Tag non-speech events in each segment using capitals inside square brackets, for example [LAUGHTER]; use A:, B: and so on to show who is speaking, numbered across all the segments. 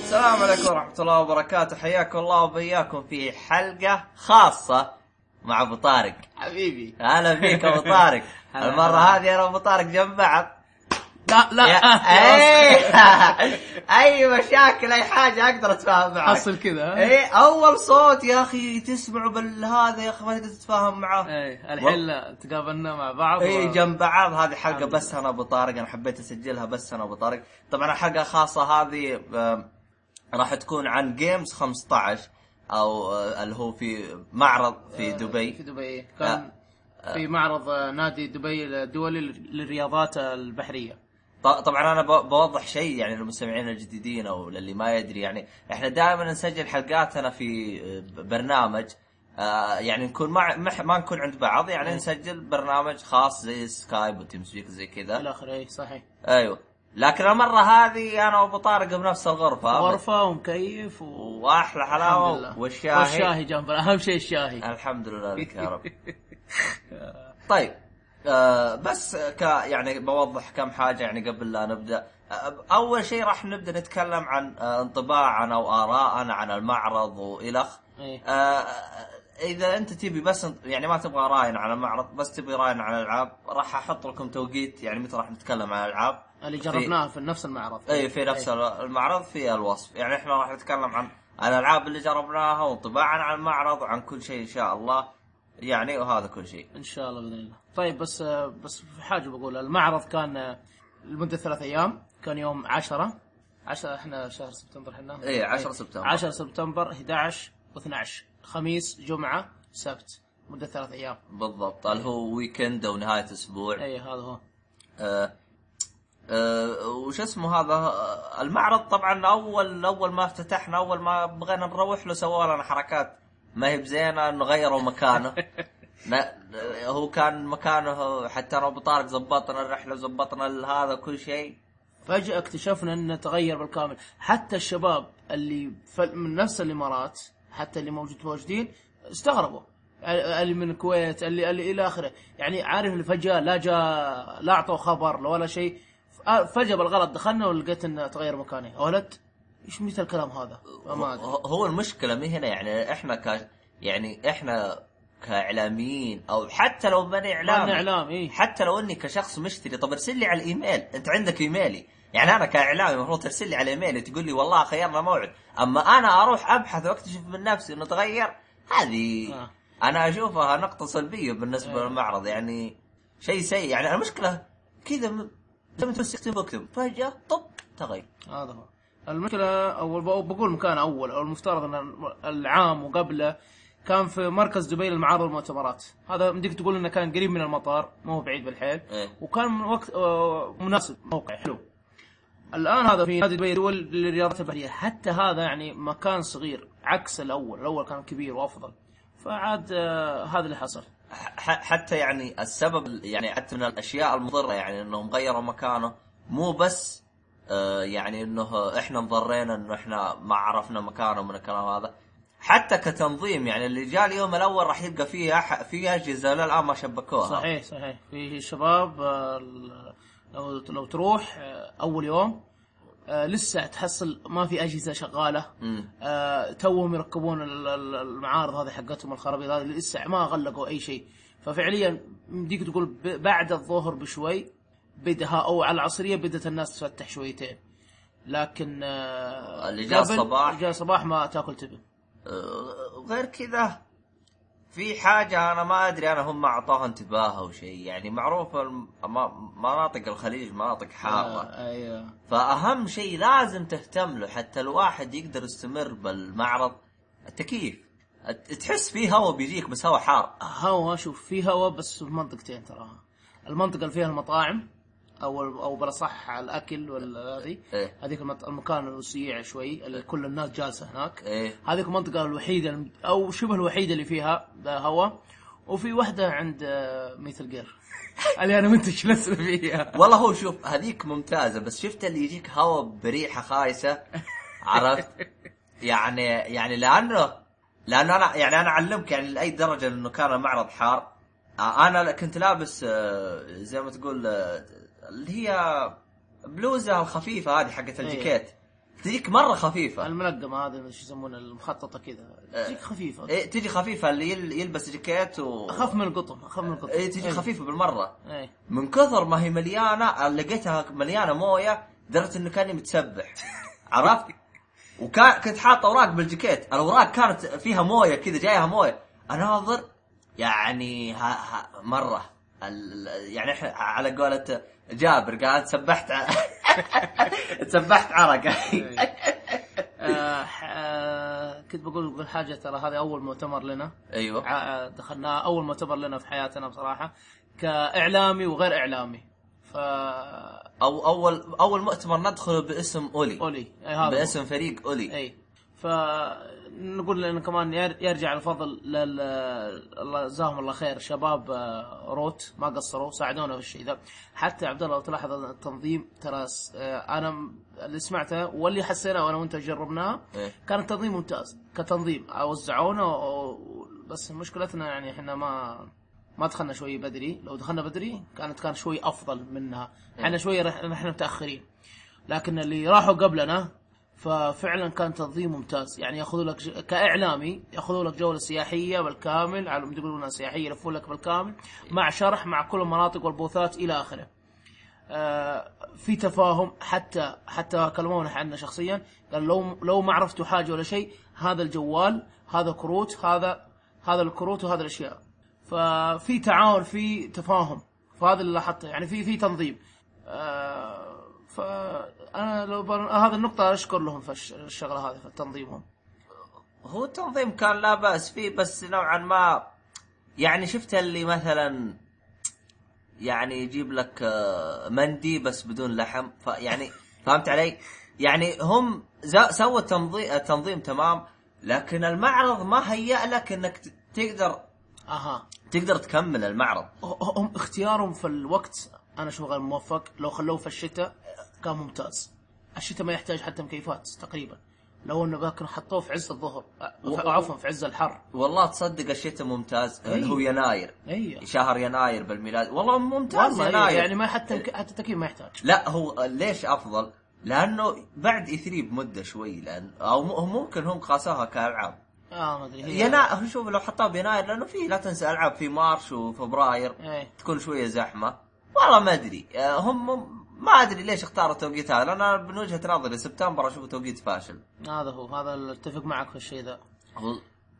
A: السلام عليكم ورحمة الله وبركاته حياكم الله وبياكم في حلقة خاصة مع أبو طارق
B: حبيبي
A: أهلا فيك
B: [LAUGHS]
A: أبو طارق
B: هلا
A: المرة
B: هلا.
A: هذه أنا وأبو طارق جنب بعض
B: لا لا آه،
A: يا-
B: [LAUGHS]
A: إيه. أي- [LAUGHS] أي مشاكل أي حاجة أقدر أتفاهم معك
B: حصل كذا ها؟
A: ايه اول صوت يا اخي تسمعه بالهذا يا اخي ما تقدر تتفاهم معاه
B: ايه الحين لا، تقابلنا مع بعض
A: اي
B: و-
A: إيه، جنب بعض هذه حلقه
B: الحمد
A: بس انا ابو طارق انا حبيت اسجلها بس انا ابو طارق طبعا الحلقه خاصه هذه آم، راح تكون عن جيمز 15 او آه، اللي هو في معرض في
B: آه، في
A: دبي آه.
B: دبي كان في معرض آه، نادي دبي الدولي لل- للرياضات البحريه
A: ط- طبعا انا ب- بوضح شيء يعني للمستمعين الجديدين او للي ما يدري يعني احنا دائما نسجل حلقاتنا في آه، ب- برنامج آه، يعني نكون مع مح- ما نكون عند بعض
B: إيه.
A: يعني نسجل برنامج خاص زي سكايب وتمسويك زي كذا
B: الى اخره اي إيه، صحيح
A: ايوه لكن المره هذه انا وابو طارق بنفس الغرفه
B: غرفه ومكيف و
A: واحلى
B: الحمد لله.
A: حلاوه والشاهي
B: والشاهي جنبنا اهم شيء الشاهي
A: الحمد لله لك يا رب [LAUGHS] طيب آه بس ك يعني بوضح كم حاجه يعني قبل لا نبدا آه اول شيء راح نبدا نتكلم عن آه انطباعنا وارائنا عن المعرض والخ
B: [LAUGHS] إيه.
A: آه اذا انت تبي بس انت- يعني ما تبغى راينا على المعرض بس تبي راينا على الالعاب راح احط لكم توقيت يعني متى راح نتكلم عن الالعاب
B: اللي
A: في-
B: جربناها في نفس المعرض
A: اي إيه، في نفس المعرض في الوصف يعني احنا راح نتكلم عن الالعاب اللي جربناها وانطباعنا عن المعرض وعن كل شيء ان شاء الله يعني وهذا كل شيء
B: ان شاء الله باذن الله طيب بس آه، بس في حاجه بقول المعرض كان آه، لمده ثلاث ايام كان يوم 10 10 احنا شهر سبتمبر احنا
A: إيه، 10 سبتمبر.
B: 10 سبتمبر 11 و12 خميس جمعه سبت مده ثلاث ايام
A: بالضبط اللي هو ويكند او نهايه اسبوع
B: اي إيه، هذا هو
A: آه آه وش اسمه هذا آه، المعرض طبعا اول اول ما افتتحنا اول ما بغينا نروح له سووا لنا حركات ما هي بزينه انه غيروا [LAUGHS] مكانه لا آه، هو كان مكانه حتى انا وابو طارق زبطنا الرحله زبطنا هذا كل شيء
B: فجاه اكتشفنا انه تغير بالكامل حتى الشباب اللي ف- من نفس الامارات حتى اللي موجود موجودين استغربوا اللي من الكويت اللي, اللي الى اخره يعني عارف اللي فجاه لا جاء لا اعطوا خبر لا ولا شيء ف- فجاه بالغلط دخلنا ولقيت انه تغير مكاني يا ولد ايش مثل الكلام هذا ما ادري
A: هو- هو المشكله مي هنا يعني احنا ك يعني احنا كاعلاميين او حتى لو ماني
B: كان
A: اعلامي
B: اعلام اي
A: حتى لو اني كشخص مشتري طب ارسل لي على الايميل انت عندك ايميلي يعني انا كاعلامي المفروض ترسل لي على ايميلي تقول لي والله خيرنا موعد اما انا اروح ابحث واكتشف من نفسي انه تغير هذه
B: آه.
A: انا اشوفها نقطه سلبيه بالنسبه
B: أيوة.
A: للمعرض يعني شيء سيء يعني المشكله كذا م- زي ما تمسك اكتب اكتب فجاه طب تغير
B: هذا هو المشكلة أول بق- بقول مكان أول أو المفترض أن الم- العام وقبله كان في مركز دبي للمعارض والمؤتمرات هذا مديك تقول انه كان قريب من المطار ما هو بعيد بالحيل
A: إيه.
B: وكان من وقت آه، مناسب موقع حلو الان هذا في نادي دبي دول للرياضات البحريه حتى هذا يعني مكان صغير عكس الاول الاول كان كبير وافضل فعاد آه، هذا اللي حصل
A: ح- حتى يعني السبب يعني حتى من الاشياء المضره يعني انهم غيروا مكانه مو بس آه، يعني انه احنا انضرينا انه احنا ما عرفنا مكانه من الكلام هذا حتى كتنظيم يعني اللي جاء اليوم الاول راح يبقى فيه أح- فيه اجهزه للان ما شبكوها
B: صحيح صحيح في شباب آه، ال- لو لو تروح آه، اول يوم آه، لسه تحصل ما في اجهزه شغاله
A: مم.
B: آه، توهم يركبون ال- ال- المعارض هذه حقتهم الخرابيط هذه لسه ما غلقوا اي شيء ففعليا مديك تقول ب- بعد الظهر بشوي بدها او على العصريه بدت الناس تفتح شويتين لكن آه،
A: اللي جاء
B: قبل-
A: الصباح.
B: جاء الصباح ما تاكل تبن
A: آه، غير كذا في حاجة أنا ما أدري أنا هم ما أعطوها انتباه أو شيء يعني معروف الم- ما- مناطق الخليج مناطق حارة
B: آه، ايوه
A: فاهم شيء لازم تهتم له حتى الواحد يقدر يستمر بالمعرض التكييف الت- تحس فيه هواء بيجيك بس هواء حار
B: هوا شوف في هوا بس في منطقتين تراها المنطقه اللي فيها المطاعم او او بالاصح الاكل ولا هذه
A: إيه.
B: هذيك المط- المكان الوسيع شوي اللي كل الناس جالسه هناك
A: ايه
B: هذيك المنطقه الوحيده الم- او شبه الوحيده اللي فيها هواء وفي واحده عند ميتل جير [LAUGHS] اللي انا وانت جلسنا فيها
A: والله هو شوف هذيك ممتازه بس شفت اللي يجيك هواء بريحه خايسه عرفت يعني يعني لانه لانه انا يعني انا اعلمك يعني لاي درجه انه كان المعرض حار آه، انا كنت لابس آه، زي ما تقول آه، اللي هي بلوزه الخفيفه هذه حقت الجاكيت تجيك مره خفيفه
B: الملقمه هذا شو يسمونها المخططه كذا تجيك خفيفه
A: إيه تجي خفيفه اللي يل- يلبس جاكيت و
B: اخف من القطن اخف من القطن
A: إيه تجي خفيفه بالمره
B: ايه
A: من كثر ما هي مليانه لقيتها مليانه مويه لدرجه انه كاني متسبح عرفت؟ وكان كنت حاط اوراق بالجاكيت، الاوراق كانت فيها مويه كذا جايها مويه، اناظر يعني ها ها مره ال- ال- يعني احنا على قولة جابر قال تسبحت ع- [LAUGHS] تسبحت عرق
B: إيه.
A: [LAUGHS]
B: آه، آه، كنت بقول بقول حاجه ترى هذا اول مؤتمر لنا
A: ايوه
B: ع- دخلناه اول مؤتمر لنا في حياتنا بصراحه كاعلامي وغير اعلامي ف
A: او اول اول مؤتمر ندخله باسم اولي
B: اولي اي هذا هو.
A: باسم فريق اولي
B: اي فنقول لنا كمان ير- يرجع الفضل لل الله جزاهم الله خير شباب آه، روت ما قصروا ساعدونا في الشيء ذا حتى عبد الله لو تلاحظ التنظيم ترى س- آه، انا م- اللي سمعته واللي حسيناه وانا وانت جربناها
A: إيه.
B: كان التنظيم ممتاز كتنظيم وزعونا و- و- بس مشكلتنا يعني احنا ما ما دخلنا شوي بدري لو دخلنا بدري كانت كان شوي افضل منها احنا شوي رح- نحن متاخرين لكن اللي راحوا قبلنا ففعلا كان تنظيم ممتاز يعني ياخذوا لك ج... كاعلامي ياخذوا لك جوله سياحيه بالكامل على ما يقولون سياحيه يلفوا لك بالكامل مع شرح مع كل المناطق والبوثات الى اخره. آه في تفاهم حتى حتى كلمونا عنا شخصيا قال لو لو ما عرفتوا حاجه ولا شيء هذا الجوال هذا كروت هذا هذا الكروت وهذا الاشياء. ففي تعاون في تفاهم فهذا اللي لاحظته يعني في في تنظيم. آه فانا لو بر... هذه النقطه اشكر لهم في الش- الشغله هذه في تنظيمهم.
A: هو التنظيم كان لا باس فيه بس نوعا ما يعني شفت اللي مثلا يعني يجيب لك آه، مندي بس بدون لحم فيعني فهمت علي؟ يعني هم زا- سووا تنظيم تنظيم تمام لكن المعرض ما هيأ لك انك ت- تقدر
B: اها
A: تقدر تكمل المعرض
B: ه- هم اختيارهم في الوقت انا اشوف غير موفق لو خلوه في الشتاء كان ممتاز الشتاء ما يحتاج حتى مكيفات تقريبا لو انه كانوا حطوه في عز الظهر
A: و-
B: أه، عفوا في عز الحر
A: والله تصدق الشتاء ممتاز اللي هو
B: أي.
A: يناير
B: اي
A: شهر يناير بالميلاد والله ممتاز
B: والله أيوة.
A: يناير
B: يعني ما حتى مك... حتى التكييف ما يحتاج
A: لا هو ليش افضل؟ لانه بعد اي 3 بمده شوي لان او م- ممكن هم قاسوها كالعاب
B: اه ما ادري هي
A: يناير هو شوف لو حطوها بيناير لانه في لا تنسى العاب في مارش وفبراير
B: ايه
A: تكون شويه زحمه والله ما ادري آه، هم هم- ما ادري ليش اختاروا التوقيت هذا لان أنا من وجهه نظري سبتمبر اشوفه توقيت فاشل
B: هذا هو هذا اللي اتفق معك في الشيء ذا
A: هو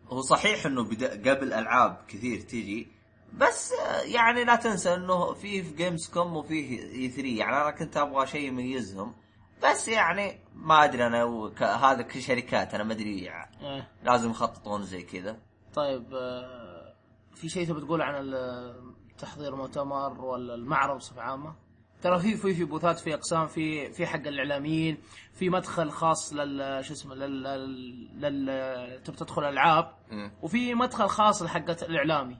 A: هو صحيح انه بدا قبل العاب كثير تجي بس آه، يعني لا تنسى انه في في جيمز كوم وفيه اي 3 يعني انا كنت ابغى شيء يميزهم بس يعني ما ادري انا و- ك- هذا كشركات انا ما ادري يعني
B: ايه
A: لازم يخططون زي كذا
B: طيب آه، في شيء تبي تقول عن ال- تحضير مؤتمر ولا المعرض بصفه عامه؟ ترى في في في بوثات في اقسام في في حق الاعلاميين في مدخل خاص لل شو اسمه لل لل لل- تبي تدخل العاب وفي مدخل خاص لحق الاعلامي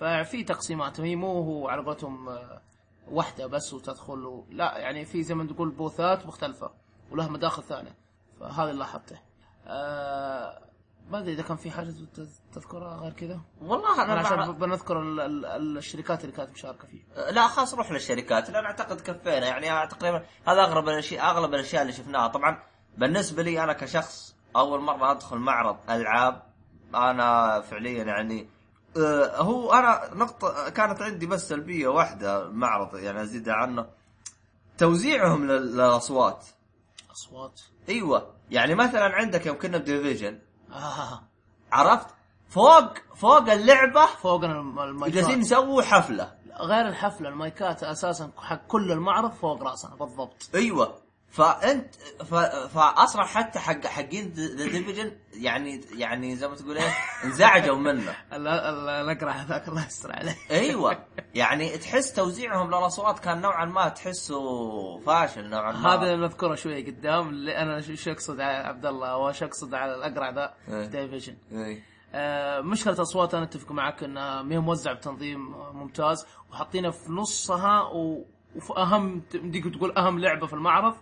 B: ففي تقسيمات هي مو هو على قولتهم آه، واحده بس وتدخل و... لا يعني في زي ما تقول بوثات مختلفه ولها مداخل ثانيه فهذا اللي لاحظته آه، ما ادري اذا كان في حاجه تت- تذكرها غير كذا
A: والله
B: انا
A: انا
B: عشان
A: بعرف-
B: بنذكر ال- ال- ال- الشركات اللي كانت مشاركه فيه
A: لا خلاص روح للشركات لان اعتقد كفينا يعني تقريبا هذا اغلب الاشياء اغلب الاشياء اللي شفناها طبعا بالنسبه لي انا كشخص اول مره ادخل معرض العاب انا فعليا يعني آه، هو انا نقطه كانت عندي بس سلبيه واحده معرض يعني ازيد عنه توزيعهم لل- للاصوات
B: اصوات
A: ايوه يعني مثلا عندك يوم كنا بديفيجن
B: آه.
A: عرفت فوق فوق اللعبه
B: فوقنا الم-
A: جالسين
B: المايكات
A: يسووا حفله
B: غير الحفله المايكات اساسا حق كل المعرض فوق راسنا بالضبط
A: ايوه فانت ف... فاصلا حتى حق حقين ذا ديفيجن يعني يعني زي ما تقول ايه انزعجوا منه
B: الاقرا هذاك الله يستر عليه
A: ايوه يعني تحس توزيعهم للاصوات كان نوعا ما تحسه فاشل نوعا ما
B: هذا اللي نذكره شوي قدام اللي انا شو شو اقصد على عبد الله وش اقصد على الاقرع ذا
A: إيه.
B: ديفيجن
A: إيه.
B: آه، مشكله الاصوات انا اتفق معك انها ما هي موزعه بتنظيم آه، ممتاز وحاطينها في نصها و... وفي اهم تقدر تقول اهم لعبه في المعرض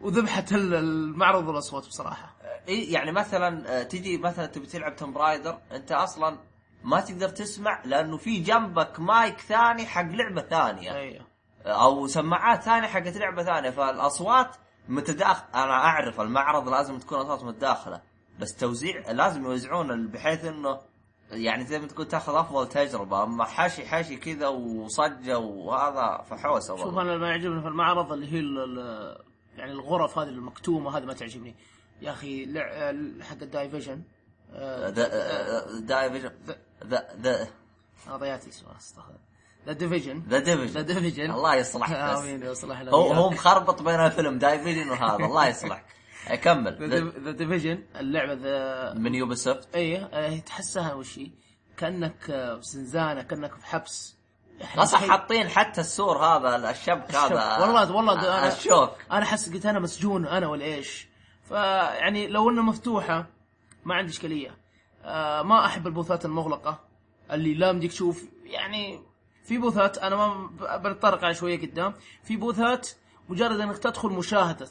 B: وذبحت ال- المعرض والاصوات بصراحه
A: إيه يعني مثلا آه، تجي مثلا تبي تلعب توم رايدر انت اصلا ما تقدر تسمع لانه في جنبك مايك ثاني حق لعبه ثانيه
B: ايوه
A: او سماعات ثانيه حقت لعبه ثانيه فالاصوات متداخل انا اعرف المعرض لازم تكون اصوات متداخله بس توزيع لازم يوزعون ال- بحيث انه يعني زي ما تقول تاخذ افضل تجربه اما حاشي حاشي كذا وصجه وهذا فحوسه
B: شوف
A: والله
B: انا ما يعجبني في المعرض اللي هي ال- ال- يعني الغرف هذه المكتومه هذه ما تعجبني يا اخي لع- ال- حق الدايفيجن آه،
A: ذا ذا ذا
B: انا ضيعت اسمه استغفر ذا ديفيجن
A: ذا
B: ذا
A: ديفيجن
B: ديفيجن
A: الله يصلحك بس
B: [LAUGHS] امين يصلح لنا
A: هو هو مخربط بين الفيلم دايفيجن وهذا الله
B: [LAUGHS]
A: يصلحك كمل
B: ذا ديفيجن اللعبه ذا
A: من يوبيسوفت
B: ايه آه، تحسها وش هي؟ كانك آه، في زنزانه كانك في حبس يعني
A: اصلا
B: شيء-
A: حاطين حتى السور هذا الشبك هذا
B: الشوك. والله والله ده
A: آه،
B: انا
A: الشوك
B: انا حس قلت انا مسجون انا ولا ايش فيعني لو انها مفتوحه ما عندي اشكاليه آه ما احب البوثات المغلقه اللي لا مديك تشوف يعني في بوثات انا ما ب- بنتطرق على شويه قدام في بوثات مجرد انك تدخل مشاهده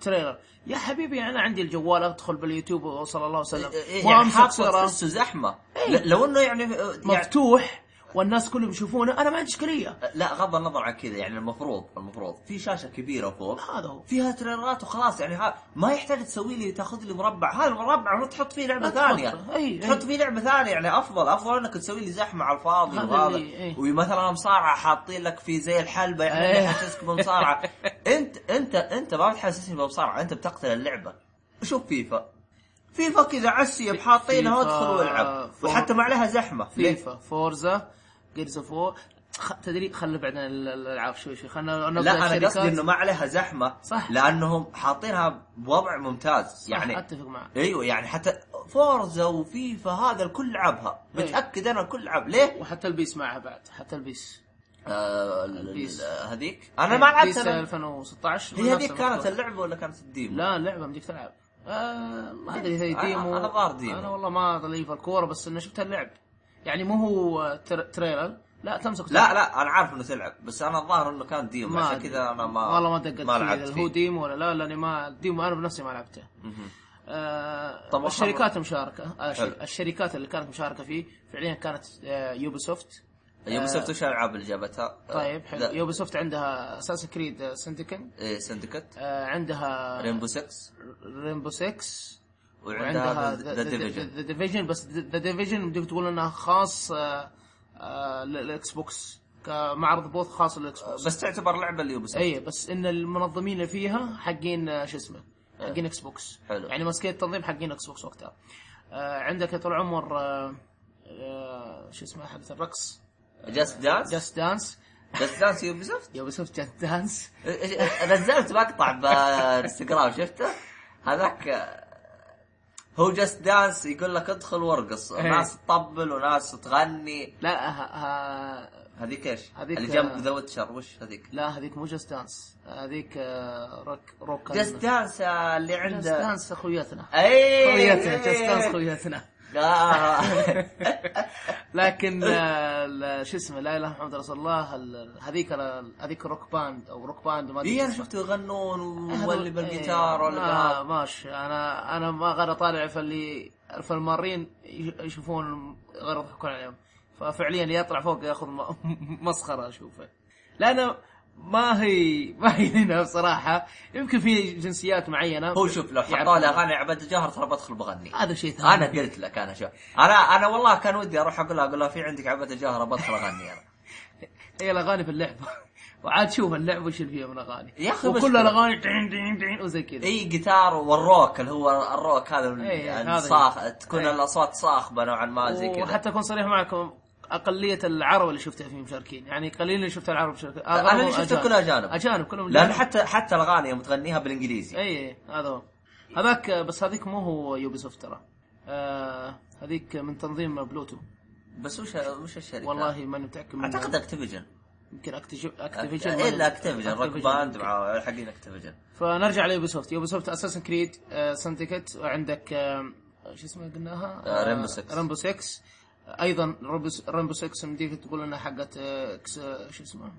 B: تريلر يا حبيبي انا عندي الجوال ادخل باليوتيوب وصلى الله وسلم
A: يعني
B: وامسك
A: حاطه
B: صورة
A: تحسه زحمه ل- لو انه يعني يعني- آه،
B: مفتوح والناس كلهم يشوفونه انا ما عندي اشكاليه
A: لا غض النظر عن كذا يعني المفروض المفروض في شاشه كبيره فوق
B: هذا هو
A: فيها تريلرات وخلاص يعني ها ما يحتاج تسوي لي تاخذ لي مربع هذا المربع المفروض تحط فيه لعبه
B: لا تحط-
A: ثانيه
B: أي-
A: تحط
B: أي.
A: فيه لعبه ثانيه يعني افضل افضل انك تسوي لي زحمه على الفاضي
B: هذا
A: وهذا
B: اللي- إيه. أي.
A: ومثلا مصارعه حاطين لك في زي الحلبه
B: أي.
A: يعني يحسسك
B: [LAUGHS]
A: بمصارعه انت انت انت ما بتحسسني بمصارعه انت بتقتل اللعبه شوف فيفا فيفا كذا عسي حاطينها
B: فيفا-
A: وادخل والعب
B: فور-
A: وحتى ما عليها زحمه ليه؟
B: فيفا فورزا جيرز اوف وور خ... تدري خلنا بعدين ال- الالعاب شوي شوي خلنا نبدا
A: لا انا
B: الشركات.
A: قصدي انه ما عليها زحمه
B: صح.
A: لانهم حاطينها بوضع ممتاز
B: صح،
A: يعني
B: اتفق معك
A: ايوه يعني حتى فورزا وفيفا هذا الكل لعبها
B: إيه.
A: متاكد انا الكل لعب ليه؟
B: وحتى البيس معها بعد حتى البيس
A: آه، ال- ال-
B: بيس.
A: هذيك انا ما لعبت
B: بيس
A: أنا.
B: 2016
A: هي
B: نفس
A: هذيك
B: الموضوع.
A: كانت اللعبه ولا كانت الديمو؟
B: لا لعبه مديك تلعب آه ما ادري هي
A: أنا-
B: ديمو
A: أنا ظاهر ديمو.
B: انا والله ما ضليف الكوره بس انه شفت اللعب يعني مو هو تر... تريلر لا تمسك
A: لا لا انا عارف انه تلعب بس انا الظاهر انه كان ديمو
B: ما
A: عشان
B: أدري.
A: كذا انا ما
B: والله ما دققت
A: ما
B: فيه
A: لعبت
B: اذا هو
A: فيه
B: ديمو ولا لا لاني ما ديمو انا بنفسي ما لعبته
A: مهم.
B: آه
A: طب
B: طب
A: محمد.
B: الشركات المشاركه آه
A: حلو.
B: الشركات اللي كانت مشاركه فيه فعليا كانت آه يوبي سوفت
A: يوبي سوفت وش الالعاب اللي جابتها؟
B: آه. طيب حلو
A: آه، لا،
B: يوبي سوفت عندها اساسن كريد سندكن
A: إيه، سندكت
B: آه عندها
A: رينبو 6
B: رينبو 6
A: وعندها ذا ديفيجن
B: ذا ديفيجن بس ذا ديفيجن ممكن تقول انها خاص آه، آه، للاكس بوكس كمعرض بوث خاص للاكس بوكس
A: بس تعتبر لعبه اليوبي سوفت
B: اي بس ان المنظمين اللي فيها حقين آه، شو اسمه حقين اكس بوكس
A: حلو.
B: يعني مسكين التنظيم حقين اكس بوكس وقتها آه عندك يا طول العمر آه آه شو اسمه حقت الرقص
A: جاست دانس
B: جاست دانس
A: جاست دانس يوبي سوفت
B: يوم شفت جاست دانس
A: نزلت مقطع بانستغرام شفته هذاك هو جاست دانس يقول لك ادخل وارقص
B: إيه.
A: ناس تطبل وناس تغني
B: لا آه، ها ها
A: هذيك ايش؟
B: هذيك-
A: اللي جنب ذا ويتشر وش هذيك؟
B: لا هذيك مو جاست دانس هذيك آه، روك روك
A: جاست دانس اللي عنده إيه.
B: دانس خوياتنا
A: اي
B: خوياتنا جاست دانس
A: [LAUGHS]
B: خوياتنا [LAUGHS]
A: آه.
B: لكن آه، ال- شو اسمه لا اله الا محمد رسول الله ال- هذيك ال- هذيك روك باند او روك باند
A: اي
B: ما
A: انا
B: اسمها.
A: إيه، شفته يغنون
B: هذول-
A: واللي بالجيتار
B: إيه،
A: ولا
B: ما
A: بهذا
B: ماشي انا انا ما غير اطالع فاللي فالمارين يش- يشوفون غير يضحكون عليهم ففعليا اللي يطلع فوق ياخذ م- مسخره اشوفه لان ما هي ما هي هنا بصراحه يمكن في جنسيات معينه
A: هو شوف لو حطوا لي اغاني عبد الجهر ترى بدخل بغني
B: هذا شيء ثاني
A: انا قلت لك انا شو انا انا والله كان ودي اروح اقول لها اقول لها في عندك عبد الجهر بدخل اغني انا
B: هي الاغاني إيه، في اللعبه [LAUGHS] وعاد شوف اللعبه وش اللي فيها من اغاني
A: يا أخي
B: وكل
A: مشكلة.
B: الاغاني دين دين دين وزي كذا
A: اي جيتار والروك اللي هو الروك هذا
B: إي،
A: ال-
B: إيه، هذا يعني. إيه.
A: الصاخ تكون
B: إي.
A: الاصوات صاخبه نوعا ما زي كذا
B: وحتى اكون صريح معكم اقليه العرب اللي شفتها فيه مشاركين يعني قليل اللي شفت العرب مشاركين
A: انا اللي شفته
B: أغلبهم
A: كله اجانب
B: اجانب كلهم
A: لان حتى حتى الاغاني يوم تغنيها بالانجليزي
B: اي إي، هذا هو هذاك بس هذيك مو هو يوبي سوفت ترى آه هذيك من تنظيم بلوتو
A: بس وش وش الشركه؟
B: والله ماني متاكد من
A: اعتقد اكتيفيجن
B: يمكن اكتيفيجن
A: الا اكتيفيجن روك باند مع حقين اكتيفيجن
B: فنرجع ليوبي سوفت يوبي سوفت اساسن كريد سندكت آه، وعندك آه، شو اسمها قلناها
A: آه، Rainbow Six.
B: رامبو 6 ايضا رامبو 6 مديك تقول انها حقت آه، إكس- آه، شو اسمها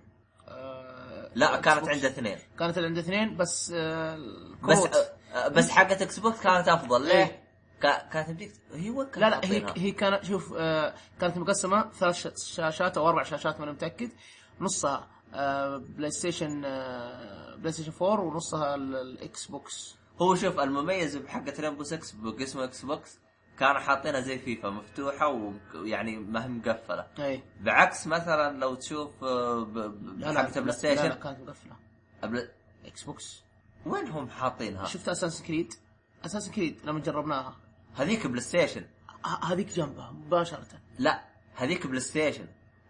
B: آه،
A: لا
B: Xbox.
A: كانت عنده اثنين
B: كانت اللي عند اثنين بس آه،
A: بس
B: كروت.
A: آه، بس حقت اكس بوكس كانت افضل
B: إي.
A: ليه؟ كا- كانت تمديك هي وين كانت
B: إيه. لا لا هي
A: حاطينها؟
B: هي كانت شوف آه، كانت مقسمه ثلاث ش- شاشات او اربع شاشات ماني متاكد نصها آه، بلاي ستيشن آه، بلاي ستيشن 4 ونصها ال- الاكس بوكس
A: هو شوف المميز بحقة ريمبو 6 بقسم اكس بوكس كانوا حاطينها زي فيفا مفتوحه و- يعني ويعني ما هي مقفله
B: اي
A: بعكس مثلا لو تشوف آه، ب- ب- حقة بلاي
B: إيه، لا, لا
A: ستيشن
B: كانت مقفله
A: أبل-
B: اكس بوكس
A: وين هم حاطينها؟
B: شفت اساس كريد اساس كريد لما جربناها
A: هذيك بلاي ستيشن
B: ه- هذيك جنبها مباشره
A: لا هذيك بلاي ستيشن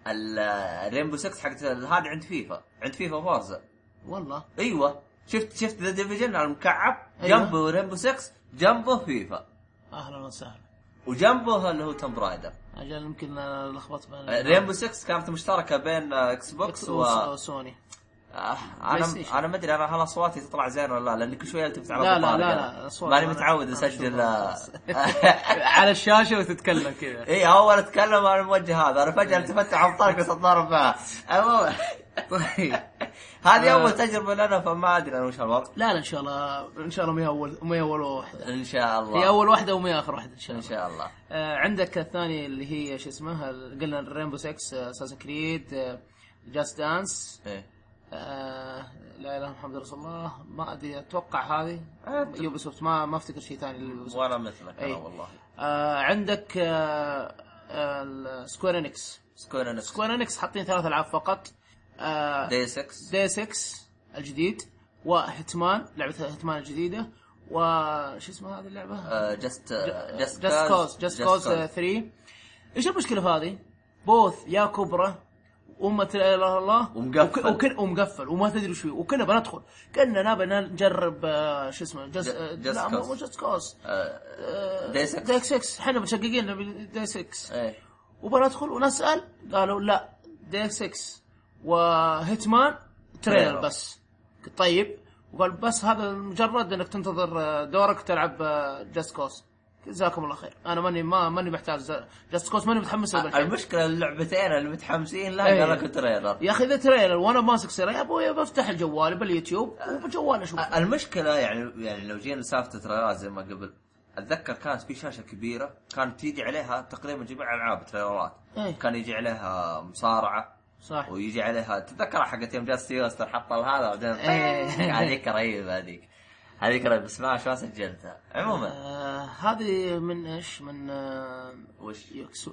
A: الريمبو 6 حقت هذا عند فيفا عند فيفا فورزا
B: والله
A: ايوه شفت شفت ذا ديفيجن على المكعب
B: أيوة.
A: جنبه ريمبو 6 جنبه فيفا
B: اهلا وسهلا
A: وجنبه اللي هو توم رايدر
B: اجل يمكن أنا لخبطت بين
A: ريمبو 6 كانت مشتركه بين آه، اكس بوكس
B: إكس
A: آه، و
B: وس-
A: آه،
B: وسوني بلاي ستيشن.
A: انا انا ما ادري انا هل اصواتي تطلع زين ولا لا لان كل شويه التفت على
B: لا لا
A: أبو
B: لا
A: طارق.
B: لا أصوات
A: ماني
B: أنا-
A: متعود
B: أنا
A: اسجل
B: أشوفها.
A: [LAUGHS] آه،
B: [LAUGHS] على الشاشه وتتكلم كذا
A: اي اول اتكلم انا الموجه هذا انا فجاه التفت على طارق وصدرت معه المهم، [LAUGHS]
B: طيب
A: هذه اول تجربه لنا فما ادري انا وش الوضع
B: لا لا ان شاء الله ان شاء الله ما هي اول ما هي اول واحده
A: ان شاء الله
B: هي اول واحده وما هي اخر واحده ان شاء
A: ان
B: الله
A: شاء الله
B: آه عندك الثاني اللي هي شو اسمها ال- قلنا آه، رينبو 6 اساسن كريد جاست دانس
A: إيه.
B: آه، لا اله الا محمد رسول الله ما ادري اتوقع هذه
A: آه،
B: يوبي سوفت ما ما افتكر شيء ثاني لليوبيسوفت.
A: وانا مثلك
B: أي.
A: انا والله
B: آه عندك آه، سكوير انكس
A: سكوير انكس
B: سكوير انكس حاطين ثلاث العاب فقط آه
A: دي 6
B: دي 6 الجديد وهيتمان لعبه هيتمان الجديده وش اسمها هذه اللعبه؟
A: جست
B: جاست كوز جاست كوز آه، 3 ايش المشكله في هذه؟ بوث يا كبرى وما لا اله الا الله
A: ومقفل.
B: وك- وكل ومقفل وما تدري وش فيه وكنا بندخل كنا نبى نجرب آه، شو اسمه جاست
A: Just- Just Cause.
B: جاست كوز
A: آه،
B: آه،
A: دي 6
B: دايك 6 احنا متشققين نبي دايك 6
A: ايه
B: وبندخل ونسال قالوا لا ديك 6 وهيتمان تريلر
A: تريلر.
B: بس طيب وقال بس هذا مجرد انك تنتظر آه، دورك تلعب جاست كوس جزاكم الله خير انا ماني ما ماني محتاج جاست كوس ماني متحمس له بالحين.
A: المشكله آه، اللعبتين اللي متحمسين لها
B: إيه.
A: قال لك تريلر
B: يا اخي اذا تريلر وانا ماسك سيرة يا ابوي بفتح الجوال باليوتيوب وبجوال اشوف
A: المشكله يعني يعني لو جينا لسالفه تريلرات زي ما قبل اتذكر كانت في شاشه كبيره كانت تيجي عليها تقريبا جميع العاب تريلرات
B: إيه.
A: كان يجي عليها مصارعه
B: صح
A: ويجي عليها تتذكر حقت يوم جاء سيوستر حط هذا وبعدين
B: إيه.
A: [LAUGHS] هذيك رهيبه هذيك هذيك رهيبه بس ما ما سجلتها عموما
B: آه هذه من ايش من آه
A: وش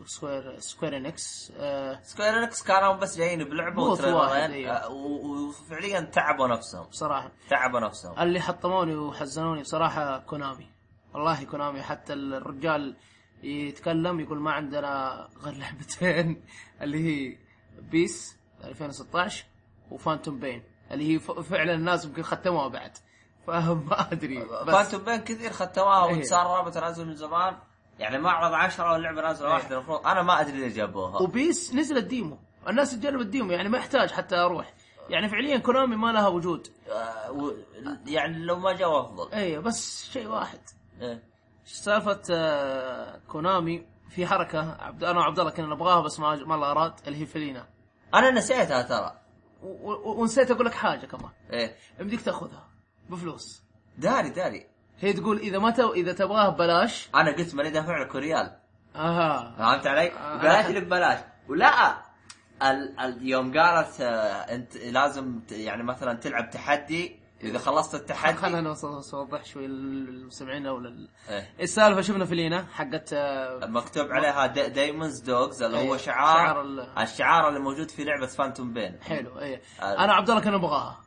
B: سكوير سكوير انكس آه
A: سكوير انكس كانوا بس جايين بلعبه
B: بوث واحد،
A: وتريلرين
B: أيوه.
A: آه، و- وفعليا تعبوا نفسهم
B: بصراحه
A: تعبوا نفسهم
B: اللي حطموني وحزنوني بصراحة كونامي والله كونامي حتى الرجال يتكلم يقول ما عندنا غير لعبتين [LAUGHS] اللي هي بيس 2016 وفانتوم بين اللي هي ف- فعلا الناس يمكن ختموها بعد [LAUGHS] فما
A: [LAUGHS]
B: ادري بس
A: فانتوم بين كثير ختموها
B: إيه.
A: وتسار رابط نازل من زمان يعني معرض عشرة واللعبه
B: إيه.
A: نازله واحده المفروض انا ما ادري ليه جابوها
B: وبيس نزلت ديمو الناس تجربت ديمو يعني ما يحتاج حتى اروح يعني فعليا كونامي ما لها وجود
A: آه، و- يعني لو ما جاوا افضل
B: اي بس شيء واحد
A: إيه.
B: سالفة آه، كونامي في حركة عبد انا وعبد الله كنا نبغاها بس ما ما الله اراد اللي هي فلينا
A: انا نسيتها ترى
B: و- و- ونسيت اقول لك حاجة كمان
A: ايه
B: يمديك تاخذها بفلوس
A: داري داري
B: هي تقول اذا ما تو- اذا تبغاها ببلاش
A: انا قلت ماني دافع لك ريال
B: اها
A: فهمت علي؟
B: آه.
A: بلاش اللي ببلاش ولا ال ال يوم قالت آه، انت لازم ت- يعني مثلا تلعب تحدي اذا خلصت التحدي
B: إيه. خلنا نوصل نوضح شوي للمستمعين او لل...
A: إيه.
B: السالفة شفنا فلينا حقت آه،
A: مكتوب عليها دايموندز دوجز اللي هو
B: أيوة.
A: شعار
B: شعار ال-
A: الشعار اللي موجود في لعبه فانتوم بين
B: حلو اي
A: آه.
B: انا وعبد الله كنا نبغاها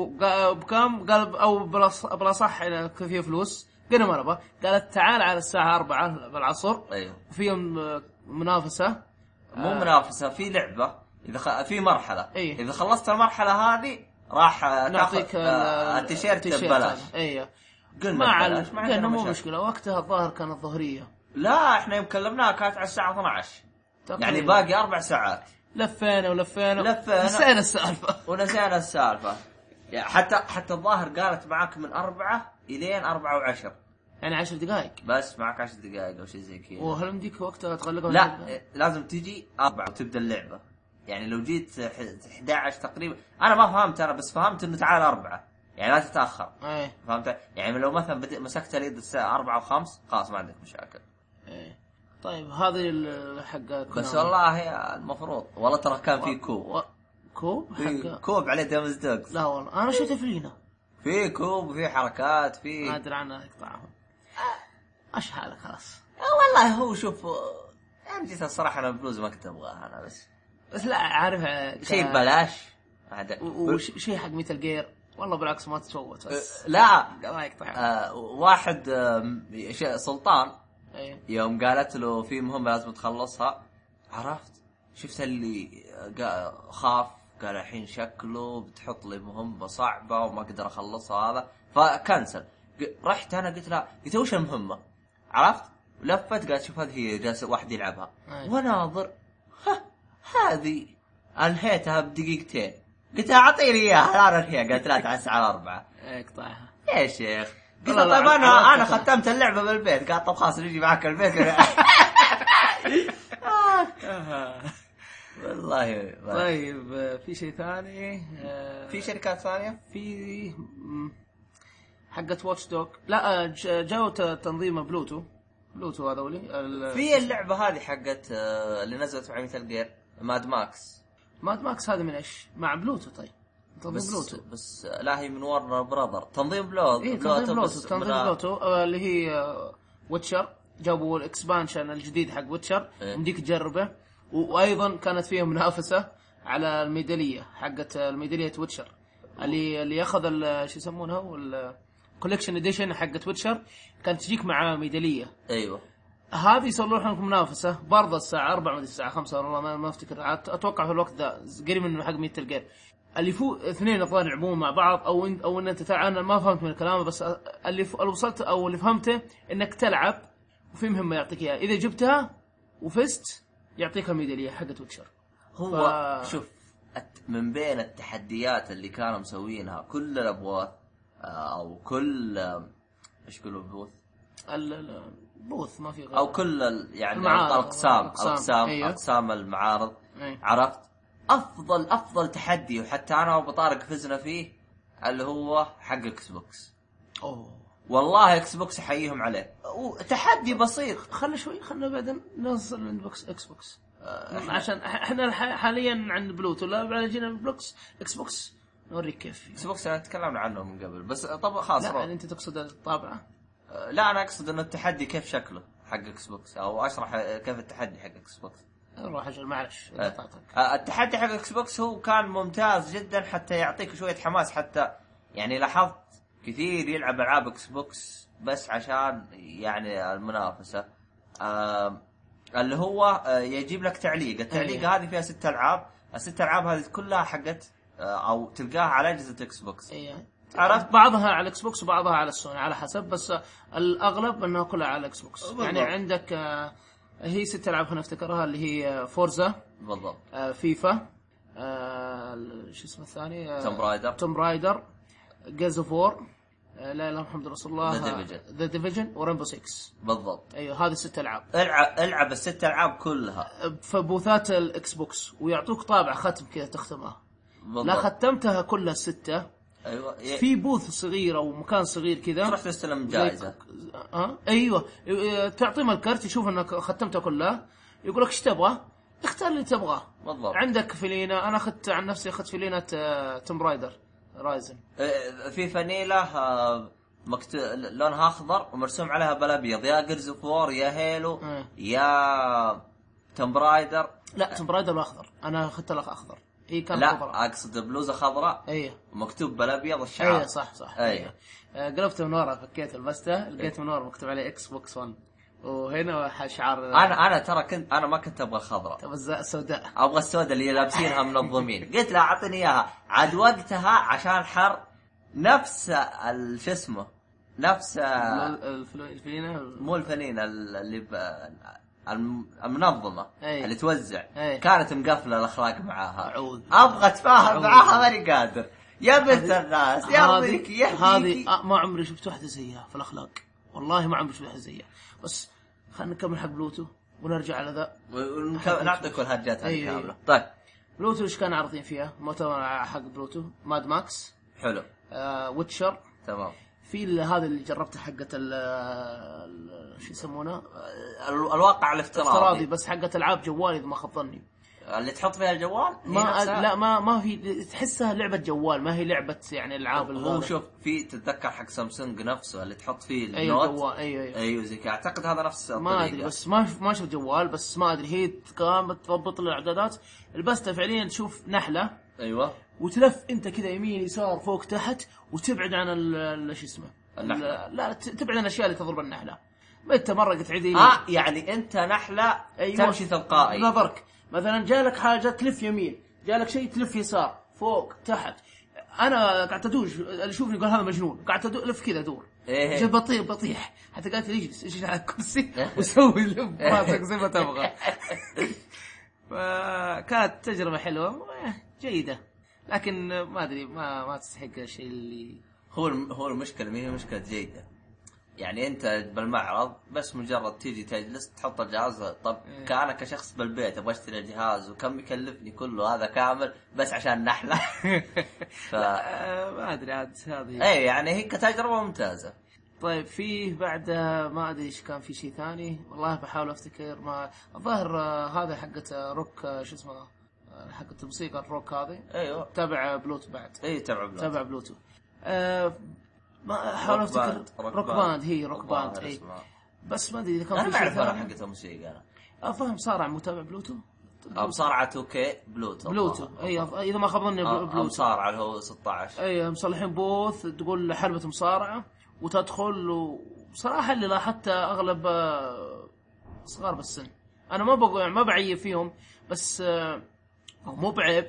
B: وبكم قال ب- او بالأص- بالاصح إنه كان فيها فلوس قلنا ما نبغى قالت تعال على الساعه 4 بالعصر
A: ايوه
B: في م- منافسه آه.
A: مو منافسه في لعبه اذا خ... في مرحله
B: أيوة.
A: اذا خلصت المرحله هذه راح آه،
B: نعطيك
A: تاخذ آه،
B: ال-
A: التيشيرت
B: التيشيرت
A: ببلاش
B: هذا. ايوه
A: قلنا
B: ما
A: ببلاش،
B: علم
A: ما عندنا
B: قلنا مو
A: مشاكل.
B: مشكله وقتها الظاهر كانت ظهريه
A: لا احنا يوم كلمناها كانت على الساعه 12 يعني
B: تقريباً.
A: باقي اربع ساعات
B: لفينا ولفينا
A: لفينا.
B: نسينا السالفه
A: ونسينا السالفه يعني حتى حتى الظاهر قالت معاك من أربعة إلين أربعة وعشر
B: يعني عشر دقائق
A: بس معك عشر دقائق أو شيء زي كذا
B: وهل يمديك وقتها تغلقها
A: لا إيه، لازم تجي أربعة وتبدأ اللعبة يعني لو جيت ح- 11 تقريبا أنا ما فهمت أنا بس فهمت إنه تعال أربعة يعني لا تتأخر
B: ايه
A: فهمت يعني لو مثلا بدأ مسكت اليد الساعة أربعة وخمس خلاص ما عندك مشاكل
B: ايه طيب هذه ال- حق
A: بس
B: كونامي. [LAUGHS]
A: والله المفروض والله ترى كان في كو
B: نعم. و... كوب
A: في
B: حق
A: كوب عليه دامز دوجز
B: لا والله انا شفته في لينا
A: في كوب في حركات
B: ما
A: في
B: ادري عنه اقطعهم ايش حالك خلاص
A: آه، والله هو شوف آه، يعني جيت الصراحه انا الفلوس ما كنت ابغاها انا بس
B: بس لا عارف آه، ك-
A: شيء ببلاش عاد-
B: و- وشيء حق مثل جير والله بالعكس ما تتفوت بس
A: لا
B: الله يقطع
A: إيه. آه، واحد آم، ش- سلطان
B: ايه
A: يوم قالت له في مهمه لازم تخلصها عرفت شفت اللي آه، قا- خاف قال الحين شكله بتحط لي مهمه صعبه وما اقدر اخلصها هذا فكنسل ق- رحت انا قلت لها قلت وش المهمه عرفت لفت قالت شوف هذه هي جالسه واحد يلعبها
B: أي.
A: وناظر ها هذه انهيتها بدقيقتين قلت لها اعطيني اياها انا الحين قالت لا تعس على اربعه
B: اقطعها
A: يا شيخ قلت
B: والله
A: له طيب
B: لا،
A: انا
B: لا،
A: انا
B: لا.
A: ختمت اللعبه بالبيت قال طب خلاص نجي معك
B: [LAUGHS]
A: البيت [LAUGHS] والله والله.
B: طيب آه، في شيء ثاني آه،
A: في شركات ثانيه؟
B: في مم، حقت واتش دوج لا آه، ج- جو ت- تنظيم بلوتو بلوتو هذولي ال-
A: في اللعبه هذه حقت آه، اللي نزلت مع مثل جير ماد ماكس
B: ماد ماكس هذا من ايش؟ مع بلوتو طيب تنظيم
A: بس
B: بلوتو
A: بس آه، لا هي من ورنر براذر تنظيم بلوتو
B: اي إيه، تنظيم بلوتو
A: بس من
B: تنظيم
A: ال-
B: بلوتو آه، اللي هي آه، ويتشر جابوا الاكسبانشن الجديد حق ويتشر
A: إيه.
B: يمديك تجربه و- وايضا كانت فيها منافسه على الميداليه حقت آه، الميداليه ويتشر اللي اللي ياخذ ال- شو يسمونها والكوليكشن اديشن حقت ويتشر كانت تجيك مع ميداليه
A: ايوه
B: هذه يصلحون لكم منافسه برضه الساعه 4 مدري الساعه 5 والله ما, ما افتكر عاد اتوقع في الوقت ذا قريب من حق ميتل جير اللي يفوز اثنين الظاهر يلعبون مع بعض او انت او ان انت تلعب انا ما فهمت من كلامه بس اللي ف... اللي وصلت او اللي فهمته انك تلعب وفي مهمه يعطيك اياها اذا جبتها وفزت يعطيك الميداليه حقت ويتشر
A: هو
B: ف-
A: شوف الت- من بين التحديات اللي كانوا مسوينها كل الابواث آه، او كل آه، ايش يقولوا بوث
B: ال- ال- البوث ما في غير
A: او كل ال- يعني
B: المعارض.
A: الاقسام
B: الأقسام.
A: الاقسام
B: أيوه.
A: اقسام المعارض
B: أي.
A: عرفت افضل افضل تحدي وحتى انا وابو طارق فزنا فيه اللي هو حق اكس بوكس
B: اوه
A: والله اكس بوكس احييهم عليه تحدي بسيط
B: خلنا شوي خلنا بعدين نوصل عند بوكس اكس بوكس آه، عشان احنا الح- حاليا عند بلوتو لا بعد جينا من بلوكس اكس بوكس نوريك كيف
A: اكس بوكس انا تكلمنا عنه من قبل بس طب خلاص
B: لا يعني
A: لا,
B: انت تقصد الطابعه
A: لا انا اقصد انه التحدي كيف شكله حق اكس بوكس او اشرح كيف التحدي حق اكس بوكس
B: روح اجل معلش
A: آه.
B: قطعتك
A: آه، التحدي حق اكس بوكس هو كان ممتاز جدا حتى يعطيك شويه حماس حتى يعني لاحظت كثير يلعب العاب اكس بوكس بس عشان يعني المنافسه آم، اللي هو آه، يجيب لك تعليق التعليق
B: أيوه.
A: هذه فيها ست العاب الست العاب هذه كلها حقت آه، او تلقاها على اجهزه اكس بوكس
B: اي
A: عرفت؟
B: إيه. بعضها على الاكس بوكس وبعضها على السوني على حسب بس الاغلب انها كلها على الاكس بوكس
A: بالضبط.
B: يعني عندك آه، هي ست العاب خلينا نفتكرها اللي هي آه، فورزا
A: بالضبط
B: آه، فيفا آه، ال- شو اسمه الثاني آه،
A: توم رايدر.
B: توم رايدر جيز اوف وور آه، لا اله الا محمد رسول الله
A: The Division.
B: ذا ديفيجن ورمبو 6
A: بالضبط
B: ايوه هذه ست العاب
A: العب العب الست العاب كلها
B: فبوثات الاكس بوكس ويعطوك طابع ختم كذا تختمها
A: بالضبط
B: لا ختمتها كلها السته
A: ايوه في
B: في بوث صغير او مكان صغير كذا
A: تروح تستلم جائزه
B: ها ايوه إيه، تعطيهم الكرت يشوف انك ختمته كله يقول لك ايش تبغى؟ اختار اللي تبغاه
A: بالضبط.
B: عندك فيلينا انا اخذت عن نفسي اخذت فيلينا آه، توم رايدر رايزن
A: آه، في فانيلة آه، مكتو... لونها اخضر ومرسوم عليها بالابيض يا جيرز اوف وور يا هيلو
B: آه.
A: يا توم رايدر
B: لا توم رايدر الاخضر انا اخذت الاخ اخضر هي كان
A: لا اقصد بلوزه خضراء
B: ايوه
A: مكتوب بالابيض الشعار
B: ايوه صح صح
A: أيوة.
B: آه، قلبته من ورا فكيته لبسته لقيت من ورا مكتوب عليه اكس بوكس 1 وهنا شعار
A: انا انا ترى كنت انا ما كنت ابغى الخضراء
B: تبى الزق- السوداء
A: ابغى السوداء اللي لابسينها منظمين قلت له اعطني اياها عاد وقتها عشان حر نفس ال- شو اسمه نفس
B: الفلو- الفلو- الفلينة
A: مو الفنين ال- اللي ب... الم- المنظمه
B: أي.
A: اللي توزع
B: أي.
A: كانت مقفله الاخلاق معاها
B: أعوذ.
A: ابغى اتفاهم
B: أعوذ.
A: معاها ماني قادر يا بنت الناس يا ابوك يا
B: هذه
A: هذه
B: آه، ما عمري شفت واحده زيها في الاخلاق والله ما عمري شفت واحده زيها بس خلينا نكمل حق بلوتو ونرجع على ذا
A: نعطيك الهرجات هذه
B: أي.
A: كامله طيب
B: بلوتو ايش كانوا عارضين فيها؟ مؤتمر حق بلوتو ماد ماكس
A: حلو
B: آه، ويتشر
A: تمام
B: في ال- هذا اللي جربته حقه ال- ال- شو يسمونه؟
A: ال- الواقع الافتراضي
B: افتراضي بس حقه العاب جوالي اذا ما خاب ظني
A: اللي تحط فيها الجوال هي
B: ما
A: نفسها.
B: لا ما ما في تحسها لعبه جوال ما هي لعبه يعني العاب
A: هو
B: الغالب.
A: شوف في تتذكر حق سامسونج نفسه اللي تحط فيه
B: ايوه
A: النوت
B: جوال ايوه ايوه
A: ايوه زي كذا اعتقد هذا نفس
B: ما
A: الطريقة.
B: ادري بس ما ما شفت جوال بس ما ادري هي قامت تضبط الاعدادات البسته فعليا تشوف نحله
A: ايوه
B: وتلف انت كذا يمين يسار فوق تحت وتبعد عن ال- ال- شو اسمه
A: النحلة.
B: لا- لا ت- تبعد عن الاشياء اللي تضرب النحله متى مره قد يمين
A: اه يعني انت نحله
B: أيوة.
A: تمشي تلقائي
B: نظرك مثلا جالك حاجه تلف يمين جالك شيء تلف يسار فوق تحت انا قعدت ادوج اللي يشوفني يقول هذا مجنون قعدت أدو- الف كذا ادور
A: إيه.
B: جا بطيح بطيح حتى قالت لي اجلس اجلس على الكرسي [LAUGHS] وسوي لف براسك زي ما
A: [LAUGHS]
B: تبغى فكانت تجربه حلوه جيده لكن ما ادري ما ما تستحق الشيء
A: [LAUGHS]
B: اللي
A: هو الم- هو المشكله ما هي مشكله جيده يعني انت بالمعرض بس مجرد تيجي تجلس تحط الجهاز طب
B: إيه.
A: كأنا كشخص بالبيت ابغى اشتري الجهاز وكم يكلفني كله هذا كامل بس عشان نحله
B: [LAUGHS]
A: ف...
B: لا، ما ادري عاد هذه
A: اي يعني هي كتجربه ممتازه
B: طيب فيه بعد ما ادري ايش كان في شيء ثاني والله بحاول افتكر ما الظاهر آه، هذا حقت آه، روك آه، شو اسمه آه، حقت موسيقى الروك هذه
A: ايوه
B: تابع آه، بلوتو بعد
A: اي تبع بلوت.
B: تابع بلوتو آه، ما احاول
A: روك
B: افتكر
A: باند،
B: روك باند هي روك باند
A: هذا
B: اي
A: اسمه.
B: بس ما ادري اذا
A: انا
B: كان
A: ما
B: في شيء
A: اعرف انا
B: ثاني
A: حقت الموسيقى انا
B: افهم صارع متابع بلوتو
A: أو مصارعه 2K بلوتو
B: بلوتو اي أف- اذا ما خاب ظني بلو-
A: بلوتو
B: بلوتو
A: مصارعه اللي هو 16
B: اي مصلحين بوث تقول حلبة مصارعة وتدخل وصراحة اللي لاحظته اغلب آه، صغار بالسن انا ما بقول يعني ما بعيب فيهم بس آه، هو مو بعيب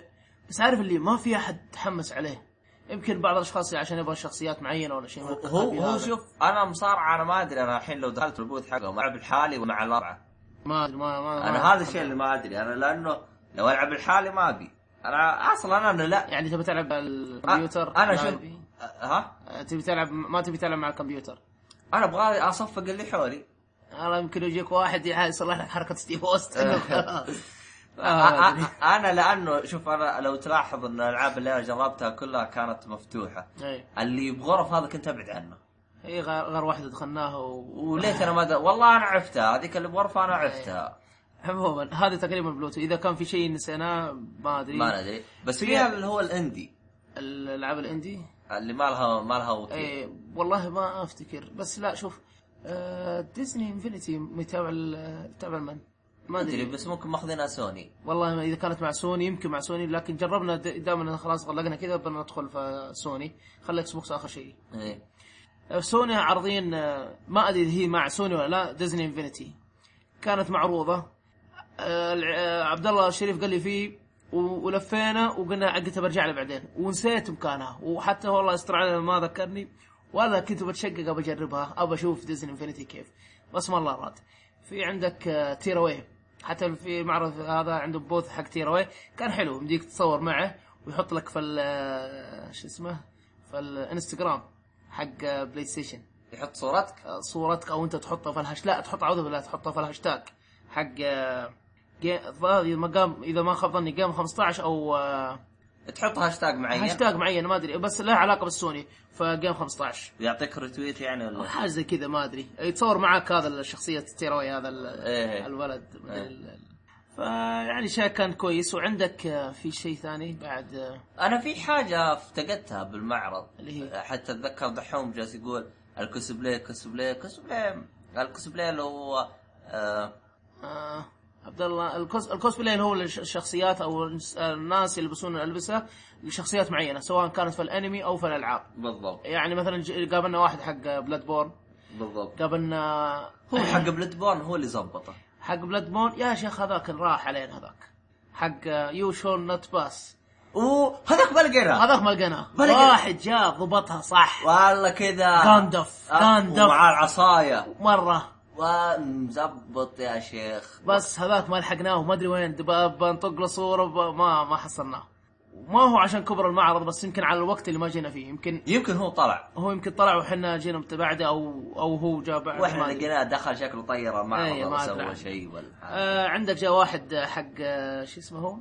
B: بس عارف اللي ما في احد تحمس عليه يمكن بعض الاشخاص عشان يبغى شخصيات معينة ولا شيء من
A: هو
B: القبيل
A: هو
B: هذا.
A: شوف انا مصارعه انا ما ادري انا الحين لو دخلت البوث حقهم العب لحالي ومع الاربعه
B: ما ادري ما ما
A: انا
B: ما-
A: هذا الشيء اللي ما ادري انا لانه لو العب لحالي ما ابي انا اصلا انا لا
B: يعني تبي تلعب على الكمبيوتر
A: انا
B: لا
A: شوف
B: أبي.
A: ها
B: آه، تبي تلعب ما تبي تلعب مع الكمبيوتر
A: انا ابغى اصفق اللي حولي
B: الله يمكن يجيك واحد يصلح لك حركة
A: [LAUGHS]
B: ستيف [LAUGHS] اوستن وخلاص. آه، ما أدري.
A: أ- انا لانه شوف انا لو تلاحظ ان الالعاب اللي انا جربتها كلها كانت مفتوحه
B: اي
A: اللي بغرف هذا كنت ابعد عنه
B: اي إيه. غير, غير واحده دخلناها و...
A: وليت انا ما د... والله انا عرفتها هذيك اللي بغرفه انا عرفتها
B: عموما هذا تقريبا بلوتو اذا كان في شيء نسيناه ما ادري
A: ما ندري بس
B: إيه. في-
A: فيها اللي هو الاندي
B: الالعاب الاندي
A: اللي ما لها ما لها وكيل
B: اي إيه، والله ما افتكر بس لا شوف آه ديزني انفنتي متابع ال- تابع من؟ ما
A: ادري
B: ادري
A: بس ممكن ماخذينها سوني
B: والله ما- اذا كانت مع سوني يمكن مع سوني لكن جربنا د- دائما خلاص غلقنا كذا بندخل في سوني خلي اكس بوكس اخر شيء
A: إيه.
B: سوني عارضين آه، ما ادري هي مع سوني ولا لا ديزني انفينيتي كانت معروضه آه، الع- آه، عبد الله الشريف قال لي فيه و- ولفينا وقلنا عقتها برجع لها بعدين ونسيت مكانها وحتى والله استر على ما ذكرني ولا كنت بتشقق ابى اجربها ابى اشوف ديزني انفينيتي كيف بس ما الله راد في عندك آه، تيراوي حتى في معرض هذا عنده بوث حق تيراوي كان حلو مديك تتصور معه ويحط لك في ال- آه، شو اسمه في الانستغرام حق آه، بلاي ستيشن
A: يحط صورتك
B: صورتك او انت تحطها في الهاش لا تحط اعوذ بالله تحطها في الهاشتاج حق آه، جي- الظاهر اذا ما قام اذا ما خاب ظني قام 15 او آه،
A: تحط هاشتاج معين
B: هاشتاج معين ما ادري بس له علاقه بالسوني فقام 15
A: يعطيك ريتويت يعني
B: أو
A: ولا
B: حاجه زي كذا ما ادري يتصور معاك هذا الشخصيه التيروي هذا ال-
A: إيه.
B: الولد مدري ال- فيعني شيء كان كويس وعندك آه، في شيء ثاني بعد آه،
A: انا في حاجه افتقدتها بالمعرض
B: اللي
A: حتى اتذكر دحوم جالس يقول الكوسبلاي كوسبلاي كوسبلاي الكوسبلاي اللي هو آه
B: آه، عبد الله الكوس الكوسبلاي اللي هو الش- الشخصيات او الس- الناس اللي يلبسون الالبسه لشخصيات معينه سواء كانت في الانمي او في الالعاب
A: بالضبط
B: يعني مثلا ج- قابلنا واحد حق بلاد بورن
A: بالضبط
B: قابلنا
A: هو حق بلاد بورن هو اللي زبطه
B: [COUGHS] حق بلاد بورن يا شيخ هذاك راح علينا هذاك حق يو شون نوت باس
A: اوه هذاك ما لقيناه
B: هذاك ما لقيناه
A: ما لقينا.
B: واحد جاء ضبطها صح
A: والله كذا
B: غاندف،
A: آه،
B: غاندف.
A: ومعاه العصايه
B: مره
A: ومزبط يا شيخ
B: بس هذاك ما لحقناه وما ادري وين دب- بنطق له صوره ب- ما ما حصلناه ما هو عشان كبر المعرض بس يمكن على الوقت اللي ما جينا فيه يمكن
A: يمكن هو طلع
B: هو يمكن طلع واحنا جينا متبعده او او هو جاء بعد
A: واحنا
B: ما أدري.
A: لقيناه دخل شكله طير
B: إيه،
A: المعرض
B: ما
A: ولا سوى
B: أدري.
A: شيء ولا حاجة.
B: آه عندك جاء واحد آه، حق آه، شو اسمه هو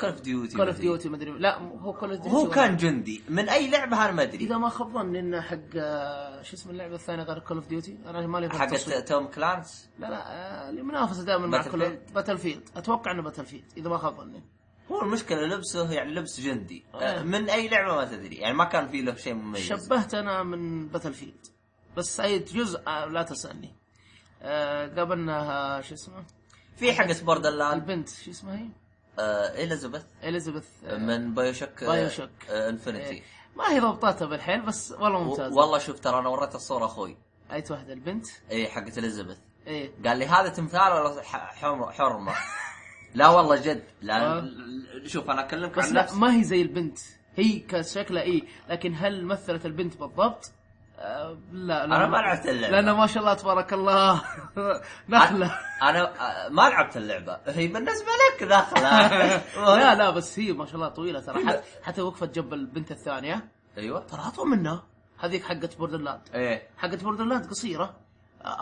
A: كول اوف ديوتي
B: كول اوف ديوتي مدري لا م- هو كول اوف ديوتي
A: هو كان جندي من اي لعبه انا ما ادري
B: اذا ما خاب ظني انه حق آه، شو اسم اللعبه الثانيه غير كول اوف ديوتي انا مالي في
A: حقت
B: التصوير.
A: توم كلانس
B: لا لا آه، اللي منافسه دائما مع
A: Battlefield؟
B: كل باتل فيلد اتوقع انه باتل فيلد اذا ما خاب ظني
A: هو المشكله لبسه يعني لبس جندي
B: آه.
A: آه، من اي لعبه ما تدري يعني ما كان فيه له شيء مميز
B: شبهت انا من باتل فيلد بس اي جزء آه، لا تسالني آه، قابلنا آه، شو اسمه
A: في حقت بوردر لاند
B: البنت شو اسمها هي؟
A: اليزابيث
B: اليزابيث آه،
A: من آه، بايوشك
B: بايوشوك. إيه.
A: انفنتي
B: ما هي ضبطتها بالحيل بس والله ممتازه
A: والله شوف ترى انا وريت الصوره اخوي
B: اي واحده البنت
A: اي حقت اليزابيث
B: ايه
A: قال لي هذا تمثال ولا ح- حمر-
B: [LAUGHS]
A: حرمه لا والله جد
B: آه.
A: لا ل- شوف انا اكلمك
B: بس
A: عن
B: لا
A: نفسي
B: ما هي زي البنت هي كشكلها ايه لكن هل مثلت البنت بالضبط؟ آه لا لا
A: أنا ما لعبت اللعبة.
B: لان ما شاء الله تبارك الله [LAUGHS] نخله
A: انا آه، ما لعبت اللعبه هي بالنسبه لك [LAUGHS] داخله
B: لا لا بس هي ما شاء الله طويله ترى حت- حتى وقفت جنب البنت الثانيه
A: ايوه
B: ترى اطول منها هذيك حقت بوردرلاند
A: ايه
B: حقت بوردرلاند قصيره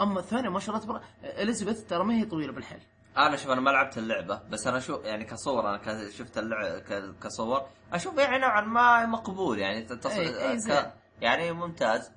B: اما الثانيه ما شاء الله تبارك اليزابيث ترى ما هي طويله بالحيل
A: انا شوف انا ما لعبت اللعبه بس انا شو يعني كصور انا ك- شفت اللعبه ك- كصور اشوف يعني نوعا ما مقبول يعني تص...
B: إيه، إيه،
A: ك-
B: زين.
A: يعني ممتاز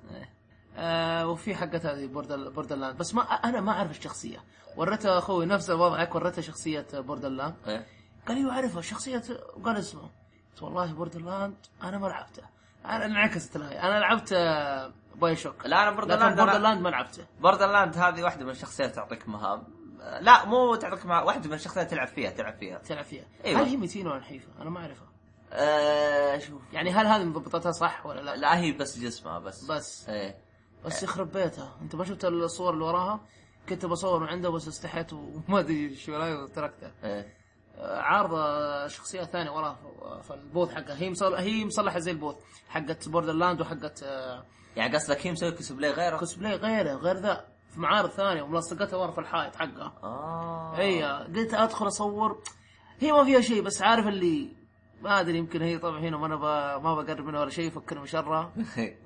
B: آه وفي حقت هذه بوردر بوردرلاند بس ما انا ما اعرف الشخصيه وريته اخوي نفس وضعك وريته شخصيه بوردرلاند
A: إيه.
B: قال ايوه اعرفها شخصيه قال اسمه قلت والله بوردرلاند انا ما لعبته انا انعكست الهي انا لعبت آه، باي شوك
A: لا انا
B: لكن
A: بوردرلاند أنا-
B: بوردرلاند ما لعبته
A: بوردرلاند هذه واحده من الشخصيات تعطيك مهام آه، لا مو تعطيك مهام واحده من الشخصيات تلعب فيها تلعب فيها
B: تلعب فيها
A: أيوة.
B: هل هي متينه ولا نحيفه؟ انا ما اعرفها
A: أه شوف
B: يعني هل هذه مضبطتها صح ولا لا؟
A: لا هي بس جسمها بس
B: بس
A: ايه
B: بس يخرب بيتها انت ما شفت الصور اللي وراها؟ كنت بصور من عنده بس استحيت وما ادري شو رايي وتركته
A: ايه
B: عارضه شخصيه ثانيه وراها ف- فالبوث حقها هي مصلحه هي مصلحه زي البوث حقت بوردر لاند وحقت آه،
A: يعني قصدك هي مسوي كوسبلاي غيره
B: كوسبلاي غيره غير ذا في معارض ثانيه وملصقتها ورا في الحائط حقها
A: اه
B: هي قلت ادخل اصور هي ما فيها شيء بس عارف اللي ما ادري يمكن هي طبعا هنا ما انا ب- ما بقرب منها ولا شيء فكر من شرها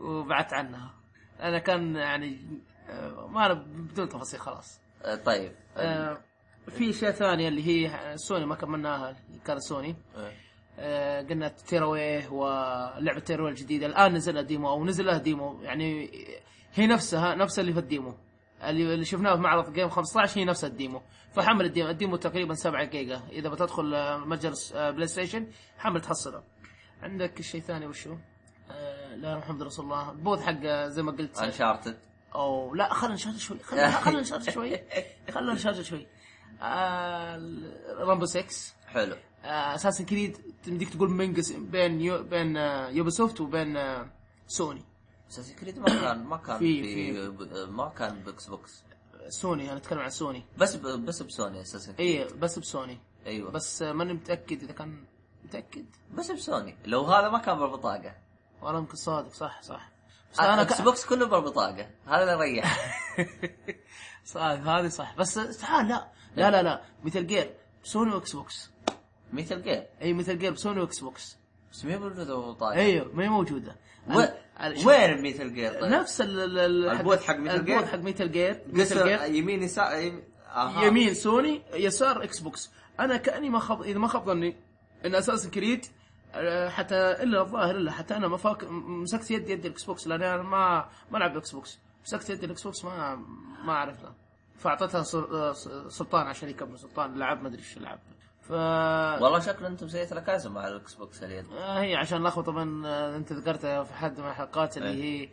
B: وبعدت عنها انا كان يعني آه، ما انا بدون تفاصيل خلاص
A: آه، [LAUGHS]
B: [LAUGHS]
A: طيب
B: آه، في اشياء ثانيه اللي هي سوني ما كملناها اللي كانت سوني
A: إيه.
B: آه، قلنا تيرويه ولعبه تيرويه الجديده الان نزل لها ديمو او نزل لها ديمو يعني هي نفسها نفس اللي في الديمو اللي اللي شفناه في معرض جيم 15 هي نفس الديمو فحمل الديمو الديمو تقريبا 7 جيجا اذا بتدخل آه، متجر س- آه، بلاي ستيشن حمل تحصله عندك شيء ثاني وشو؟ آه، لا محمد رسول الله البوث حق آه، زي ما قلت
A: انشارتد
B: او لا خلينا نشارج شوي خلينا خلينا نشارج شوي خلينا نشارج شوي آه، رامبو 6
A: حلو
B: اساسن كريد آه، تمديك تقول منقس بين يو بين يوبي سوفت وبين آه، سوني
A: اساسن كريد ما كان ما كان
B: في-
A: في,
B: في.
A: ب- ما كان بوكس بوكس
B: سوني انا اتكلم عن سوني
A: بس ب... بس بسوني اساسن كريد
B: اي بس بسوني
A: ايوه بس
B: بس آه، ماني متاكد اذا كان متاكد
A: بس بسوني لو هذا ما كان بالبطاقه
B: والله يمكن صادق صح صح بس انا
A: اكس
B: ك...
A: بوكس كله بالبطاقه هذا اللي
B: [LAUGHS]
A: ريح
B: صادق آه، هذه صح بس تعال لا لا لا لا مثل جير سوني واكس بوكس
A: ميتال جير
B: اي مثل جير سوني واكس بوكس
A: بس مين موجوده بالبطاقه
B: ايوه ما هي موجوده
A: و...
B: ال- ال- شوف،
A: وين ميتال جير طيب؟
B: نفس ال- ال- ال-
A: البوث حق Metal
B: البوث
A: Gear؟
B: حق ميتال جير
A: قصر يمين يسار يم... أها.
B: يمين سوني يسار اكس بوكس انا كاني ما خب اذا ما خاب ظني ان اساس كريد آه، حتى الا الظاهر الا حتى انا ما فاك... م- مسكت يدي يد الاكس بوكس لان انا ما ما العب الاكس بوكس مسكت يدي الاكس بوكس ما ما اعرف له فاعطتها سل- آه، س- سلطان عشان يكمل سلطان لعب ما ادري ايش لعب ف
A: والله شكله انتم سيئة الكاسه مع الاكس بوكس اليد
B: آه، هي عشان لخبطه من آه، انت ذكرتها في حد من الحلقات اللي هي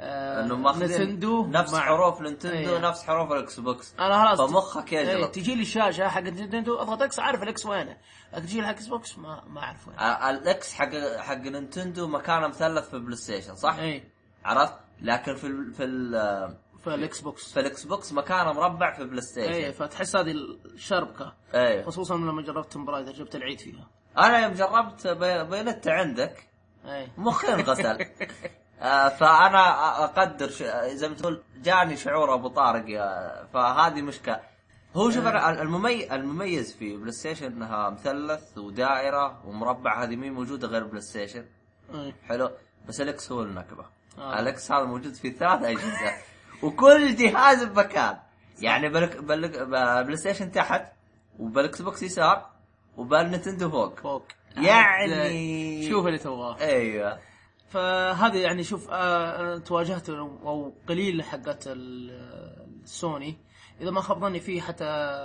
B: آه،
A: انه إيه. ماخذين
B: نتندو
A: نفس
B: مع-
A: حروف نينتندو
B: أيه.
A: نفس حروف الاكس بوكس
B: انا خلاص
A: فمخك يجرب.
B: إيه، تجي لي الشاشه حق نينتندو اضغط اكس اعرف الاكس وينه لكن تجي لي حق اكس بوكس ما ما اعرف وينه
A: ع- الاكس حق حق نينتندو مكانه مثلث في بلاي ستيشن صح؟
B: اي
A: عرفت؟ لكن في ال... في ال...
B: فالاكس بوكس
A: في الاكس بوكس مكانه مربع في بلاي
B: اي
A: ستيشن
B: فتحس هذه الشربكه
A: ايوه
B: خصوصا لما جربت توم برايدر جبت العيد فيها
A: انا يوم جربت بي- بينتا عندك
B: اي
A: مخي
B: [LAUGHS]
A: انغسل آه، فانا أ- اقدر ش... زي ما تقول جاني شعور ابو طارق يا... فهذه مشكله هو شوف أنا ال- الممي... المميز في بلاي ستيشن انها مثلث ودائره ومربع هذه مين موجوده غير بلاي ستيشن
B: إي.
A: حلو بس الاكس هو النكبه
B: آه.
A: آه. الاكس هذا موجود في ثلاث اجهزه وكل جهاز بمكان يعني بالك بالك بلاي ستيشن تحت وبالاكس بوكس يسار وبالنتندو فوق
B: فوق
A: يعني-
B: شوف اللي تبغاه
A: ايوه
B: فهذا يعني شوف آه، آه، تواجهت او قليل حقت ال- السوني اذا ما خاب ظني في حتى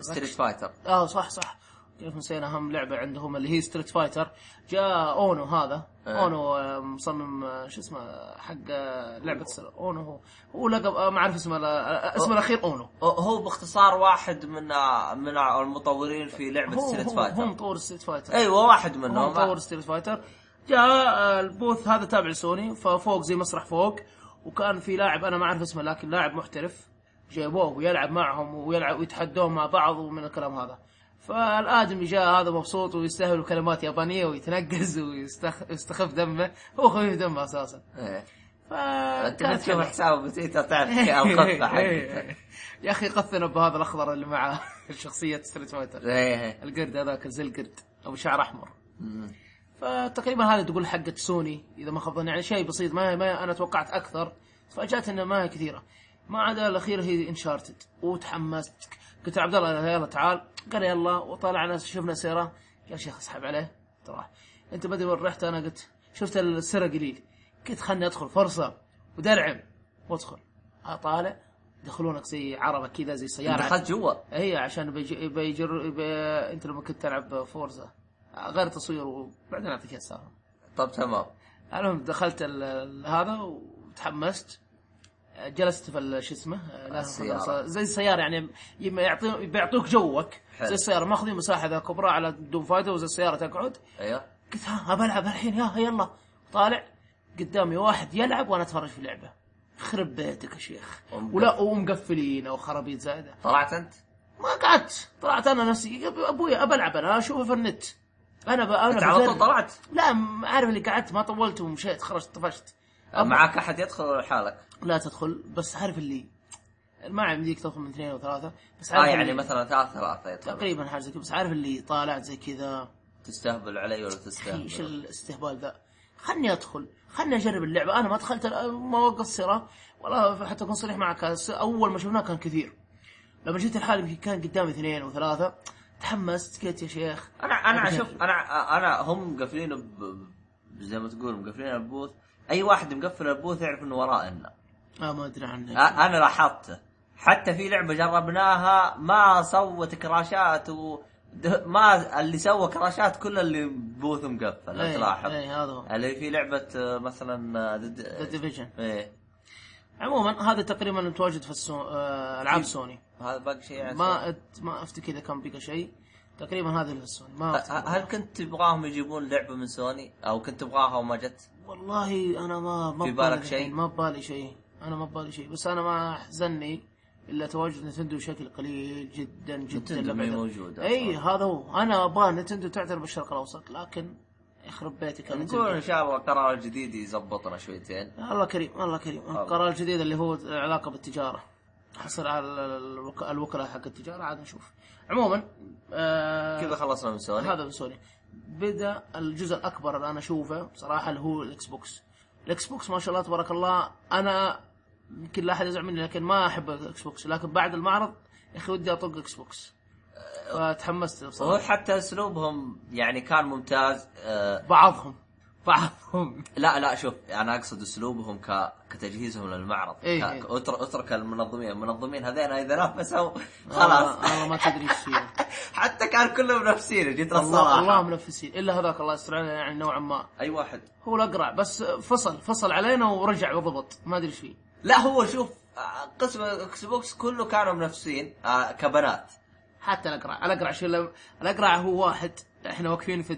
A: ستريت فايتر
B: اه صح صح كيف نسينا اهم لعبه عندهم اللي هي ستريت فايتر جاء اونو هذا
A: آه.
B: اونو آه، مصمم آه، شو اسمه حق آه، لعبه سل- اونو هو هو لقب آه، ما اعرف اسمه لا- آه، اسمه الاخير اونو
A: هو باختصار واحد من آه، من المطورين في لعبه
B: هو
A: ستريت
B: هو هو
A: فايتر
B: مطور ستريت فايتر
A: ايوه واحد
B: هو
A: منهم
B: مطور ستريت فايتر جاء آه، البوث هذا تابع لسوني ففوق زي مسرح فوق وكان في لاعب انا ما اعرف اسمه لكن لاعب محترف جايبوه ويلعب معهم ويلعب ويتحدون مع بعض ومن الكلام هذا فالادمي جاء هذا مبسوط ويستهبل بكلمات يابانيه ويتنقز [LAUGHS] ويستخ- ويستخف دمه هو خفيف دمه اساسا
A: إيه.
B: ف
A: انت بتشوف حسابه بتويتر تعرف كم [LAUGHS]
B: [LAUGHS]
A: قطه حقته
B: يا اخي قثنا بهذا الاخضر اللي معه [LAUGHS] شخصيه ستريت فايتر
A: ايه
B: القرد هذاك زي القرد او شعر احمر
A: مم.
B: فتقريبا هذه تقول حقت سوني اذا ما خاب ظني، يعني شيء بسيط ما, ما انا توقعت اكثر تفاجات انها ما هي كثيره ما عدا الاخيره هي انشارتد وتحمست قلت يا عبد الله يلا تعال قال يلا وطلعنا شفنا سيره يا شيخ اسحب عليه ترى انت بدري وين رحت انا قلت شفت السيره قليل قلت خلني ادخل فرصه ودرعم وادخل اطالع دخلونك زي عربه كذا زي سياره
A: دخلت جوا
B: هي عشان بيجر, بيجر... بي... انت لما كنت تلعب فورزا غير تصوير وبعدين اعطيك السالفه
A: طب تمام
B: المهم دخلت ال... ال- هذا وتحمست جلست في ال- شو اسمه لا
A: السيارة.
B: تفضل. زي السياره يعني يما يعطي بيعطوك جوك
A: حلو.
B: زي السياره ماخذين مساحه ذا كبرى على دوم فايتر وزي السياره تقعد
A: ايوه
B: قلت ها بلعب الحين يا يلا طالع قدامي واحد يلعب وانا اتفرج في لعبه خرب بيتك يا شيخ
A: ومقفل.
B: ولا ومقفلين او خرابيط زايده
A: طلعت انت
B: ما قعدت طلعت انا نفسي ابوي ابى العب انا اشوفه في النت انا ب... انا
A: انت على طول
B: بجرب.
A: طلعت
B: لا م- عارف اللي قعدت ما طولت ومشيت خرجت طفشت أبا-
A: معك احد يدخل ولا حالك؟
B: لا تدخل بس عارف اللي ما عندك تدخل من اثنين وثلاثه بس عارف
A: اه يعني
B: اللي-
A: مثلا ثلاث ثلاثه يدخل
B: تقريبا حاجه زي كذا بس عارف اللي طالعت زي كذا
A: تستهبل علي ولا
B: ايش
A: تستهبل؟
B: الاستهبال ذا خلني ادخل خلني اجرب اللعبه انا ما دخلت الآن ما وقصرة والله حتى اكون صريح معك الس- اول ما شفناه كان كثير لما جيت الحال يمكن كان قدامي اثنين وثلاثه تحمست قلت يا شيخ
A: انا انا
B: أبداً.
A: شوف انا انا هم مقفلين ب... زي ما تقول مقفلين البوث اي واحد مقفل البوث يعرف انه ورائنا
B: آه ما ادري عنك
A: أ- انا لاحظته حتى في لعبه جربناها ما سوت كراشات و ده- ما اللي سوى كراشات كل اللي بوث مقفل لو
B: إيه،
A: تلاحظ
B: إيه، هذا هو
A: اللي في لعبه آه، مثلا آه، ضد
B: ذا ديفيجن
A: ايه
B: عموما هذا تقريبا المتواجد في السو... آه،
A: إيه.
B: العاب سوني
A: هذا باقي شيء يعني
B: ما أت... ما افتكر اذا كان بقى شيء تقريبا هذا اللي في سوني ما
A: ه-
B: أفتكر.
A: آه، هل كنت تبغاهم يجيبون لعبه من سوني او كنت تبغاها وما جت؟
B: والله انا ما ما
A: آه. في
B: ببالي
A: بالك شيء؟
B: الحين، ما ببالي شيء انا ما ببالي شيء بس انا ما احزنني الا تواجد نتندو بشكل قليل جدا جدا
A: نتندو ما هي
B: لما-
A: موجودة أصلاً.
B: اي إيه، هذا هو انا ابغى نتندو تعترف بالشرق الاوسط لكن يخرب بيتك يا
A: نقول
B: نتندو
A: ان شاء الله قرار جديد يزبطنا شويتين
B: الله كريم الله كريم القرار الجديد اللي هو العلاقه بالتجاره حصل على الوك- الوكلاء حق التجاره عاد نشوف عموما آه
A: كذا خلصنا من سوني
B: هذا من سوني بدا الجزء الاكبر اللي انا اشوفه بصراحه اللي هو الاكس بوكس الاكس بوكس ما شاء الله تبارك الله انا يمكن لا احد يزعل مني لكن ما احب الاكس بوكس لكن بعد المعرض يا اخي ودي اطق اكس بوكس
A: أه.
B: فتحمست
A: هو
B: بصراحه
A: حتى اسلوبهم يعني كان ممتاز آه
B: بعضهم بعضهم
A: لا لا شوف انا اقصد اسلوبهم ك... كتجهيزهم للمعرض
B: إيه،
A: ك-
B: إيه.
A: اترك اترك المنظمين المنظمين هذين اذا نافسوا
B: والله-
A: خلاص [LAUGHS]
B: والله ما تدري ايش فيه
A: حتى كان كلهم نفسين جيت
B: الله الله
A: الصراحه
B: منفسين الا هذاك الله يستر علينا يعني نوعا ما
A: اي واحد
B: هو الاقرع بس فصل فصل علينا ورجع وضبط ما ادري ايش فيه
A: لا هو شوف آه، قسم اكس بوكس كله كانوا منافسين آه كبنات
B: حتى الاقرع الاقرع شو لم- الاقرع هو واحد احنا واقفين في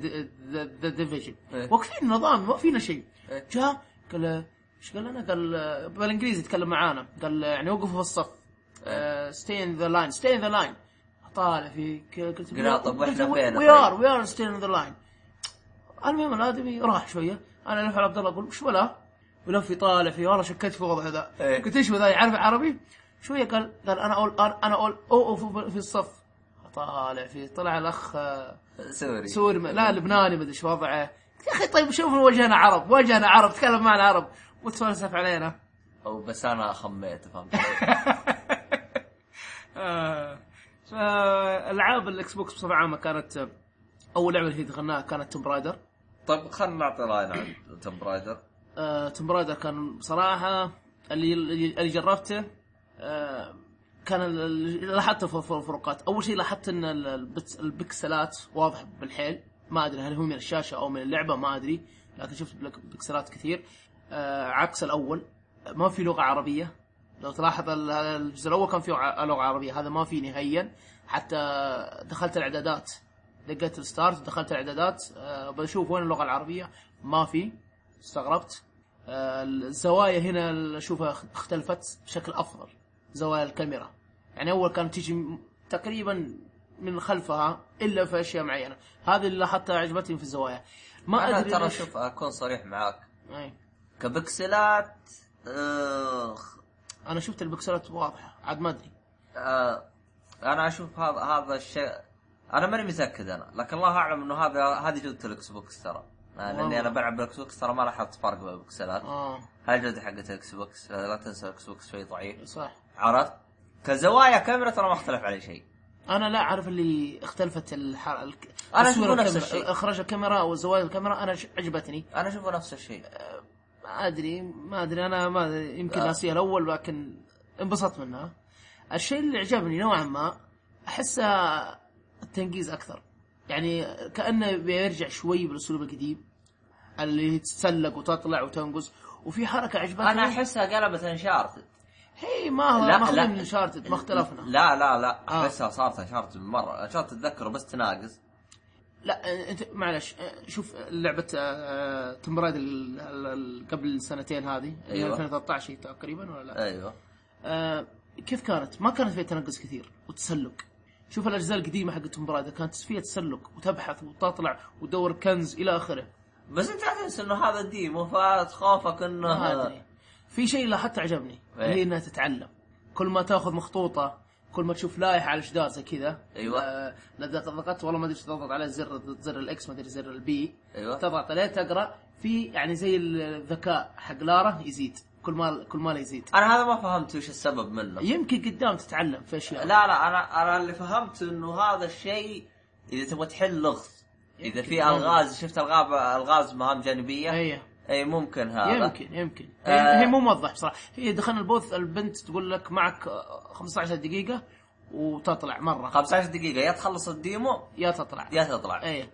B: ذا ديفيجن
A: إيه.
B: واقفين نظام ما فينا شيء
A: إيه.
B: جاء قال له، ايش قال لنا قال آه، بالانجليزي يتكلم معانا قال آه، يعني وقفوا في الصف
A: إيه.
B: آه، ستي ان ذا لاين ستي ان ذا لاين طالع فيك قلت
A: قال، طب طيب." وإحنا فين؟
B: وي ار وي ار ستي ان ذا لاين المهم الادمي راح شويه انا الف على عبد الله اقول وش ولا ولف يطالع فيه والله شكيت في وضعه ذا
A: إيه.
B: قلت ايش هو ذا يعرف عربي شويه قال قال انا اول انا اول او او في- في الصف طالع فيه طلع الاخ آه،
A: سوري
B: سوري ما- لا لبناني مدري ايش وضعه قلت يا اخي طيب شوف وجهنا عرب وجهنا عرب تكلم معنا عرب وتفلسف علينا [LAUGHS]
A: أو بس انا خميت فهمت
B: آه، فالعاب الاكس بوكس بصفه عامه كانت اول لعبه اللي دخلناها كانت توم برايدر
A: [LAUGHS] طيب خلنا نعطي راينا عن توم رايدر
B: آه، توم برايدر كان بصراحه اللي اللي جربته آه، كان ال- ال- لاحظت الف- الف- الفروقات اول شيء لاحظت ان ال- البت- البكسلات واضح بالحيل ما ادري هل هو من الشاشه او من اللعبه ما ادري لكن شفت بلك- بكسلات كثير آه، عكس الاول ما في لغه عربيه لو تلاحظ ال- الجزء الاول كان فيه ع- لغه عربيه هذا ما في نهائيا حتى دخلت الاعدادات لقيت الستارت دخلت الاعدادات آه، بشوف وين اللغه العربيه ما في استغربت آه، الزوايا هنا اللي اشوفها اختلفت بشكل افضل زوايا الكاميرا يعني اول كانت تيجي م- تقريبا من خلفها الا في اشياء معينه هذه اللي حتى عجبتني في الزوايا ما
A: انا
B: ادري
A: ترى
B: ليش- إيه.
A: شوف اكون صريح معاك
B: أي.
A: كبكسلات آه
B: انا شفت البكسلات واضحه عاد ما ادري
A: آه انا اشوف هذا هذا الشيء انا ماني متاكد انا لكن الله اعلم انه هذا هذه جوده الاكس بوكس ترى آه، لاني
B: والله.
A: انا بلعب بالاكس بوكس ترى ما لاحظت فرق بين البكسلات
B: اه
A: هاي الجوده حقت الاكس بوكس آه، لا تنسى الاكس بوكس شوي ضعيف
B: صح
A: عرفت كزوايا كاميرا ترى ما اختلف عليه شيء
B: انا لا اعرف اللي اختلفت الحر... الك...
A: أنا
B: تصوير
A: أشوفه نفس
B: الكاميرا-
A: الشيء.
B: اخراج الكاميرا او زوايا الكاميرا انا ش... عجبتني
A: انا اشوفه نفس الشيء
B: ما ادري ما ادري انا ما أدري. يمكن ناسيه الاول لكن انبسطت منها الشيء اللي عجبني نوعا ما احسه التنقيز اكثر يعني كانه بيرجع شوي بالاسلوب القديم اللي تتسلق وتطلع وتنقز وفي حركه عجبتني
A: انا احسها قلبت انشارتد
B: هي ما هو
A: لا،
B: آه،
A: لا.
B: ما اخذنا من شارتد ما اختلفنا
A: لا لا لا
B: آه.
A: احسها صارت انشارتد مره انشارتد تذكره بس تناقص
B: لا انت معلش أه، شوف أه، لعبه توم رايدر قبل سنتين هذه اللي هي
A: أيوة.
B: 2013 تقريبا ولا لا؟
A: ايوه
B: آه، كيف كانت؟ ما كانت فيها تنقص كثير وتسلق. شوف الاجزاء القديمه حقت توم رايدر كانت فيها تسلق وتبحث وتطلع وتدور كنز الى اخره.
A: بس انت تحس انه هذا ديمو فتخافك انه
B: ما ادري. في شيء لاحظت عجبني
A: إيه.
B: اللي هي انها تتعلم. كل ما تاخذ مخطوطه كل ما تشوف لائحه على شداد زي كذا
A: أيوة.
B: آه، لا ضغطت والله ما ادري إيش تضغط على زر زر الاكس ما ادري زر البي
A: ايوه
B: تضغط عليه تقرا في يعني زي الذكاء حق لارا يزيد كل ما كل ما لا يزيد
A: انا هذا ما فهمت وش السبب منه
B: يمكن قدام تتعلم في اشياء
A: لا لا انا انا اللي فهمت انه هذا الشيء اذا تبغى تحل لغز اذا في
B: يمكن.
A: الغاز شفت الغاب الغاز مهام جانبيه
B: ايوه
A: اي ممكن هذا
B: يمكن يمكن هي,
A: آه.
B: هي مو موضح بصراحه هي دخلنا البوث البنت تقول لك معك آه، 15 دقيقه وتطلع مره
A: 15 دقيقه يا تخلص الديمو
B: يا تطلع
A: يا تطلع
B: ايه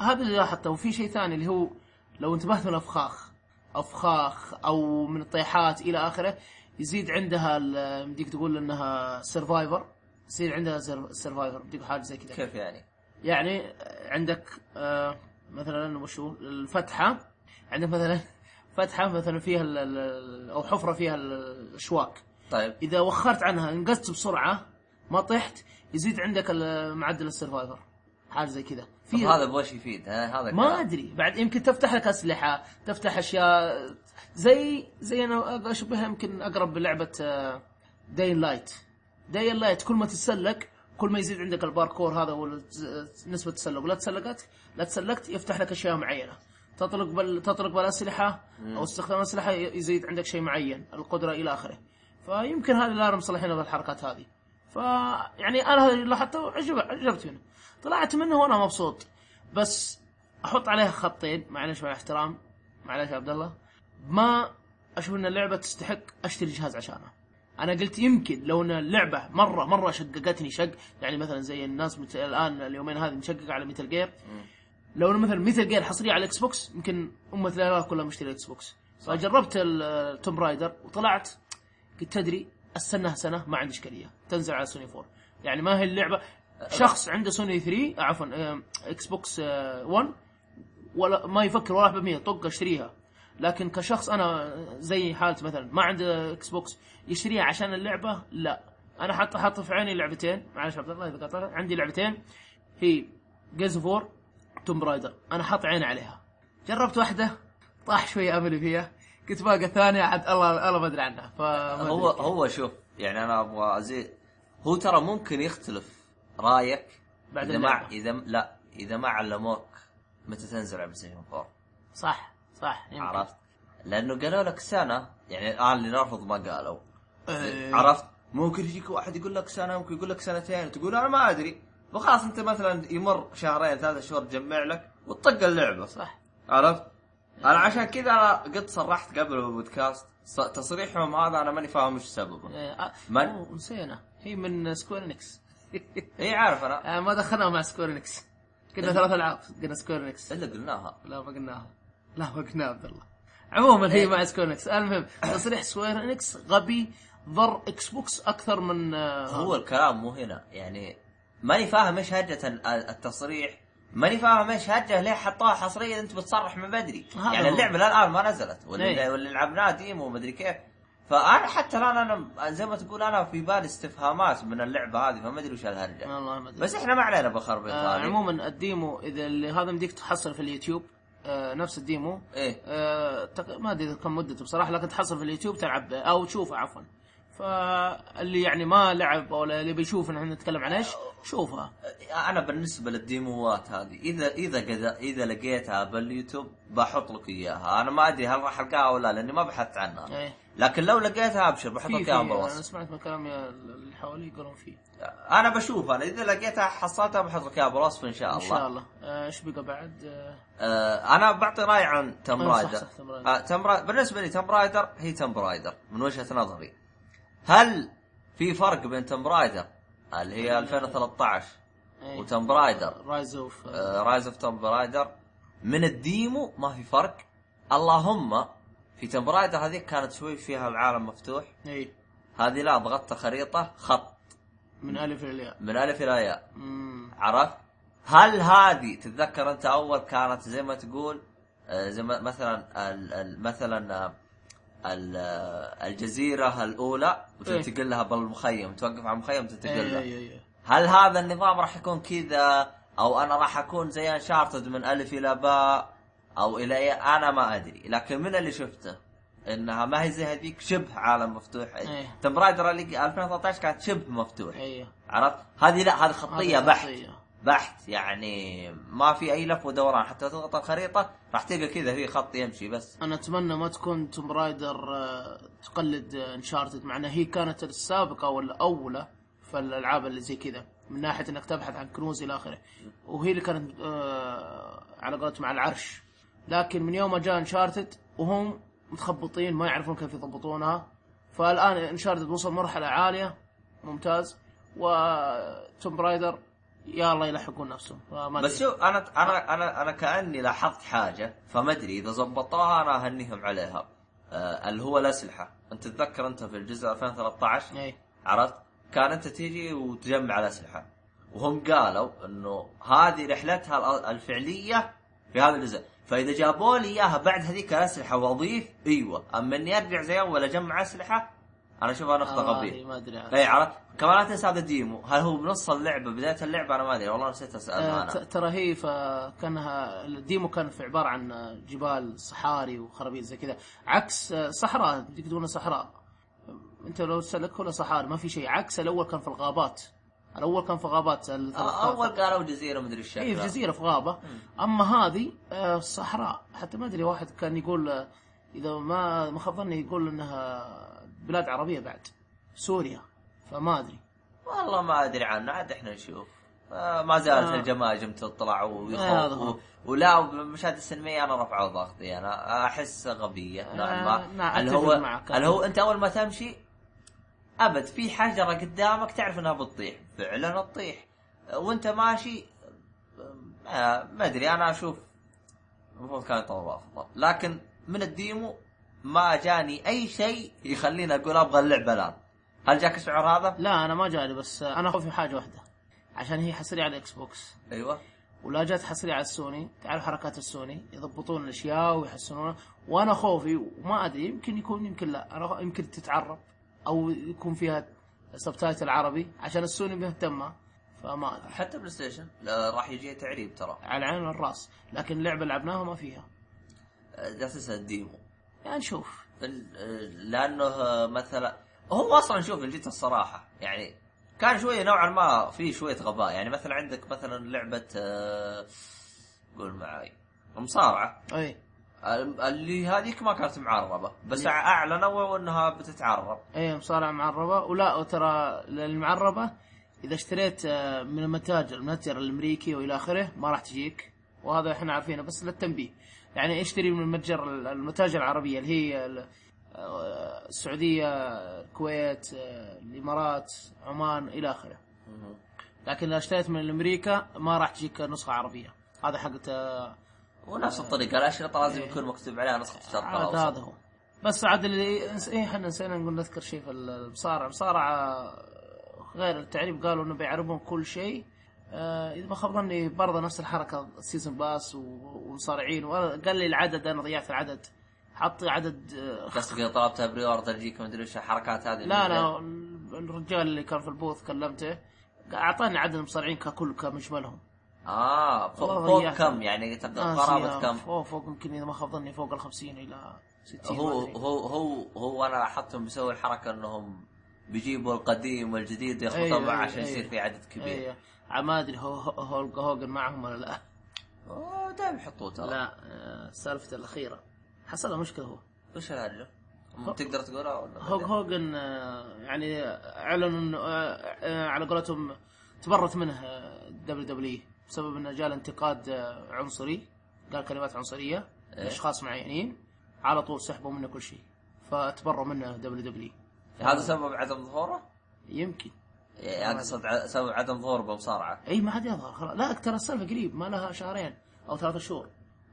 B: فهذا اللي لاحظته وفي شيء ثاني اللي هو لو انتبهت من الافخاخ افخاخ او من الطيحات الى اخره يزيد عندها ال- مديك تقول انها سرفايفر يصير عندها سرفايفر مديك حاجه زي كذا
A: كيف يعني؟
B: يعني عندك آه، مثلا وشو الفتحه عندك مثلا فتحه مثلا فيها ال- ال- او حفره فيها ال- الاشواك
A: طيب
B: اذا وخرت عنها انقذت بسرعه ما طحت يزيد عندك ال- معدل السرفايفر حاجه زي كذا في
A: طب هذا بوش يفيد ها هذا
B: ما
A: كلام.
B: ادري بعد يمكن تفتح لك اسلحه تفتح اشياء زي زي انا اشبهها يمكن آه، اقرب بلعبه داين لايت داين لايت كل ما تتسلق كل ما يزيد عندك الباركور هذا والت- نسبه التسلق لا تسلقت لا تسلقت يفتح لك اشياء معينه تطلق بال تطلق بالاسلحه او استخدام اسلحه ي- يزيد عندك شيء معين القدره الى اخره فيمكن هذا اللي مصلحينه بالحركات هذه ف يعني انا هذا اللي لاحظته عجب عجبت منه طلعت منه وانا مبسوط بس احط عليها خطين معلش مع الاحترام معلش يا عبد الله ما اشوف ان اللعبه تستحق اشتري جهاز عشانها انا قلت يمكن لو ان اللعبه مره مره شققتني شق يعني مثلا زي الناس مت... الان اليومين هذه مشققه على ميتال جير لو إن مثلا ميتال جير حصريه على الاكس بوكس يمكن امه العراق كلها مشتريه اكس بوكس فجربت التوم رايدر وطلعت قلت تدري استناها سنه ما عندي اشكاليه تنزل على سوني 4 يعني ما هي اللعبه شخص عنده سوني 3 عفوا آه، اكس بوكس آه، 1 ولا ما يفكر ولا واحد بالمية طق اشتريها لكن كشخص انا زي حالتي مثلا ما عنده اكس بوكس يشتريها عشان اللعبه لا انا حاطه حاطه في عيني لعبتين معلش عبد الله اذا قطعت عندي لعبتين هي جيز اوف وور توم برايدر انا حاط عيني عليها جربت واحده طاح شويه املي فيها كنت باقي الثانيه عاد الله الله ما ادري عنها فما
A: هو
B: أدري.
A: هو شوف يعني انا ابغى ازيد هو ترى ممكن يختلف رايك
B: بعد
A: اذا ما
B: اللعبة.
A: اذا لا اذا ما علموك متى تنزل على بلاي 4
B: صح صح يمكن.
A: عرفت؟ لانه قالوا لك سنه يعني الان اللي نرفض ما قالوا
B: إيه.
A: عرفت؟ ممكن يجيك واحد يقول لك سنه ممكن يقول لك سنتين تقول انا ما ادري فخلاص انت مثلا يمر شهرين ثلاثة شهور تجمع لك وتطق اللعبه
B: صح
A: عرفت؟ انا عشان كذا انا قد صرحت قبل بالبودكاست ص- تصريحهم هذا انا ماني فاهم ايش سببه
B: إيه، آه،
A: من؟
B: أوه، نسينا هي من [LAUGHS] سكويرنكس
A: اي إيه، عارف انا
B: آه، ما دخلناها مع سكويرنكس
A: إيه.
B: قلنا ثلاث العاب قلنا سكويرنكس
A: الا قلناها
B: لا ما قلناها لا ما قلناها عبد الله عموما
A: إيه.
B: هي مع سكويرنكس المهم تصريح سكويرنكس غبي ضر اكس بوكس اكثر من آه،
A: هو الكلام مو هنا يعني ماني فاهم ايش هرجة ال- التصريح ماني فاهم ايش هرجة ليه حطوها حصريا انت بتصرح من بدري
B: هذا
A: يعني
B: هو.
A: اللعبة للان ما نزلت
B: إيه.
A: واللي واللي لعبناها ديمو ومدري كيف فانا حتى الان انا زي ما تقول انا في بالي استفهامات من اللعبة هذه فما ادري وش الهرجة
B: والله ما ادري
A: بس احنا ما علينا بخربيط
B: آه
A: هذه
B: عموما الديمو اذا اللي هذا مديك تحصل في اليوتيوب آه نفس الديمو
A: ايه
B: آه تق- ما ادري كم مدته بصراحه لكن تحصل في اليوتيوب تلعب او تشوفه عفوا فاللي يعني ما لعب او اللي بيشوف إن احنا نتكلم عن ايش شوفها
A: انا بالنسبه للديموات هذه اذا اذا قد- اذا لقيتها باليوتيوب بحط لك اياها انا ما ادري هل راح القاها ولا لا، لاني ما بحثت عنها
B: ايه
A: لكن لو لقيتها ابشر بحط
B: في
A: لك
B: في
A: اياها
B: انا
A: بالوصف
B: سمعت من كلام يا- اللي حوالي يقولون فيه
A: انا بشوف انا اذا لقيتها حصلتها بحط لك اياها بالوصف ان شاء
B: ان
A: الله
B: شاء الله آه، ايش بقى بعد آه،
A: آه انا بعطي راي عن تم
B: آه، صح،
A: رايدر
B: صح، تم رايدر.
A: آه تم را... بالنسبه لي تم رايدر هي تم رايدر من وجهه نظري هل في فرق بين تم رايدر اللي هي 2013
B: إيه.
A: وتم رايدر
B: رايز اوف آه،
A: رايز اوف توم برايدر من الديمو ما في فرق اللهم في توم رايدر هذيك كانت شوي فيها العالم مفتوح
B: ايه
A: هذه لا ضغطت خريطه خط
B: من الف للياء
A: من الف الى ياء
B: مم.
A: عرفت هل هذه تتذكر انت اول كانت زي ما تقول آه، زي ما مثلا ال- ال- مثلا آه، ال- آه، الجزيره الاولى وتنتقل لها بالمخيم توقف على المخيم تنتقل
B: ايه
A: لها
B: ايه ايه
A: هل هذا النظام راح يكون كذا او انا راح اكون زي انشارتد من الف الى باء او الى إيه؟ انا ما ادري لكن من اللي شفته انها ما هي زي هذيك شبه عالم مفتوح
B: إيه.
A: تم رايدر اللي 2013 كانت شبه مفتوح
B: ايه
A: عرفت هذه لا هذه خطيه
B: هذه
A: بحت
B: خطية.
A: بحت يعني ما في اي لف ودوران حتى تضغط الخريطه راح تلقى كذا في خط يمشي بس
B: انا اتمنى ما تكون توم رايدر آه، تقلد انشارتد مع انها هي كانت السابقه والاولى في الالعاب اللي زي كذا من ناحيه انك تبحث عن كنوز الى اخره وهي اللي كانت آه، على قولتهم على العرش لكن من يوم ما جاء انشارتد وهم متخبطين ما يعرفون كيف يضبطونها فالان انشارتد وصل مرحله عاليه ممتاز وتوم رايدر يا الله يلحقون نفسهم فما
A: بس
B: أدري.
A: شوف انا انا انا انا كاني لاحظت حاجه فما ادري اذا زبطوها انا اهنيهم عليها آه اللي هو الاسلحه انت تتذكر انت في الجزء 2013
B: إيه.
A: عرفت كان انت تيجي وتجمع الاسلحه وهم قالوا انه هذه رحلتها ال- الفعليه في هذا الجزء فاذا جابوا لي اياها بعد هذيك الاسلحه واضيف ايوه اما اني ارجع زي اول اجمع اسلحه انا اشوفها نقطه
B: آه،
A: غبيه
B: ما ادري عاد.
A: اي إيه، عرفت كمان لا تنسى هذا الديمو هل هو بنص اللعبه بدايه اللعبه انا ما ادري والله نسيت اسالها
B: آه،
A: انا
B: ت- ترى هي فكانها الديمو كان في عباره عن جبال صحاري وخرابيط زي كذا عكس آه، صحراء تقولون صحراء انت لو تسلك ولا صحاري ما في شيء عكس الاول كان في الغابات الاول كان في غابات ال-
A: اول آه، قالوا جزيره مدري الشكل
B: هي في جزيره في غابه اما هذه آه، صحراء حتى ما ادري واحد كان يقول آه، اذا ما ما خاب ظني يقول انها بلاد عربيه بعد سوريا فما ادري
A: والله ما ادري عنه عاد احنا نشوف آه، ما زالت
B: آه.
A: الجماجم تطلع
B: آه، هذا هو.
A: ويخوف ولا بالمشاهد السينمائيه انا رفعوا ضغطي انا احس غبيه نوعا
B: آه،
A: ما
B: نعم،
A: اللي
B: أتفق
A: هو
B: معك.
A: اللي هو انت اول ما تمشي ابد في حجره قدامك تعرف انها بتطيح فعلا تطيح آه، وانت ماشي آه، ما ادري انا اشوف المفروض كان يطور افضل لكن من الديمو ما جاني اي شيء يخليني اقول ابغى اللعبه الان هل جاك الشعور هذا؟
B: لا انا ما جاني بس آه، انا خوفي حاجه واحده عشان هي حصريه على الاكس بوكس
A: ايوه
B: ولا جت حصريه على السوني تعرف حركات السوني يضبطون الاشياء ويحسنونها وانا خوفي وما ادري يمكن يكون يمكن لا انا خ- يمكن تتعرب او يكون فيها سبتايتل عربي عشان السوني مهتمه فما ادري
A: حتى بلاي ستيشن لا، راح يجي تعريب ترى
B: على عين الراس لكن اللعبه لعبناها ما فيها
A: جالس الديمو
B: يعني نشوف
A: ال- لانه مثلا هو اصلا شوف إن جيت الصراحه يعني كان شويه نوعا ما في شويه غباء يعني مثلا عندك مثلا لعبه آه، قول معي مصارعه
B: اي
A: ال- اللي هذيك ما كانت معربه بس اعلنوا انها بتتعرب
B: اي مصارعه معربه ولا ترى المعربه اذا اشتريت آه، من المتاجر المتجر الامريكي والى اخره ما راح تجيك وهذا احنا عارفينه بس للتنبيه يعني اشتري من المتجر المتاجر العربيه اللي هي ال- آه، السعوديه الكويت آه، الامارات عمان الى اخره لكن اذا اشتريت من امريكا ما راح تجيك نسخه عربيه هذا حقت آه،
A: ونفس الطريقه الاشرطه لازم يكون مكتوب عليها نسخه الشرق
B: عاد
A: الاوسط
B: هذا هو بس عاد اللي نس- ايه احنا نسينا نقول نذكر شيء في المصارعه المصارعه غير التعريب قالوا انه بيعربون كل شيء آه، اذا ما خاب ظني برضه نفس الحركه سيزون باس و- ومصارعين وأنا- قال لي العدد انا ضيعت العدد حط عدد آه،
A: قصدك اذا طلبتها بري اوردر يجيك ما ادري وش الحركات هذه
B: لا لا الرجال اللي كان في البوث كلمته اعطاني عدد المصارعين ككل كمجملهم
A: اه فوق,
B: والله
A: فوق
B: ضيعت.
A: كم يعني تبدا
B: آه،
A: قرابه
B: سيارة.
A: كم
B: فوق فوق يمكن اذا ما خاب ظني فوق ال 50 الى 60 ما
A: هو
B: أدري.
A: هو هو هو انا لاحظتهم بيسووا الحركه انهم بيجيبوا القديم والجديد
B: أيوه،
A: يخلطوا معه
B: أيوه،
A: عشان يصير
B: أيوه.
A: في عدد كبير
B: ايوه عاد ما ادري هو هو- هولك هوجن معهم ولا لا
A: أوه، دايم يحطوه ترى
B: لا آه، سالفته الاخيره حصل له مشكله هو
A: وش الهرجه؟ تقدر تقولها ولا
B: هوج
A: بعدين؟
B: هوجن آه، يعني اعلن انه آه، آه، على قولتهم تبرت منه آه، دبليو دبليو بسبب انه جاء انتقاد آه، عنصري قال كلمات عنصريه
A: إيه.
B: لاشخاص معينين على طول سحبوا منه كل شيء فتبروا منه دبليو دبليو
A: هذا سبب عدم ظهوره؟
B: يمكن
A: يعني هذا صد- ع- سبب عدم ظهوره بمصارعه
B: اي ما حد يظهر خلاص لا ترى السالفه قريب ما لها شهرين او ثلاثة شهور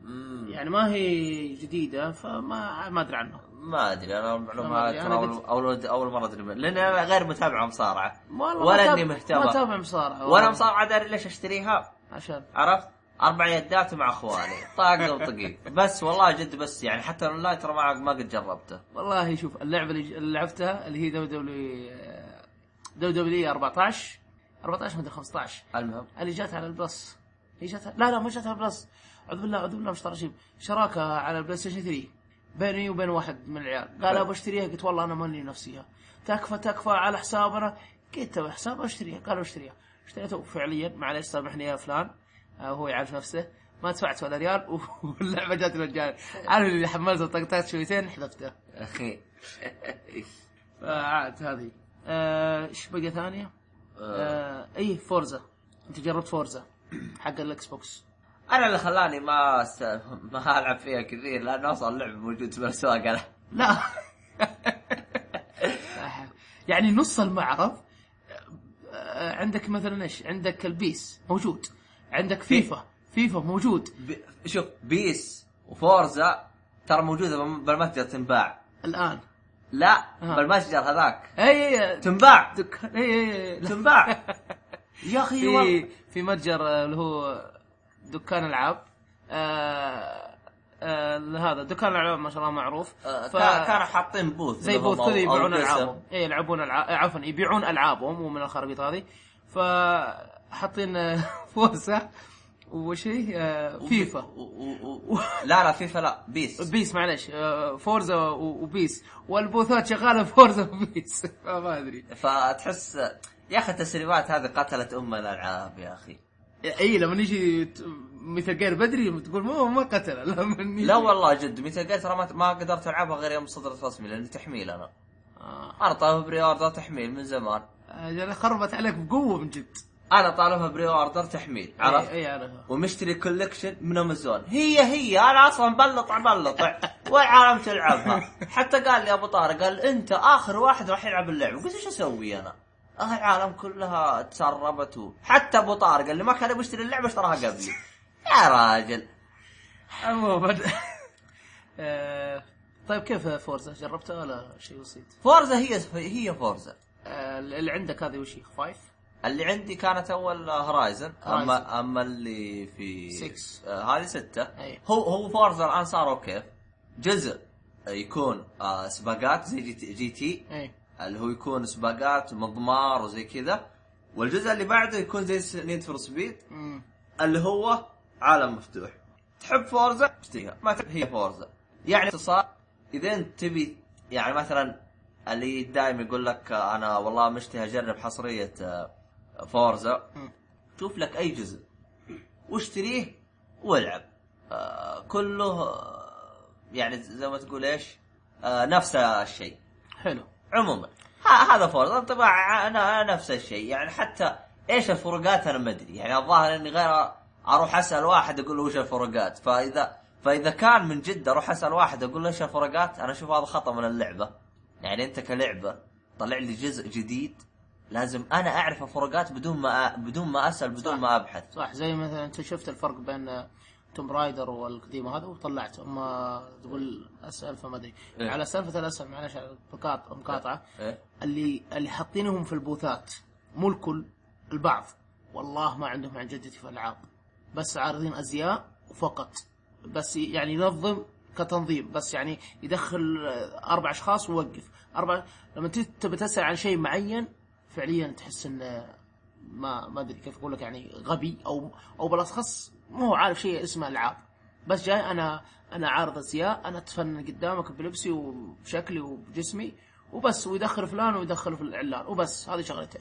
A: مم،
B: يعني ما هي جديده فما ما ادري عنه
A: ما ادري انا
B: ما
A: المعلومات
B: أدري، أنا
A: ترى اول اول اول مره ادري من- لان انا غير متابعه مصارعه
B: والله
A: ولا
B: ما تاب-
A: إني مهتم.
B: ما تابع مصارعه
A: وانا مصارعه داري ليش اشتريها
B: عشان
A: عرفت؟ اربع يدات مع اخواني طاقه وطقي بس والله جد بس يعني حتى الاونلاين ترى ما ما قد جربته
B: والله شوف اللعبه اللي ج- اللي لعبتها اللي هي دبليو دبليو آه، دبليو دبليو 14 14 مدري 15
A: المهم
B: اللي جات على البلس هي جات لا لا ما جات على البلس اعوذ بالله اعوذ بالله مش طرشيب شراكه على البلاي ستيشن 3 بيني وبين واحد من العيال قال
A: حلو.
B: ابغى اشتريها قلت والله انا ماني نفسيها تكفى تكفى على حسابنا قلت له حساب اشتريها قالوا اشتريها اشتريته فعليا معليش سامحني يا فلان آه، هو يعرف نفسه ما دفعت ولا ريال [LAUGHS] واللعبه جات مجانا عارف اللي حملته طقطقت شويتين حذفته
A: اخي
B: فعاد هذه آه، ايش بقى ثانيه؟ آه، اي فورزا انت جربت فورزا حق الاكس بوكس
A: انا اللي خلاني ما س... ما العب فيها كثير لان اصلا اللعب موجود في الاسواق انا
B: لا [LAUGHS] يعني نص المعرض آه، عندك مثلا ايش؟ عندك البيس موجود عندك فيفا فيفا موجود
A: ب... شوف بيس وفورزا ترى موجوده بم- بالمتجر تنباع
B: الان
A: لا
B: آه.
A: بالمتجر هذاك
B: اي اي
A: تنباع
B: دك- اي اي إيه، لا.
A: تنباع يا اخي
B: [LAUGHS] في
A: والله
B: في متجر آه، اللي هو دكان العاب آه آه هذا دكان الالعاب ما شاء الله معروف
A: آه،
B: ف-
A: كا- كانوا حاطين بوث
B: زي
A: لهم
B: بوث كذا
A: أو- أو
B: يبيعون
A: قسم.
B: العابهم اي يلعبون العاب عفوا يبيعون العابهم ومن الخرابيط هذه [LAUGHS] فحاطين فوزة وش هي آه، فيفا
A: و... و... و... [LAUGHS] لا لا فيفا لا بيس
B: بيس معلش آه، فورزا و- وبيس والبوثات شغاله [LAUGHS] فورزا وبيس [LAUGHS] ما ادري
A: فتحس يا اخي التسريبات هذه قتلت ام الالعاب يا اخي
B: اي لما يجي ت- مثل غير بدري تقول ما ما قتل [LAUGHS] لما يجي-
A: لا والله جد متى قلت ترى ما- ما قدرت العبها غير يوم صدرت رسمي لان تحميل انا
B: آه،
A: انا طالبها بري اوردر تحميل من زمان
B: آه، خربت عليك بقوه من جد
A: انا طالبها بري اوردر تحميل عرفت
B: اي اعرفها
A: ومشتري كولكشن من امازون هي هي انا اصلا بلطع بلطع والعالم تلعبها حتى قال لي ابو طارق قال انت اخر واحد راح يلعب اللعبه قلت ايش اسوي انا؟ آه، العالم كلها تسربت و- حتى ابو طارق اللي ما كان يبغى يشتري اللعبه اشتراها قبلي يا راجل
B: عموما [LAUGHS] آه، طيب كيف فورزا جربتها ولا شيء بسيط؟
A: فورزا هي هي فورزا
B: آه، اللي عندك هذه وش هي؟ 5
A: اللي عندي كانت اول هورايزن
B: هورايزن.
A: اما اما اللي في
B: Six.
A: آه، هذه ستة
B: أي.
A: هو هو فورزا الان صاروا كيف؟ جزء يكون آه، سباقات زي جي تي, جي تي
B: اي
A: اللي هو يكون سباقات مضمار وزي كذا والجزء اللي بعده يكون زي نيد فور سبيد
B: مم.
A: اللي هو عالم مفتوح تحب فورزا اشتريها ما تحب هي فورزا يعني باختصار اذا انت تبي يعني مثلا اللي دائما يقول لك آه، انا والله مشتهي اجرب حصريه آه، فورزا
B: مم.
A: شوف لك اي جزء واشتريه والعب آه، كله آه، يعني زي ما تقول ايش آه، نفس الشيء
B: حلو
A: عموما ه- هذا فورزا طبعا انا أنا نفس الشيء يعني حتى ايش الفروقات انا ما ادري يعني الظاهر اني غير اروح اسال واحد اقول له وش الفروقات فاذا فاذا كان من جد اروح اسال واحد اقول له ايش الفروقات انا اشوف هذا خطا من اللعبه يعني انت كلعبه طلع لي جزء جديد لازم انا اعرف الفروقات بدون ما أ- بدون ما اسال بدون
B: صح.
A: ما ابحث
B: صح زي مثلا انت شفت الفرق بين آه، توم رايدر والقديمه هذا وطلعت اما تقول اسال فما ادري
A: إيه.
B: على سالفه الاسئله معلش على المقاط- المقاطعه
A: إيه؟
B: اللي اللي حاطينهم في البوثات مو الكل البعض والله ما عندهم عن جدتي في العاب بس عارضين ازياء وفقط بس يعني ينظم كتنظيم بس يعني يدخل آه، اربع اشخاص ويوقف اربع لما تيجي تبي تسال عن شيء معين فعليا تحس انه ما ما ادري كيف اقول لك يعني غبي او او بالاخص ما هو عارف شيء اسمه العاب بس جاي انا انا عارض ازياء انا اتفنن قدامك بلبسي وبشكلي وبجسمي وبس ويدخل فلان ويدخل في الاعلان وبس هذه شغلته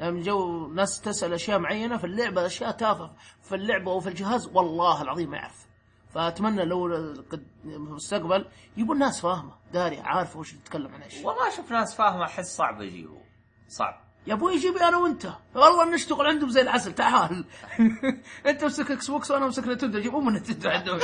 B: لما جو ناس تسال اشياء معينه في اللعبه اشياء تافهه في اللعبه او في الجهاز والله العظيم ما يعرف فاتمنى لو قد- في المستقبل يبون ناس فاهمه داري عارفه وش تتكلم عن ايش
A: والله اشوف ناس فاهمه احس صعب اجيبه صعب
B: يا ابوي جيبي انا وانت والله نشتغل عندهم زي العسل تعال [LAUGHS] انت امسك اكس بوكس وانا امسك نتندو جيبوا [LAUGHS] من نتندو عندهم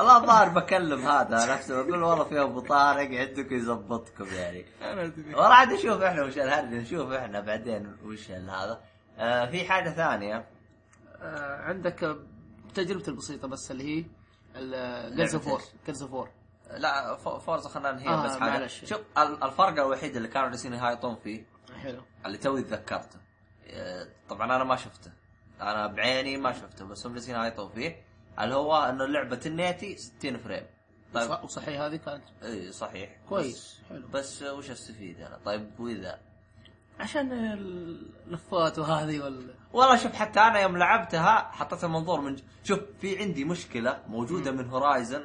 A: الله الظاهر بكلم هذا نفسه بقول والله في ابو طارق عندك يزبطكم يعني
B: أنا أدري.
A: والله عاد نشوف احنا وش الهرج نشوف احنا بعدين وش ال- هذا آه في حاجه ثانيه
B: آه، عندك تجربتي البسيطه بس اللي هي جيرز اوف وور
A: لعبة
B: جيرز اوف وور
A: لا فو- فورزا خلينا ننهي
B: آه،
A: بس حاجه
B: معلش.
A: شوف ال- الفرق الوحيد اللي كانوا جالسين يهايطون فيه
B: حلو
A: اللي توي تذكرته آه، طبعا انا ما شفته انا بعيني ما شفته بس هم جالسين يهايطون فيه اللي هو انه لعبه النيتي 60 فريم طيب
B: وص- وصحيح هذه كانت
A: اي صحيح
B: كويس حلو
A: بس, بس آه، وش استفيد انا طيب واذا
B: عشان اللفات وهذه وال
A: والله شوف حتى انا يوم لعبتها حطيت المنظور من ج- شوف في عندي مشكله موجوده من هورايزن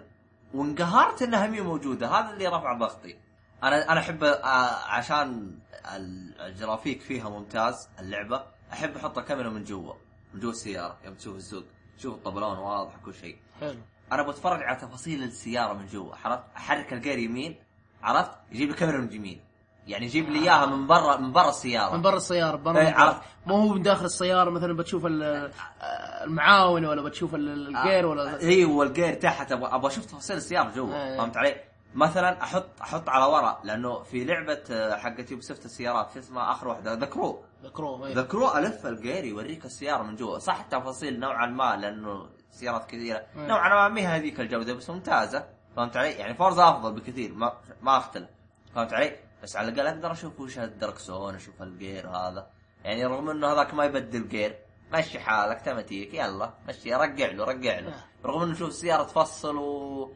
A: وانقهرت انها مي موجوده هذا اللي رفع ضغطي انا انا احب آه، عشان ال- الجرافيك فيها ممتاز اللعبه احب احط الكاميرا من جوا من جوا السياره يوم تشوف السوق شوف الطبلون واضح كل شيء
B: حلو
A: انا بتفرج على تفاصيل السياره من جوا عرفت احرك الجير يمين عرفت يجيب لي كاميرا من يمين يعني يجيب لي اياها من برا من برا السياره
B: من برا السياره برا
A: إيه،
B: المنطقة.
A: عرفت.
B: مو هو من داخل السياره مثلا بتشوف ال- آه، المعاون ولا بتشوف ال- الجير ولا
A: ايوه آه. الجير تحت ابغى ابغى اشوف تفاصيل السياره جوا
B: إيه.
A: فهمت علي؟ مثلا احط احط على ورا لانه في لعبه آه، حقت يوبي سوفت السيارات شو اسمها اخر واحده ذا كرو
B: ذكروه
A: ذا
B: إيه.
A: كرو الف الجير يوريك السياره من جوا صح التفاصيل نوعا ما لانه سيارات كثيره
B: إيه.
A: نوعا ما ما هي هذيك الجوده بس ممتازه فهمت علي؟ يعني فورزا افضل بكثير ما ما اختلف فهمت علي؟ بس على الاقل اقدر اشوف وش الدركسون اشوف الجير هذا يعني رغم انه هذاك ما يبدل جير مشي حالك تمتيك يلا مشي رقع له رقع له رغم انه شوف السياره تفصل و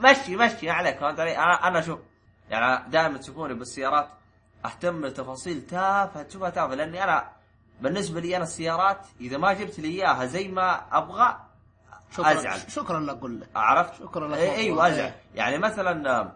A: مشي مشي ما عليك فهمت علي؟ انا انا شوف يعني دائما تشوفوني بالسيارات اهتم بتفاصيل تافهه تشوفها تافهه لاني انا بالنسبه لي انا السيارات اذا ما جبت لي اياها زي ما ابغى
B: شكرا
A: أزعل.
B: شكرا لك قل لك
A: عرفت؟
B: شكراً لك
A: إيه
B: والله.
A: ايوه ازعل
B: إيه.
A: يعني مثلا آم،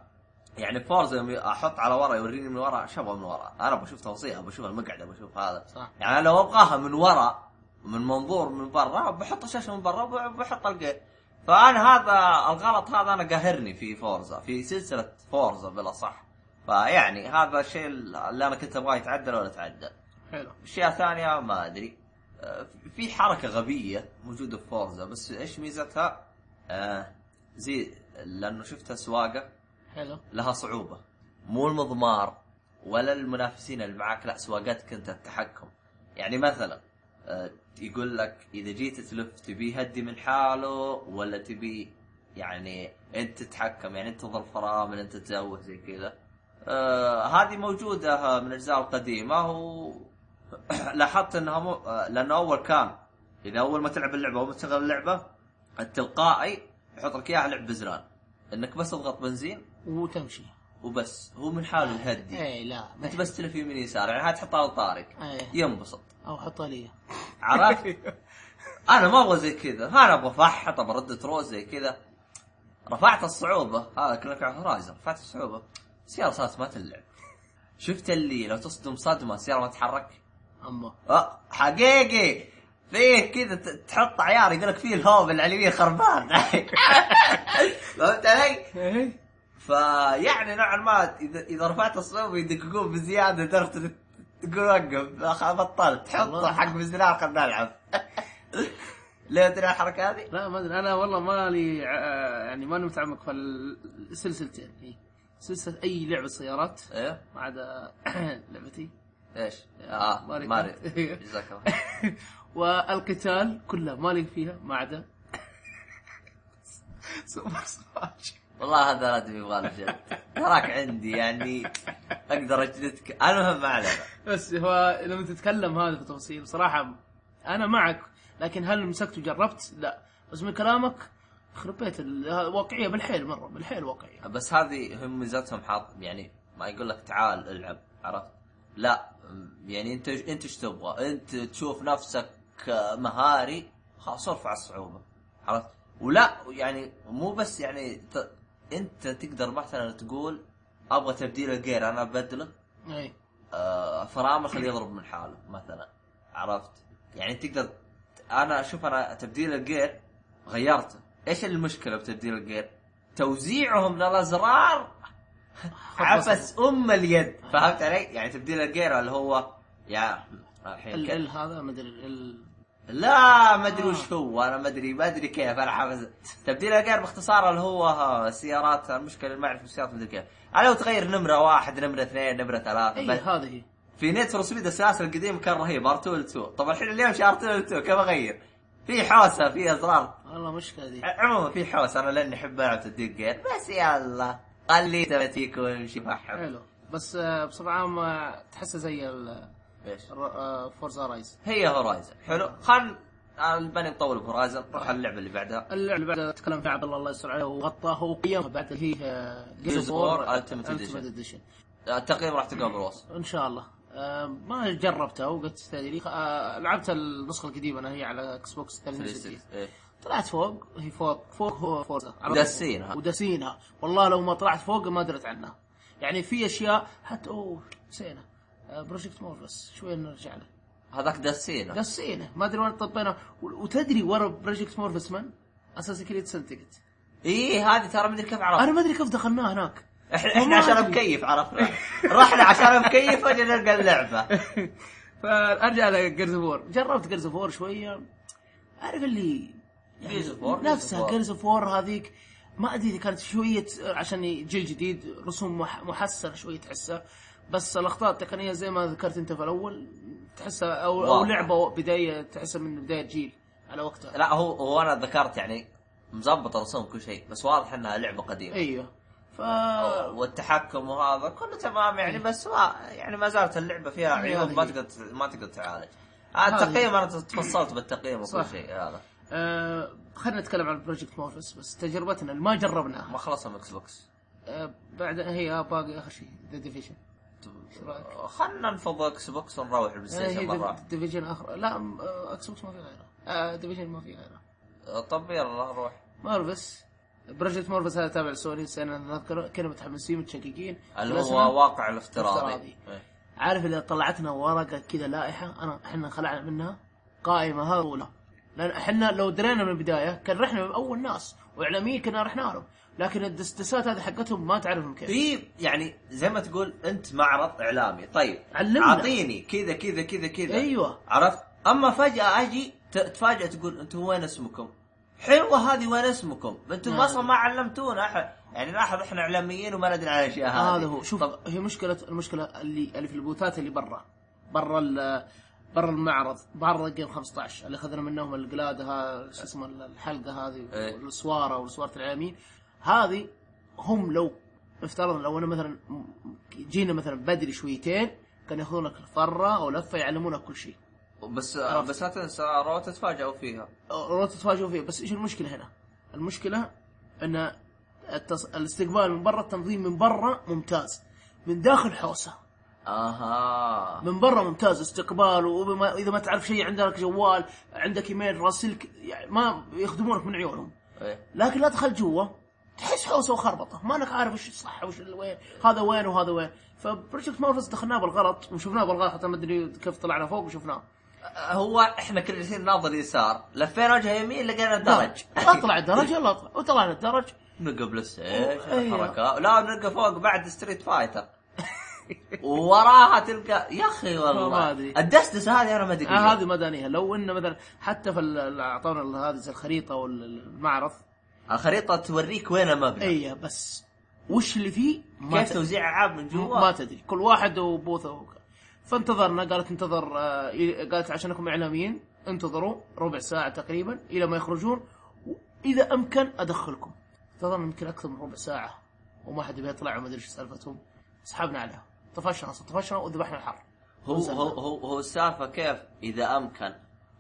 A: يعني فورز يوم احط على ورا يوريني من ورا شبه من ورا انا بشوف تفاصيل ابى اشوف المقعد ابى اشوف هذا
B: صح.
A: يعني لو ابغاها من ورا من منظور من برا بحط الشاشه من برا وب- بحط الجير فانا هذا الغلط هذا انا قاهرني في فورزا في سلسله فورزا بالاصح فيعني هذا الشيء اللي انا كنت ابغاه يتعدل ولا تعدل
B: حلو
A: اشياء ثانيه ما ادري آه، في حركه غبيه موجوده في فورزا بس ايش ميزتها؟ آه، زي لانه شفتها سواقه
B: حلو
A: لها صعوبه مو المضمار ولا المنافسين اللي معاك لا سواقتك انت التحكم يعني مثلا آه، يقول لك اذا جيت تلف تبي هدي من حاله ولا تبي يعني انت تتحكم يعني انت تضرب فرامل انت تزوج زي كذا آه، هذه موجوده من الاجزاء القديمه و [CLEARS THROAT] لاحظت انها مو... آه، لانه اول كان اذا اول ما تلعب اللعبه اول ما تشغل اللعبه التلقائي يحط لك اياها لعب بزران انك بس تضغط بنزين
B: وتمشي
A: وبس هو من حاله الهدي
B: اي لا ما
A: انت بس تلف يمين يسار يعني هاي تحطها على طارق
B: إيه.
A: ينبسط
B: او حطها لي
A: عرفت؟ انا ما ابغى زي كذا انا ابغى فحط ابغى ردة روز زي كذا رفعت الصعوبه هذا كلك على هورايزن رفعت الصعوبه السياره صارت ما تلعب شفت اللي لو تصدم صدمه السياره ما تتحرك
B: اما
A: أه، حقيقي فيه كذا ت- تحط عيار يقول لك فيه الهوب اللي على اليمين خربان [LAUGHS] فهمت علي؟
B: إيه.
A: فيعني نوعا ما اذا اذا رفعت الصوب يدققون بزياده لدرجه تقول وقف خ- بطلت حطه
B: والله.
A: حق مزرار خلنا نلعب [LAUGHS] ليه تدري الحركه هذه؟
B: لا ما ادري انا والله مالي ع- يعني ماني متعمق في السلسلتين إيه. سلسله اي لعبه سيارات
A: ايه
B: ما عدا [COUGHS] لعبتي [LAUGHS]
A: ايش؟ اه
B: ماري
A: ماري
B: كارت.
A: جزاك الله خير.
B: والقتال كله مالي فيها ما عدا [LAUGHS] سوبر سماش
A: والله هذا لا تبي يبغى له جد تراك عندي يعني اقدر اجلدك المهم ما علينا
B: بس هو لما تتكلم هذا في تفاصيل بصراحه انا معك لكن هل مسكت وجربت؟ لا بس من كلامك يخرب بيت ال- ها- واقعيه بالحيل مره بالحيل واقعيه
A: بس هذه هم ميزتهم حاط يعني ما يقول لك تعال العب عرفت؟ لا يعني انت انت ايش تبغى؟ انت تشوف نفسك مهاري خلاص ارفع الصعوبه عرفت؟ ولا يعني مو بس يعني ت... انت تقدر مثلا تقول ابغى تبديل الجير انا ابدله
B: اي
A: آه، فرامل خليه يضرب من حاله مثلا عرفت؟ يعني تقدر انا اشوف انا تبديل الجير غيرته، ايش المشكله بتبديل الجير؟ توزيعهم
B: [LAUGHS]
A: للازرار عبس ام اليد، فهمت علي؟ يعني تبديل الجير اللي هو يا الحين
B: ال آه.
A: كده.
B: ال هذا ما ادري ال
A: لا ما ادري وش هو انا ما ادري ما ادري كيف انا حافظ تبديل الجير باختصار اللي هو ها، سيارات المشكله ما اعرف سيارات مدري كيف انا لو تغير نمره واحد نمره اثنين نمره ثلاثه
B: اي
A: بس-
B: إيه، هذه هي
A: في نيت فور سبيد السلاسل القديم كان رهيب ار 2 ال 2 طبعا الحين اليوم شهر 2 ال 2 كيف اغير؟ في حوسه في ازرار
B: والله مشكله ذي
A: عموما في حوسه انا لاني احب العب تدق جير بس يلا خلي تماتيك وامشي محب
B: حلو بس آه، بصفة عامة تحسها زي ال آه،
A: ايش؟
B: فورزا رايز
A: هي هورايزن حلو خل البني مطول بهورايزن نروح اللعبة اللي بعدها
B: اللعبة اللي بعد تكلم فيها عبد الله الله يستر عليه وغطاه وقيمها بعد اللي هي آه،
A: Gears of War Ultimate
B: اديشن
A: التقييم راح تلقاه بالوصف
B: ان شاء الله آه، ما جربتها وقلت تدري آه، لعبت النسخة القديمة انا هي على اكس بوكس 360
A: إيه.
B: طلعت فوق هي فوق فوق هو فورزا
A: وداسينها.
B: ودسينها والله لو ما طلعت فوق ما درت عنها يعني في اشياء حتى اوه نسينا بروجكت مورفس شوي نرجع له
A: هذاك دسينا
B: قصينا ما ادري وين طبينا و- وتدري ورا بروجكت مورفس من؟ اساس كريد سنتيكت
A: اي إيه، هذه ترى ما ادري كيف عرفت
B: انا ما ادري كيف دخلناه هناك
A: احنا
B: وما
A: احنا عشان
B: أدري.
A: مكيف عرفنا رحنا عشان مكيف فجاه نلقى اللعبه
B: [LAUGHS] فارجع لجيرز فور جربت جيرز فور شويه عارف اللي يعني
A: Gears of War- Gears
B: نفسها
A: of War.
B: جيرز فور هذيك ما ادري اذا كانت شويه عشان جيل جديد رسوم مح- محسنه شويه تحسها بس الاخطاء التقنيه زي ما ذكرت انت في الاول تحسها او او
A: واضح.
B: لعبه بدايه تحسها من بدايه جيل على وقتها
A: لا هو هو انا ذكرت يعني مزبط الرسوم كل شيء بس واضح انها لعبه قديمه
B: ايوه ف
A: والتحكم وهذا كله تمام
B: إيه.
A: يعني بس ما يعني ما زالت اللعبه فيها
B: هذه
A: عيوب ما
B: هي.
A: تقدر ما تقدر تعالج آه، التقييم انا تفصلت بالتقييم وكل
B: صح.
A: شيء هذا
B: آه خلينا نتكلم عن بروجكت مورفس بس تجربتنا اللي ما جربناها
A: ما خلصنا من اكس بوكس
B: آه بعد هي آه، باقي اخر شيء ذا ديفيجن
A: خلنا نفض اكس بوكس ونروح
B: إيه،
A: البلاي ستيشن مره
B: آه، ديفيجن اخر لا م- آه، اكس بوكس ما في غيره آه ديفيجن ما في غيره
A: آه، طب يلا نروح
B: مورفس بروجكت مورفس هذا تابع لسوني السنه نذكر كنا متحمسين متشككين
A: اللي
B: جلسنا.
A: هو واقع الافتراضي إيه.
B: افتراضي. عارف اذا طلعتنا ورقه كذا لائحه انا احنا خلعنا منها قائمه ها الاولى لان احنا لو درينا من البدايه كان رحنا من اول ناس واعلاميا كنا رحنا لهم لكن الدستسات هذه حقتهم ما تعرفهم كيف
A: في يعني زي ما تقول انت معرض اعلامي طيب
B: علمنا.
A: اعطيني كذا كذا كذا كذا
B: أيوة.
A: عرفت اما فجاه اجي ت- تفاجئ تقول انتم وين اسمكم حلوه هذه وين اسمكم انتم
B: نعم.
A: اصلا ما علمتونا احد يعني لاحظ احنا اعلاميين وما ندري عن الاشياء هذه
B: هذا هو شوف طب. هي مشكله المشكله اللي, اللي في البوثات اللي برا برا ال- برا المعرض برا جيم 15 اللي اخذنا منهم القلاده ها- شو اسمه الحلقه هذه
A: إيه.
B: والسواره والسواره الاعلاميين هذه هم لو افترضنا لو انا مثلا م- جينا مثلا بدري شويتين كان ياخذونك فره او لفه يعلمونك كل شيء
A: بس
B: عرفت.
A: بس لا تنسى رو تتفاجئوا فيها
B: لو تتفاجئوا فيه بس ايش المشكله هنا؟ المشكله ان التص... الاستقبال من برا التنظيم من برا ممتاز من داخل حوسه
A: اها
B: من برا ممتاز استقبال واذا ما تعرف شيء عندك جوال عندك ايميل راسلك يعني ما يخدمونك من عيونهم
A: إيه.
B: لكن لا تدخل جوا تحس حوسه وخربطه ما انك عارف وش الصح وش ال- وين هذا وين وهذا وين فبروجكت مورفس دخلناه بالغلط وشفناه بالغلط حتى ما ادري كيف طلعنا فوق وشفناه
A: هو احنا كنا جالسين ناظر يسار لفينا وجه يمين لقينا
B: نعم.
A: درج [LAUGHS]
B: اطلع الدرج يلا اطلع وطلعنا الدرج آه،
A: نقف للسيف
B: أيوه.
A: حركه لا نلقى فوق بعد ستريت [LAUGHS] فايتر ووراها تلقى يا اخي
B: ما
A: والله
B: أدري.
A: الدسدسه هذه انا ما ادري
B: آه هذه مدنيه لو انه مثلا حتى في ال- ال- اعطونا ال- هذه زي الخريطه والمعرض
A: نعم. الخريطه توريك وين المبنى
B: اي إيه، بس وش اللي فيه ما
A: كيف
B: تدري
A: توزيع العاب من
B: ما
A: جوا
B: تدري كل واحد وبوثه وك- فانتظرنا قالت انتظر آه، إلى- قالت عشانكم اعلاميين انتظروا ربع ساعه تقريبا الى ما يخرجون واذا امكن ادخلكم انتظرنا يمكن اكثر من ربع ساعه وما حد بيطلع وما ادري ايش سالفتهم سحبنا عليها طفشنا أصلاً، طفشنا وذبحنا الحر
A: هو هو هو, هو السالفه كيف اذا امكن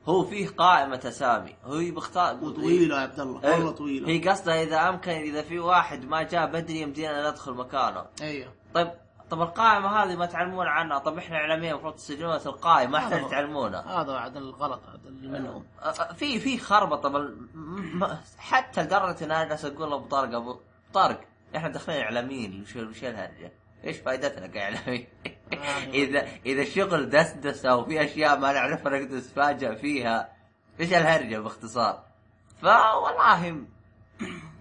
A: هو فيه قائمه اسامي هو بيختار
B: وطويله يا عبد الله والله طويله
A: إيه، هي قصدها اذا امكن اذا في واحد ما جاء بدري يمدينا ندخل مكانه
B: ايوه
A: طيب طب القائمه هذه ما تعلمون عنها طب احنا اعلاميين المفروض تسجلون القائمه ما
B: هذا
A: احتاج
B: هو.
A: تعلمونها
B: هذا عاد الغلط عاد اللي منهم
A: أ- أ- في في خربطه بل م- حتى لدرجه ان انا جالس اقول لابو طارق ابو طارق احنا داخلين اعلاميين وش وش الهرجه؟ ايش فائدتنا
B: [LAUGHS]
A: كاعلاميين؟ اذا اذا الشغل دسدسه وفي اشياء ما نعرفها نقدر نتفاجئ فيها ايش الهرجه باختصار؟ فوالله م-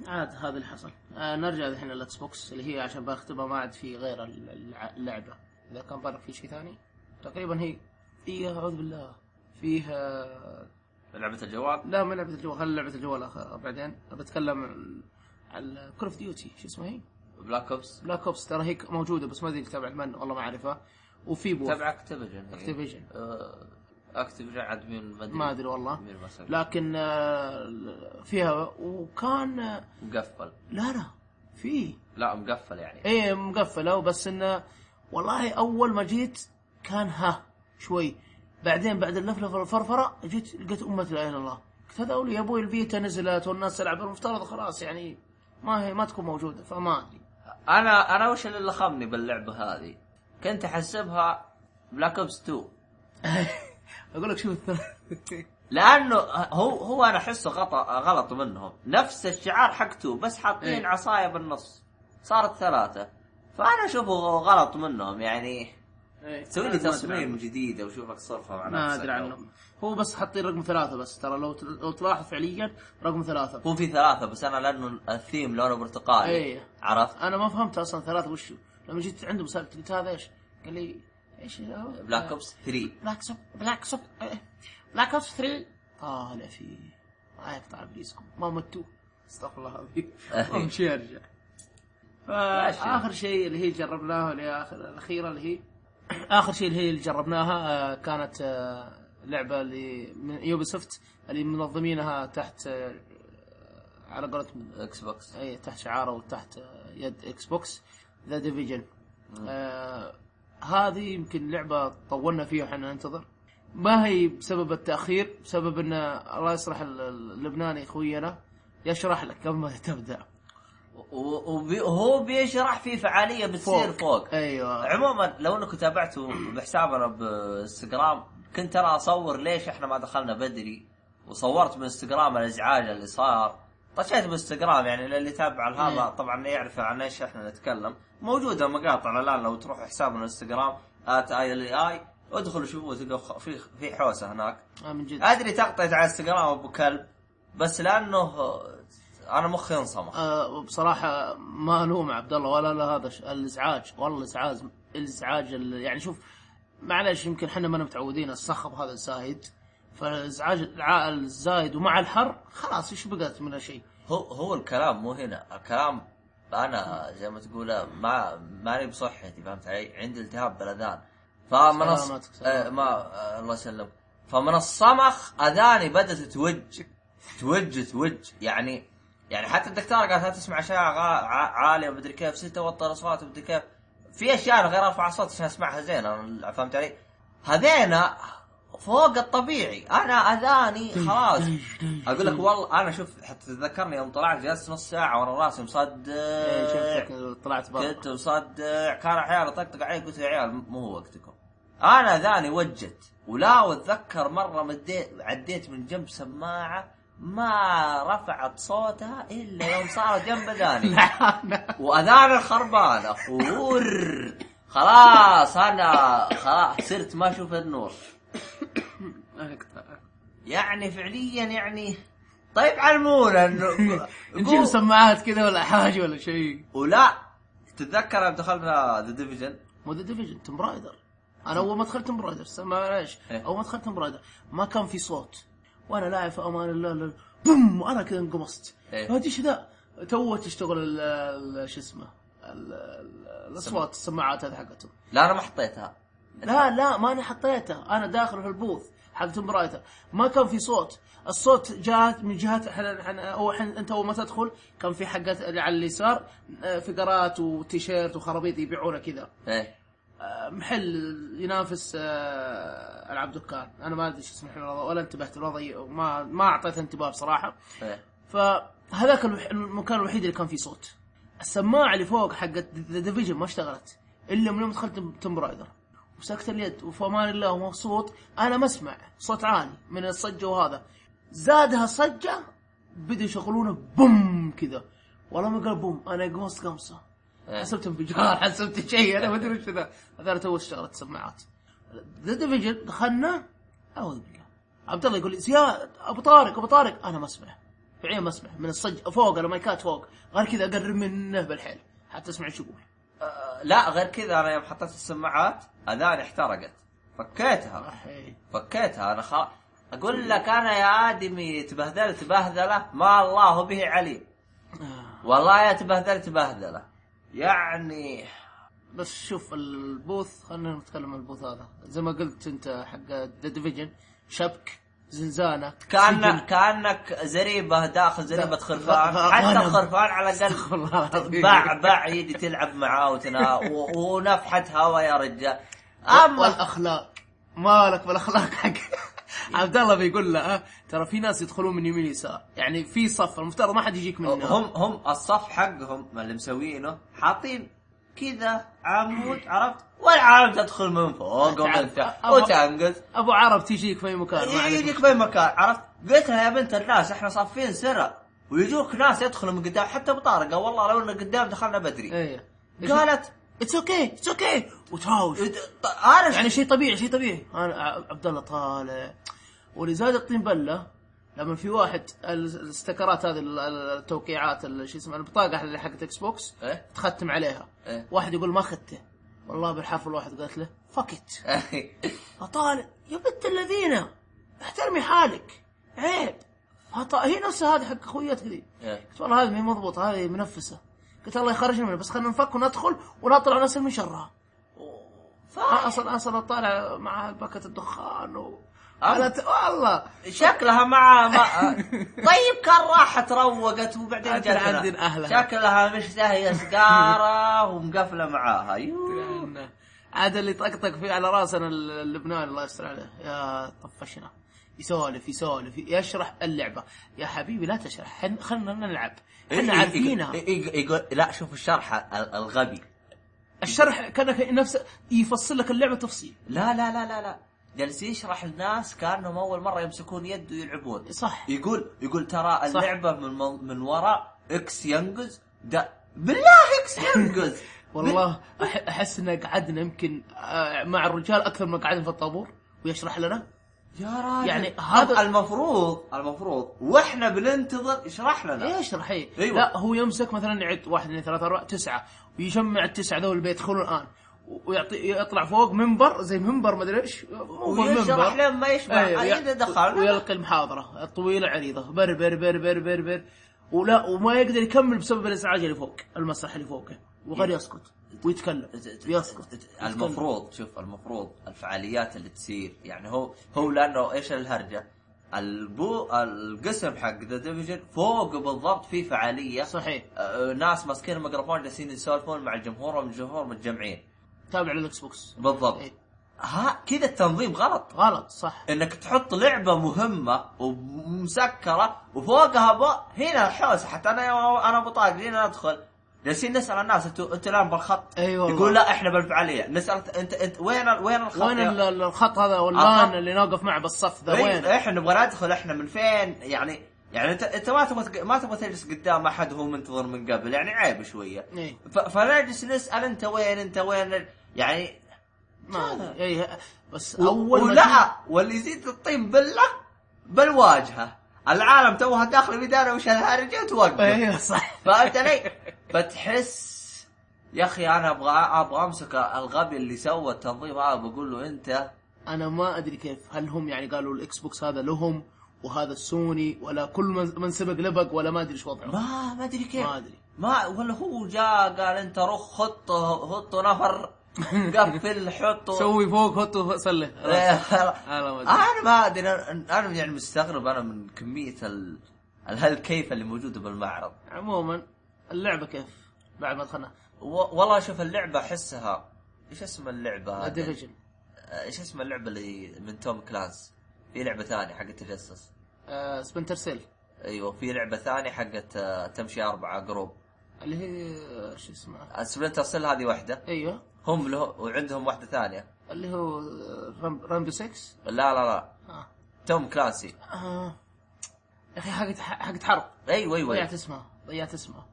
B: عاد هذا اللي حصل آه نرجع الحين للاكس بوكس اللي هي عشان بختمها ما عاد في غير الع- اللعبه اذا كان بالك في شيء ثاني تقريبا هي هي اعوذ بالله فيها
A: لعبه الجوال
B: لا ما لعبه الجوال خلي لعبه الجوال أخ- بعدين بتكلم عن- على كول اوف ديوتي شو اسمها هي؟
A: بلاك اوبس
B: بلاك اوبس ترى هي موجوده بس ما ادري تبع من والله ما اعرفها وفي بوث
A: تبع اكتيفيجن
B: اكتيفيجن
A: آه، اكتيفيجن عاد مين ما ادري
B: ما ادري والله
A: مين مسوي
B: لكن آه، فيها وكان آه،
A: مقفل
B: لا لا في
A: لا مقفل يعني
B: ايه مقفله وبس انه والله اول ما جيت كان ها شوي بعدين بعد اللفلفه والفرفره جيت لقيت امه لا اله الا الله قلت هذا أولي يا ابوي البيتا نزلت والناس تلعب المفترض خلاص يعني ما هي ما تكون موجوده فما [LAUGHS] ادري
A: انا انا وش اللي لخمني باللعبه هذه؟ كنت احسبها بلاك اوبس 2
B: اقول لك شوف الثلاث
A: لانه هو هو انا احسه غطا غلط منهم نفس الشعار حق 2 بس حاطين
B: إيه.
A: عصايه بالنص صارت ثلاثه فانا اشوفه غلط منهم يعني
B: إيه.
A: سوي لي تصميم جديد وشوفك صرفه مع
B: ما
A: نفسك
B: ادري
A: أو-
B: عنهم هو بس حاطين رقم ثلاثه بس ترى لو تل- لو تلاحظ فعليا رقم ثلاثه
A: هو في ثلاثه بس انا لانه الثيم لونه برتقالي
B: إيه.
A: عرفت؟
B: انا ما فهمت اصلا ثلاثه وشو لما جيت عنده سالت قلت هذا ايش؟ قال لي ايش هذا؟
A: بلاك اوبس 3
B: بلاك سوب بلاك سوب إيه. بلاك اوبس 3 طالع فيه ما يقطع ابليسكم ما متوا استغفر الله العظيم امشي ارجع
A: ماشي.
B: اخر شيء اللي هي جربناها اللي هي آخر الاخيره اللي هي [CLEARS THROAT] اخر شيء اللي هي اللي جربناها آه، كانت آه، لعبه اللي من يوبي سوفت اللي منظمينها تحت آه، على قولتهم
A: اكس بوكس
B: اي إيه، تحت شعاره وتحت آه، يد اكس بوكس ذا ديفيجن آه هذه يمكن لعبه طولنا فيها احنا ننتظر ما هي بسبب التاخير بسبب ان الله يصلح ال- ال- اللبناني خوينا يشرح لك قبل ما [LAUGHS] تبدا
A: و- وبي- وهو بيشرح في فعاليه بتصير فوق,
B: ايوه
A: عموما لو انكم تابعتوا بحسابنا بانستغرام كنت انا اصور ليش احنا ما دخلنا بدري وصورت من انستغرام الازعاج اللي صار طشيت بانستغرام يعني للي تابع هذا
B: إيه.
A: طبعا يعرف عن ايش احنا نتكلم موجوده مقاطع الان لو تروح حسابنا انستغرام ات اي ال اي ادخلوا شوفوا تلقوا خ- في في حوسه هناك
B: آه من جد
A: ادري تغطيت على انستغرام ابو كلب بس لانه انا مخي انصمخ
B: آه بصراحه ما الوم عبد الله ولا لا هذا ش- الازعاج والله ازعاج الازعاج ال- يعني شوف معلش يمكن احنا ما متعودين الصخب هذا الزايد فالازعاج الع- الزايد ومع الحر خلاص ايش بقت منه شيء
A: هو هو الكلام مو هنا الكلام انا زي ما تقول ما ماني بصحتي فهمت علي عندي التهاب بالاذان فمن
B: سلامتك، سلامتك.
A: آه ما آه الله يسلمك فمن الصمخ اذاني بدات توج توج توج يعني يعني حتى الدكتور قال لا تسمع اشياء غا- ع- عاليه مدري كيف ستة وطر اصوات مدري كيف في اشياء انا غير ارفع صوت عشان اسمعها زين انا فهمت علي؟ هذينا فوق الطبيعي انا اذاني خلاص اقول لك والله انا شوف حتى تذكرني يوم طلعت جلست نص ساعه ورا راسي
B: إيه،
A: مصدع
B: شفتك طلعت برا [LAUGHS]
A: كنت مصدع كان احيانا اطقطق علي قلت يا عيال مو هو وقتكم انا اذاني وجت ولا اتذكر مره مديت عديت من جنب سماعه ما رفعت صوتها الا يوم صارت جنب
B: [LAUGHS]
A: اذاني واذان الخربانه فور خلاص انا خلاص صرت ما اشوف النور
B: نقطع.
A: يعني فعليا يعني طيب علمونا انه
B: [LAUGHS] نجيب سماعات كذا ولا حاجه ولا شيء
A: ولا تتذكر لما دخلنا ذا ديفيجن
B: مو ذا ديفيجن توم رايدر انا اول ما دخلت توم رايدر سمع ليش
A: إيه.
B: اول ما دخلت توم رايدر ما كان في صوت وانا لاعب في امان الله لا- بوم انا كذا انقمصت
A: إيه.
B: هذه ايش ذا تو تشتغل ال- ال- شو اسمه ال- ال- الاصوات السماعات هذه حقتهم
A: لا انا ما حطيتها
B: لا لا ما انا حطيتها انا داخل في البوث حق توم رايدر ما كان في صوت الصوت جاءت من جهات احنا احنا اول حين انت اول ما تدخل كان في حقات اللي على اليسار آه، فقرات وتيشيرت وخرابيط يبيعونها كذا
A: ايه
B: آه، محل ينافس آه، العاب دكان انا ما ادري شو اسمه الحين والله، ولا انتبهت ولا ضي- ما ما اعطيت انتباه بصراحه
A: ايه
B: فهذاك الوح- المكان الوحيد اللي كان فيه صوت السماعه اللي فوق حقت ذا ديفيجن ما اشتغلت الا من يوم دخلت توم رايدر وسكت اليد وفي امان الله ومبسوط انا ما اسمع صوت عالي من الصجه وهذا زادها صجه بدوا يشغلونه بوم كذا والله ما قال بوم انا قمصت قمصه
A: إيه.
B: حسبت انفجار حسبت شيء انا ما ادري وش ذا هذا تو اشتغلت سماعات ذا ديفيجن دخلنا اعوذ بالله عبد الله يقول لي زياد ابو طارق ابو طارق انا ما اسمع فعليا ما اسمع من الصج فوق المايكات فوق غير كذا اقرب منه بالحيل حتى اسمع ايش يقول
A: آه، لا غير كذا انا يوم حطيت السماعات اذاني احترقت فكيتها
B: أحي.
A: فكيتها انا خلاص اقول لك انا يا ادمي تبهذلت بهذله ما الله به عليم
B: آه.
A: والله يا تبهذلت بهذله يعني
B: بس شوف البوث خلينا نتكلم عن البوث هذا زي ما قلت انت حق ذا ديفيجن شبك زنزانه
A: كان
B: سجن.
A: [LAUGHS] كانك زريبه داخل زريبه
B: لا،
A: خرفان
B: [LAUGHS] لا،
A: حتى
B: أنا-
A: الخرفان على
B: [LAUGHS]
A: الاقل
B: استغفر الله العظيم.
A: باع باع يدي تلعب معاه وتنا و- ونفحه هوا يا رجال اما
B: والاخلاق مالك بالاخلاق حق
A: [LAUGHS]
B: عبد الله بيقول له آه، ترى في ناس يدخلون من يمين يسار يعني في صف المفترض ما حد يجيك منه
A: هم هم الصف حقهم اللي مسوينه حاطين كذا عمود عرفت والعالم تدخل من فوق ومن تحت
B: أبغى-
A: وتنقز
B: ابو عرب تجيك في أي مكان ما عليك
A: يجيك بين مكان عرفت قلت لها يا بنت الناس احنا صافين سرة ويجوك ناس يدخلوا من قدام حتى بطارقه والله لو انه قدام دخلنا بدري
B: ايه
A: قالت "إيه،
B: اتس اوكي اتس اوكي وتهاوش
A: انا
B: يعني شيء طبيعي شيء طبيعي انا ع- عبد الله طالع ولزاد الطين بله لما في واحد ال- الاستكرات هذه ال- ال- التوقيعات ال- شو اسمها البطاقه اللي حقت اكس بوكس
A: إيه.
B: تختم عليها
A: إيه.
B: واحد يقول ما اخذته والله بالحرف الواحد قالت له فكت يعني-
A: [LAUGHS]
B: فطالع يا بنت الذين احترمي حالك عيب فطالع هي نفسها هذه حق اخويتك ذي
A: إيه.
B: قلت والله هذه مي مضبوطه هذه منفسه قلت الله يخرجنا منها بس خلينا نفك وندخل ونطلع نفسنا من شرها أنا اصلا اصلا طالع مع باكة الدخان و
A: أه؟
B: انا ت... والله
A: شكلها مع
B: [LAUGHS]
A: ما... طيب كان راحت روقت وبعدين
B: أنت
A: جت
B: عندن أهلها.
A: شكلها مشتهيه سيجاره ومقفله معاها يوه.
B: عاد اللي طقطق فيه على راسنا ال- اللبناني الله يستر عليه يا طفشنا يسولف يسولف يشرح اللعبه يا حبيبي لا تشرح حن- خلنا نلعب احنا
A: إيه،
B: عارفينها
A: إيه، إيه، إيه، يقول لا شوف الشرح ال- الغبي
B: الشرح كان نفسه يفصل لك اللعبه تفصيل
A: لا لا لا لا لا جالس يشرح الناس كانهم اول مره يمسكون يد ويلعبون
B: صح
A: يقول يقول ترى
B: صح.
A: اللعبه من مو- من وراء اكس ينقز ده بالله اكس ينقز
B: [LAUGHS] والله أح- احس ان قعدنا يمكن آه، مع الرجال اكثر ما قعدنا في الطابور ويشرح لنا
A: يا راجل
B: يعني
A: طب
B: هذا-
A: المفروض المفروض واحنا بننتظر يشرح لنا
B: ايش راح ايه
A: أيوة.
B: لا هو يمسك مثلا يعد واحد اثنين ثلاثة اربعة تسعة ويجمع التسعة ذول اللي بيدخلون الان و- ويعطي يطلع فوق منبر زي منبر مدري ايش مو
A: ويشرح لين ما يشبع
B: أيوة،
A: أيوة. اذا دخلنا
B: ويلقي المحاضرة طويلة عريضة بر بر بر بر بر بر ولا وما يقدر يكمل بسبب الازعاج اللي فوق المسرح اللي فوقه وغير
A: إيه.
B: يسكت ويتكلم يسكت
A: المفروض شوف المفروض الفعاليات اللي تصير يعني هو هو لانه ايش الهرجه؟ البو القسم حق ذا ديفيجن فوق بالضبط في فعاليه
B: صحيح
A: آه، ناس ماسكين الميكروفون جالسين يسولفون مع الجمهور والجمهور متجمعين
B: تابع للاكس بوكس
A: بالضبط
B: إيه.
A: ها كذا التنظيم غلط
B: غلط صح
A: انك تحط لعبه مهمه ومسكره وفوقها بو... هنا الحوسه حتى انا انا ابو طارق لين ادخل جالسين نسال الناس انتوا انتوا الان بالخط
B: أي والله.
A: يقول لا احنا بالفعاليه نسال انت انت وين ال- وين الخط
B: وين
A: يا-
B: ال- ال- الخط هذا
A: الخط.
B: واللان اللي نوقف معه بالصف ذا
A: إيه،
B: وين
A: احنا نبغى ندخل احنا من فين يعني يعني انت انت ما تبغى تق- ما تبغى تجلس قدام احد وهو منتظر من قبل يعني عيب شويه
B: إيه.
A: ف... فنجلس نسال انت وين انت وين يعني
B: ما ادري اي بس
A: و-
B: اول ما جي-
A: ولا واللي يزيد الطين بله بالواجهه العالم توها داخله بدارة وش الهرجه توقف
B: ايوه صح
A: فهمت علي؟ فتحس يا اخي انا ابغى ابغى امسك الغبي اللي سوى التنظيم هذا بقول له انت
B: انا ما ادري كيف هل هم يعني قالوا الاكس بوكس هذا لهم وهذا السوني ولا كل من من سبق لبق ولا ما ادري ايش وضعه
A: ما ما ادري كيف
B: ما أدري.
A: ما ولا هو جاء قال انت رخ حط حط نفر
B: [LAUGHS]
A: قفل حطه
B: سوي فوق حطه فوق، سله
A: إيه.
B: أنا ما أدري.
A: انا ما ادري انا أنا يعني مستغرب انا من كميه ال الهالكيفه اللي موجوده بالمعرض
B: عموما اللعبه كيف بعد ما دخلنا
A: و- والله شوف اللعبه احسها ايش اسم اللعبه هذه؟
B: ديفيجن
A: ايش اسم اللعبه اللي من توم كلانس في لعبه ثانيه حقت تجسس
B: سبنتر سيل
A: ايوه في لعبه ثانيه حقت آه، تمشي اربعه جروب
B: اللي هي آه، شو اسمها
A: سبلنتر سيل هذه واحده
B: ايوه
A: هم له وعندهم واحده ثانيه
B: اللي هو آه، رامبو 6
A: لا لا لا
B: آه.
A: توم كلانسي
B: آه. يا اخي حقت حقت حرب
A: ايوه ايوه
B: ضيعت اسمها ضيعت اسمها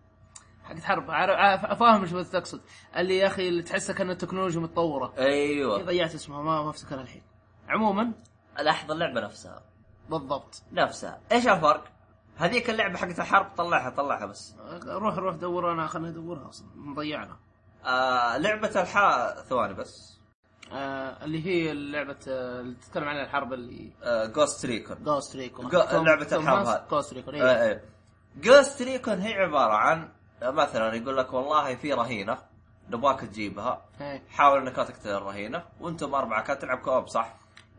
B: حقت حرب عار- عا- فاهم ايش بس تقصد اللي يا اخي اللي تحسها كانها تكنولوجيا متطوره هي
A: ايوه
B: ضيعت اسمها ما ما افتكرها الحين عموما
A: لاحظ اللعبه نفسها
B: بالضبط
A: نفسها ايش الفرق؟ هذيك اللعبه حقت الحرب طلعها طلعها بس
B: آه، روح روح دور انا خليني ادورها اصلا مضيعنا
A: آه لعبه الحا ثواني بس
B: آه اللي هي لعبه آه اللي تتكلم عن الحرب اللي
A: آه جوست ريكون
B: جوست ريكون
A: جو- لعبة الحرب هذه.
B: جوست ريكون
A: آه إيه. جوست ريكون هي عباره عن آه، مثلا يقول لك والله في رهينه نبغاك تجيبها
B: إيه.
A: حاول انك لا تقتل الرهينه وانتم اربعه كانت تلعب كوب صح؟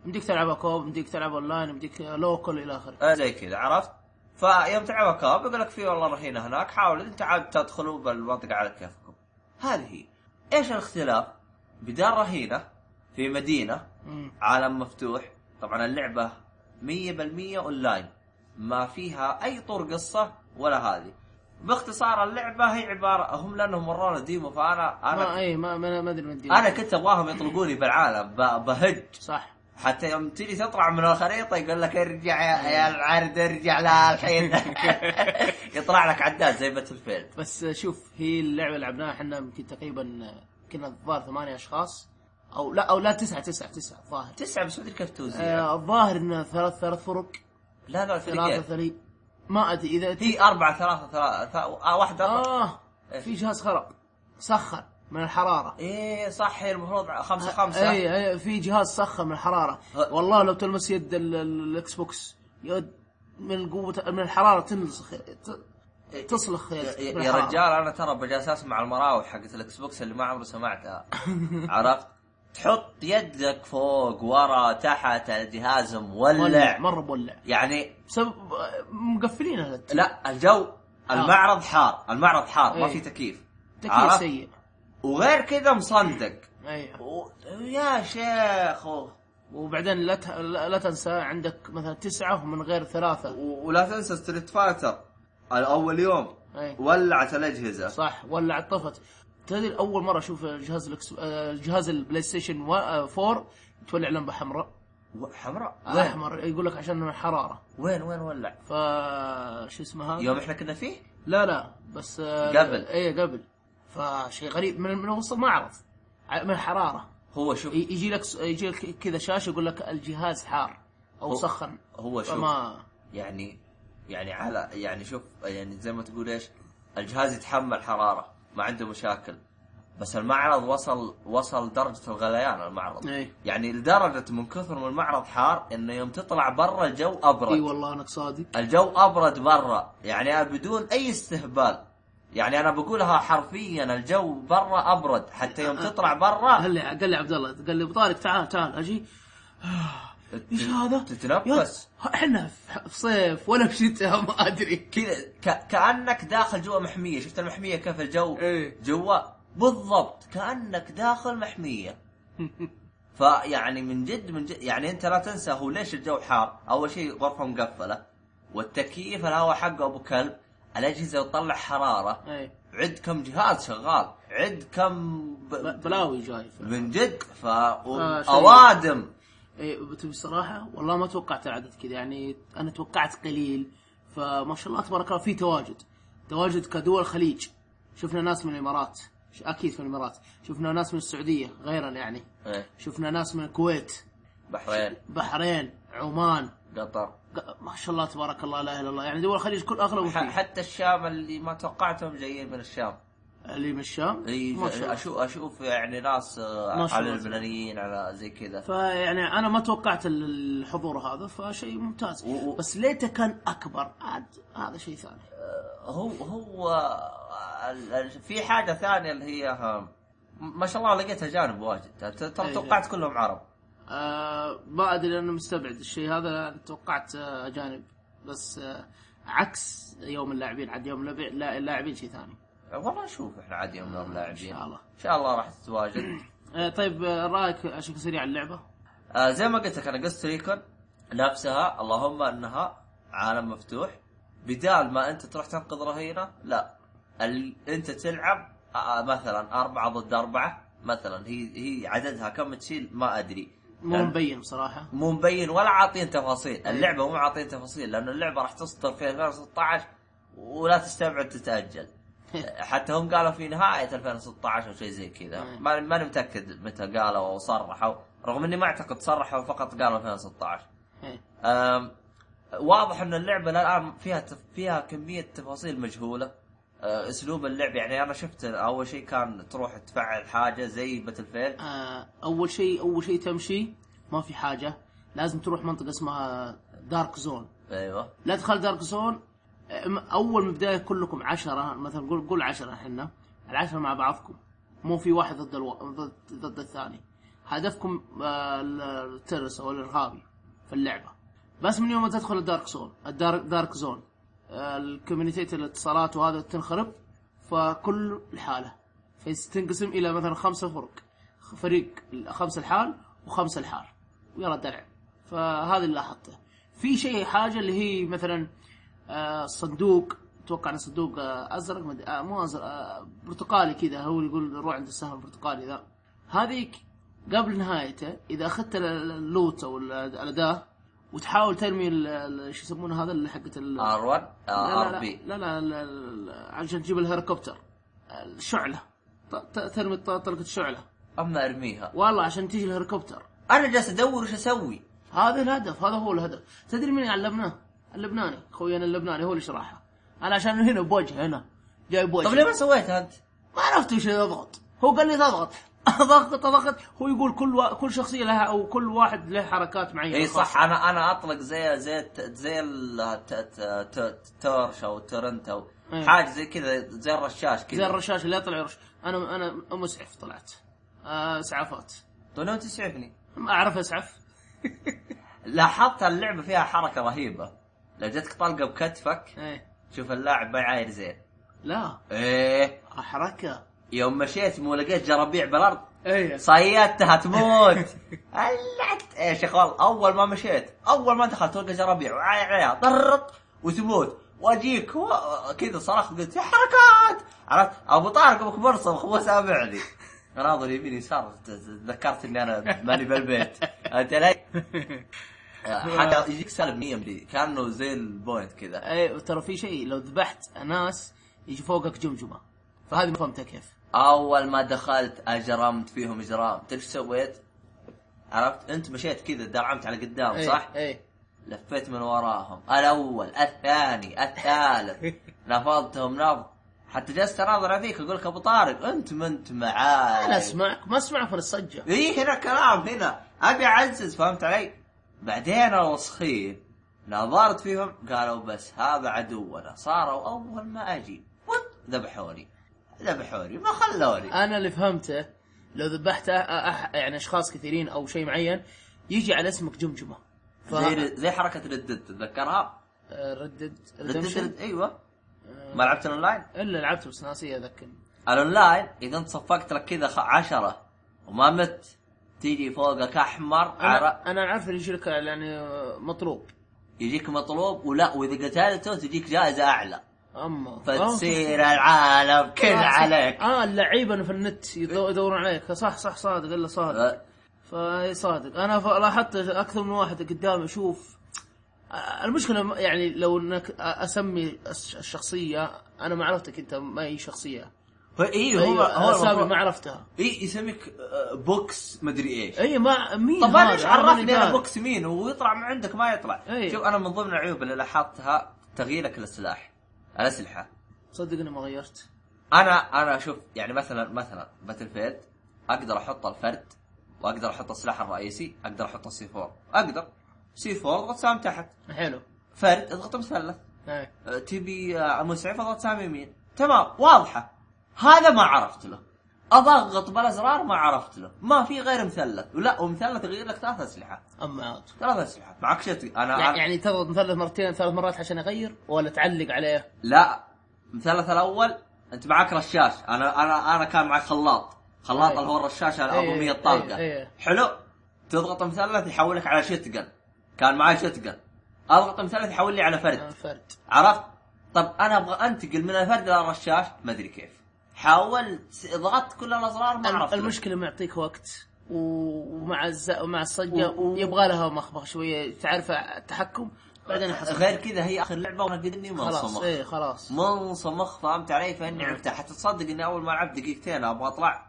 B: مديك تلعبها كوب مديك تلعب اونلاين مديك لوكل الى اخره
A: آه، زي كذا عرفت؟ فيوم تلعبها كاب يقول لك في والله رهينه هناك حاول انت عاد تدخلوا بالمنطقه على كيفكم. هذه هي. ايش الاختلاف؟ بدال رهينه في مدينه
B: مم.
A: عالم مفتوح، طبعا اللعبه 100% اونلاين ما فيها اي طور قصه ولا هذه. باختصار اللعبه هي عباره هم لانهم ورونا ديمو فانا
B: ما
A: انا
B: اي ما ما ما ادري من دي.
A: انا كنت ابغاهم يطلقوني بالعالم ب- بهج
B: صح
A: حتى يوم تجي تطلع من الخريطه يقول لك ارجع يا, يا العرض ارجع لا [LAUGHS] الحين يطلع لك عداد زي باتل فيلد
B: بس شوف هي اللعبه لعبناها احنا يمكن تقريبا كنا الظاهر ثمانية اشخاص او لا او لا تسعة تسعة تسعة الظاهر
A: تسعه بس ما ادري كيف توزيع
B: آه الظاهر انه ثلاث ثلاث فرق
A: لا لا
B: ثلاثة
A: فريقين
B: ثري ما ادري اذا
A: هي أربعة ثلاثة ثلاثة آه واحدة أربعة
B: اه في جهاز خرق سخن من الحراره
A: إيه صح هي المفروض خمسة خمسة
B: اي اي إيه، في جهاز سخن من الحراره
A: ه-
B: والله لو تلمس يد ال- ال- الاكس بوكس يد من قوه من الحراره تنلصخ ت- تصلخ
A: إيه. يا-
B: يدك من
A: يا
B: الحرارة.
A: رجال أنا ترى بجالس أسمع المراوح حقت الإكس بوكس اللي ما عمري [LAUGHS] سمعتها عرفت تحط يدك فوق ورا تحت الجهاز
B: مولع
A: مولع
B: مره مولع
A: يعني
B: بسبب مقفلين هذا الت-
A: لا الجو المعرض حار المعرض حار ما
B: إيه.
A: في تكييف
B: تكييف
A: عرفت؟
B: سيء
A: وغير كذا مصندق
B: ايوه
A: و... يا شيخ و...
B: وبعدين لا ت- لا لا تنسى عندك مثلا تسعه من غير ثلاثه
A: ولا تنسى ستريت فايتر اول يوم
B: أي.
A: ولعت الاجهزه
B: صح ولا طفت تدري اول مره اشوف جهاز الأكس... آه، جهاز البلاي ستيشن و- آه، 4 تولع لمبه حمراء
A: و- حمراء وين
B: احمر يقول لك عشان الحراره
A: وين وين ولع
B: ف شو اسمها
A: يوم احنا كنا فيه
B: لا لا بس
A: قبل.
B: اي قبل فشيء غريب من من وسط المعرض ع- من الحراره
A: هو شوف
B: ي- يجي لك س- يجي لك كذا شاشه يقول لك الجهاز حار او
A: هو-
B: سخن
A: هو شوف
B: فما
A: يعني يعني على يعني شوف يعني زي ما تقول ايش الجهاز يتحمل حراره ما عنده مشاكل بس المعرض وصل وصل درجه الغليان المعرض
B: اي
A: يعني لدرجه من كثر ما المعرض حار انه يوم تطلع برا الجو ابرد
B: اي والله انك صادق
A: الجو ابرد برا يعني أنا بدون اي استهبال يعني انا بقولها حرفيا الجو برا ابرد حتى يوم
B: أه،
A: تطلع برا
B: قال لي قال لي عبد الله قال لي ابو طارق تعال تعال اجي ايش هذا؟
A: تتنفس
B: يا- احنا في في صيف ولا في شتاء ما ادري
A: كذا ك- كانك داخل جوا محميه شفت المحميه كيف الجو
B: إيه.
A: جوا بالضبط كانك داخل
B: [LAUGHS]
A: محميه فيعني من جد من جد يعني انت لا تنسى هو ليش الجو حار اول شيء غرفه مقفله والتكييف الهواء حقه ابو كلب الاجهزه تطلع حراره
B: اي
A: عد كم جهاز شغال عد كم
B: ب-
A: ب...
B: بلاوي جاي
A: من جد ف
B: آه، شيء.
A: اوادم
B: إيه، بتبي الصراحة والله ما توقعت العدد كذا يعني أنا توقعت قليل فما شاء الله تبارك الله في تواجد تواجد كدول الخليج شفنا ناس من الإمارات ش- اكيد في الامارات شفنا ناس من السعوديه غيرا يعني
A: إيه.
B: شفنا ناس من الكويت
A: بحرين
B: بحرين عمان
A: قطر
B: ق- ما شاء الله تبارك الله لا اله الا الله يعني دول الخليج كل اغلب
A: ح- حتى الشام اللي ما توقعتهم جايين من الشام
B: اللي من الشام
A: إي،
B: ما شاء الله
A: اشوف اشوف يعني ناس آه،
B: ما شاء
A: على
B: الله.
A: اللبنانيين على زي كذا
B: فيعني انا ما توقعت ال- الحضور هذا فشيء ممتاز
A: و- و-
B: بس ليته كان اكبر عاد هذا شيء ثاني
A: هو هو آه، ال- ال- في حاجه ثانيه اللي هي آه، ما شاء الله لقيت اجانب واجد ت- ت-
B: إيه.
A: توقعت كلهم عرب
B: آه ما ادري انا مستبعد الشيء هذا أنا توقعت آه، اجانب بس آه عكس يوم اللاعبين عاد يوم اللعب- لا- اللاعبين شيء ثاني
A: والله نشوف احنا عادي يوم يوم لاعبين
B: إن شاء الله.
A: ان شاء الله راح تتواجد
B: آه طيب آه، رايك عشان سريع عن اللعبه
A: آه زي ما قلت لك انا قصه ريكون نفسها اللهم انها عالم مفتوح بدال ما انت تروح تنقذ رهينه لا ال... انت تلعب آه مثلا أربعة ضد أربعة مثلا هي هي عددها كم تشيل ما أدري
B: مو
A: نعم.
B: مبين إيه. بصراحه
A: مو مبين ولا عاطين تفاصيل اللعبة مو عاطين تفاصيل لأن اللعبة راح تصدر في 2016 ولا تستبعد تتأجل حتى هم قالوا في نهاية 2016 أو شيء زي كذا
B: أي.
A: ما ماني متأكد متى قالوا أو صرحوا رغم إني ما أعتقد صرحوا فقط قالوا 2016
B: إيه.
A: أم، واضح ان اللعبه الان فيها تف... فيها كميه تفاصيل مجهوله أه، اسلوب اللعب يعني انا شفت اول شيء كان تروح تفعل حاجه زي باتل فيل
B: [LAUGHS] آه اول شيء اول شيء تمشي ما في حاجه لازم تروح منطقه اسمها دارك زون
A: ايوه
B: لا تدخل دارك زون أم- اول من بدايه كلكم عشرة مثلا قول قول عشرة احنا العشرة مع بعضكم مو في واحد ضد الو... ضد ضد الثاني هدفكم آه، ال- الترس او الارهابي في اللعبه بس من يوم ما تدخل الدارك زون الدارك دارك زون آه، الكوميونيتيات الاتصالات وهذا تنخرب فكل الحاله فتنقسم الى مثلا خمسه فرق فريق خمسه الحال وخمسه الحال ويلا دلع فهذا اللي لاحظته في شيء حاجه اللي هي مثلا آه، صندوق اتوقع انه صندوق آه، ازرق مد... آه، مو ازرق آه، برتقالي كذا هو يقول روح عند السهم البرتقالي ذا هذيك قبل نهايته اذا اخذت ال- ال- اللوت او ال- الاداه وتحاول ترمي ال- ال- شو يسمونه هذا اللي حقت ال-
A: ار 1
B: لا
A: ار
B: لا
A: بي
B: لا, لا, لا, لا عشان تجيب الهليكوبتر الشعله ط- ط- ترمي ط- طلقه شعله
A: اما ارميها
B: والله عشان تيجي الهليكوبتر
A: انا جالس ادور وش اسوي
B: هذا الهدف هذا هو الهدف تدري مين علمناه اللبناني خوينا اللبناني هو اللي شرحها انا عشان هنا بوجه هنا جاي بوجه
A: طب طيب، ليه ما سويتها انت؟
B: ما عرفت ايش اضغط هو قال لي تضغط [LAUGHS] ضغط ضغط هو يقول كل و... كل شخصيه لها او كل واحد له حركات معينه
A: اي
B: خاصة.
A: صح انا انا اطلق زي زي الت- زي ال- ت- ت- ت- تورش او تورنت او
B: إيه.
A: حاجه زي كذا زي الرشاش
B: زي
A: كذا
B: الرشاش اللي يطلع يرش انا انا مسعف إيه طلعت آه اسعافات
A: طول ما تسعفني
B: ما اعرف اسعف [LAUGHS]
A: لاحظت اللعبه فيها حركه رهيبه لو جتك طلقه بكتفك
B: ايه
A: شوف اللاعب ما يعاير زين
B: لا
A: ايه
B: حركه
A: يوم مشيت مو لقيت جرابيع بالارض
B: ايه
A: صيدتها تموت هلعت ايش يا شغال اول ما مشيت اول ما دخلت تلقى جرابيع وعاير عليها طرط وتموت واجيك و- كذا صرخت قلت يا حركات عرفت ابو طارق ابوك مرصم مو سامعني ناظر يمين يسار ت- تذكرت اني انا ماني بالبيت انت لي حتى يجيك سالب 100 ملي كانه زي البوينت كذا
B: ايه ترى في شيء لو ذبحت ناس يجي فوقك جمجمه فهذه ما فهمتها كيف
A: اول ما دخلت اجرمت فيهم اجرام تدري ايش سويت؟ عرفت انت مشيت كذا درعمت على قدام صح؟
B: ايه
A: لفيت من وراهم الاول الثاني الثالث نفضتهم نفض حتى جلست اناظر فيك اقول لك ابو طارق انت ما انت معاي
B: انا اسمعك ما اسمعك من الصجه
A: اي هنا كلام هنا ابي اعزز فهمت علي؟ بعدين الوسخين نظرت فيهم قالوا بس هذا عدونا صاروا اول ما اجي وط، ذبحوني ذبحوني ما خلوني
B: انا اللي فهمته لو ذبحت أح- أح... يعني اشخاص كثيرين او شيء معين يجي على اسمك جمجمه ف آه،
A: زي زي حركه ردد تتذكرها؟
B: ردد
A: ردد
B: ريدمشن
A: رد- ايوه ما لعبت الاونلاين؟
B: الا لعبته بس ناسي اذكر
A: الاونلاين اذا انت صفقت لك كذا خ- عشرة وما مت تيجي فوقك احمر عرق
B: انا انا عارف اللي يجيك يعني مطلوب
A: يجيك مطلوب ولا واذا قتلته تجيك جائزه اعلى
B: اما
A: فتصير العالم كل
B: آه، صح.
A: طيب، عليك
B: اه اللعيبه اللي في النت يدو- يدورون عليك صح صح صادق الا صادق
A: أه،
B: فاي صادق انا ف- لاحظت اكثر من واحد قدامي اشوف آه، المشكله م- يعني لو انك أ- اسمي الش- الشخصيه انا ما عرفتك انت ما هي شخصيه
A: ايوه هو
B: ايوه
A: هو
B: اسامي
A: المفروض-
B: ما عرفتها
A: اي يسميك آه، بوكس مدري ايش
B: اي ما مين
A: طب
B: إيه، هذا؟
A: انا ايش عرفني
B: هذا.
A: انا بوكس مين ويطلع من عندك ما يطلع
B: إيه.
A: شوف انا من ضمن العيوب اللي لاحظتها تغييرك للسلاح الاسلحه
B: صدق اني ما غيرت
A: انا انا اشوف يعني مثلا مثلا باتل فيلد اقدر احط الفرد واقدر احط السلاح الرئيسي اقدر احط السي 4 اقدر سي 4 اضغط سهم تحت
B: حلو إيه،
A: فرد اضغط مثلث
B: اي
A: أه، تبي آه، مسعف اضغط سهم يمين تمام واضحه هذا ما عرفت له اضغط بالازرار ما عرفت له ما في غير مثلث ولا ومثلث يغير لك ثلاث اسلحه
B: اما عاد
A: ثلاث اسلحه معك شتي انا
B: يعني- يعني تضغط مثلث مرتين ثلاث مرات عشان اغير ولا تعلق عليه
A: لا المثلث الاول انت معك رشاش انا انا انا كان معك خلاط خلاط
B: أي.
A: اللي هو الرشاش
B: أي،
A: الابوميه الطلقه
B: أي، أي.
A: حلو تضغط مثلث يحولك على شتقن كان معي شتقن اضغط مثلث يحول لي على فرد
B: آه، فرد
A: عرفت طب انا ابغى انتقل من الفرد الى الرشاش ما ادري كيف حاولت ضغطت كل الازرار ما عرفت
B: المشكله ما يعطيك وقت و- ومع الز... ومع الصجه
A: و- و-
B: يبغى لها مخبخ شويه تعرف التحكم بعدين احس
A: غير كذا هي اخر لعبه وانا قد اني
B: خلاص إيه. نعم.
A: منصمخ
B: اي خلاص
A: منصمخ فهمت علي فاني عرفتها حتى تصدق اني اول ما لعبت دقيقتين ابغى
B: [LAUGHS]
A: اطلع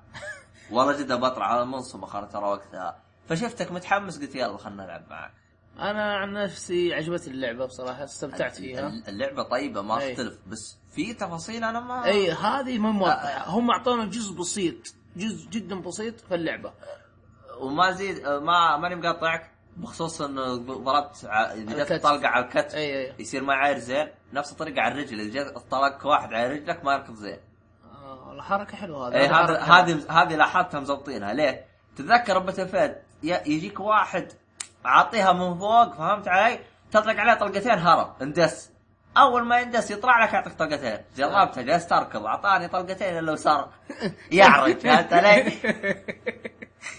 A: والله جد ابغى اطلع انا منصمخ انا ترى وقتها فشفتك متحمس قلت يلا خلنا نلعب معك
B: انا عن نفسي عجبتني اللعبه بصراحه استمتعت فيها
A: اللعبه طيبه ما
B: أي.
A: اختلف بس في تفاصيل انا ما
B: اي إيه، هذه ما
A: آه.
B: موضحه هم اعطونا جزء بسيط جزء جدا بسيط في اللعبه
A: وما زيد ما ماني مقاطعك بخصوص انه ضربت ع- اذا جت
B: الكتف.
A: طلقه على الكتف
B: أي، أي.
A: يصير ما عاير زين نفس الطريقه على الرجل اذا جت طلقك واحد على رجلك ما يركض زين
B: آه، والله حركه حلوه هذه
A: اي إيه، هذا
B: حركة حلوة.
A: هذه هذه لاحظتها مزبطينها ليه؟ تتذكر باتل فيلد ي- يجيك واحد عاطيها من فوق فهمت علي؟ تطلق عليه طلقتين هرب اندس اول ما يندس يطلع لك يعطيك طلقتين جربتها جلست اركض اعطاني طلقتين الا وصار يعرج فهمت علي؟
B: [LAUGHS]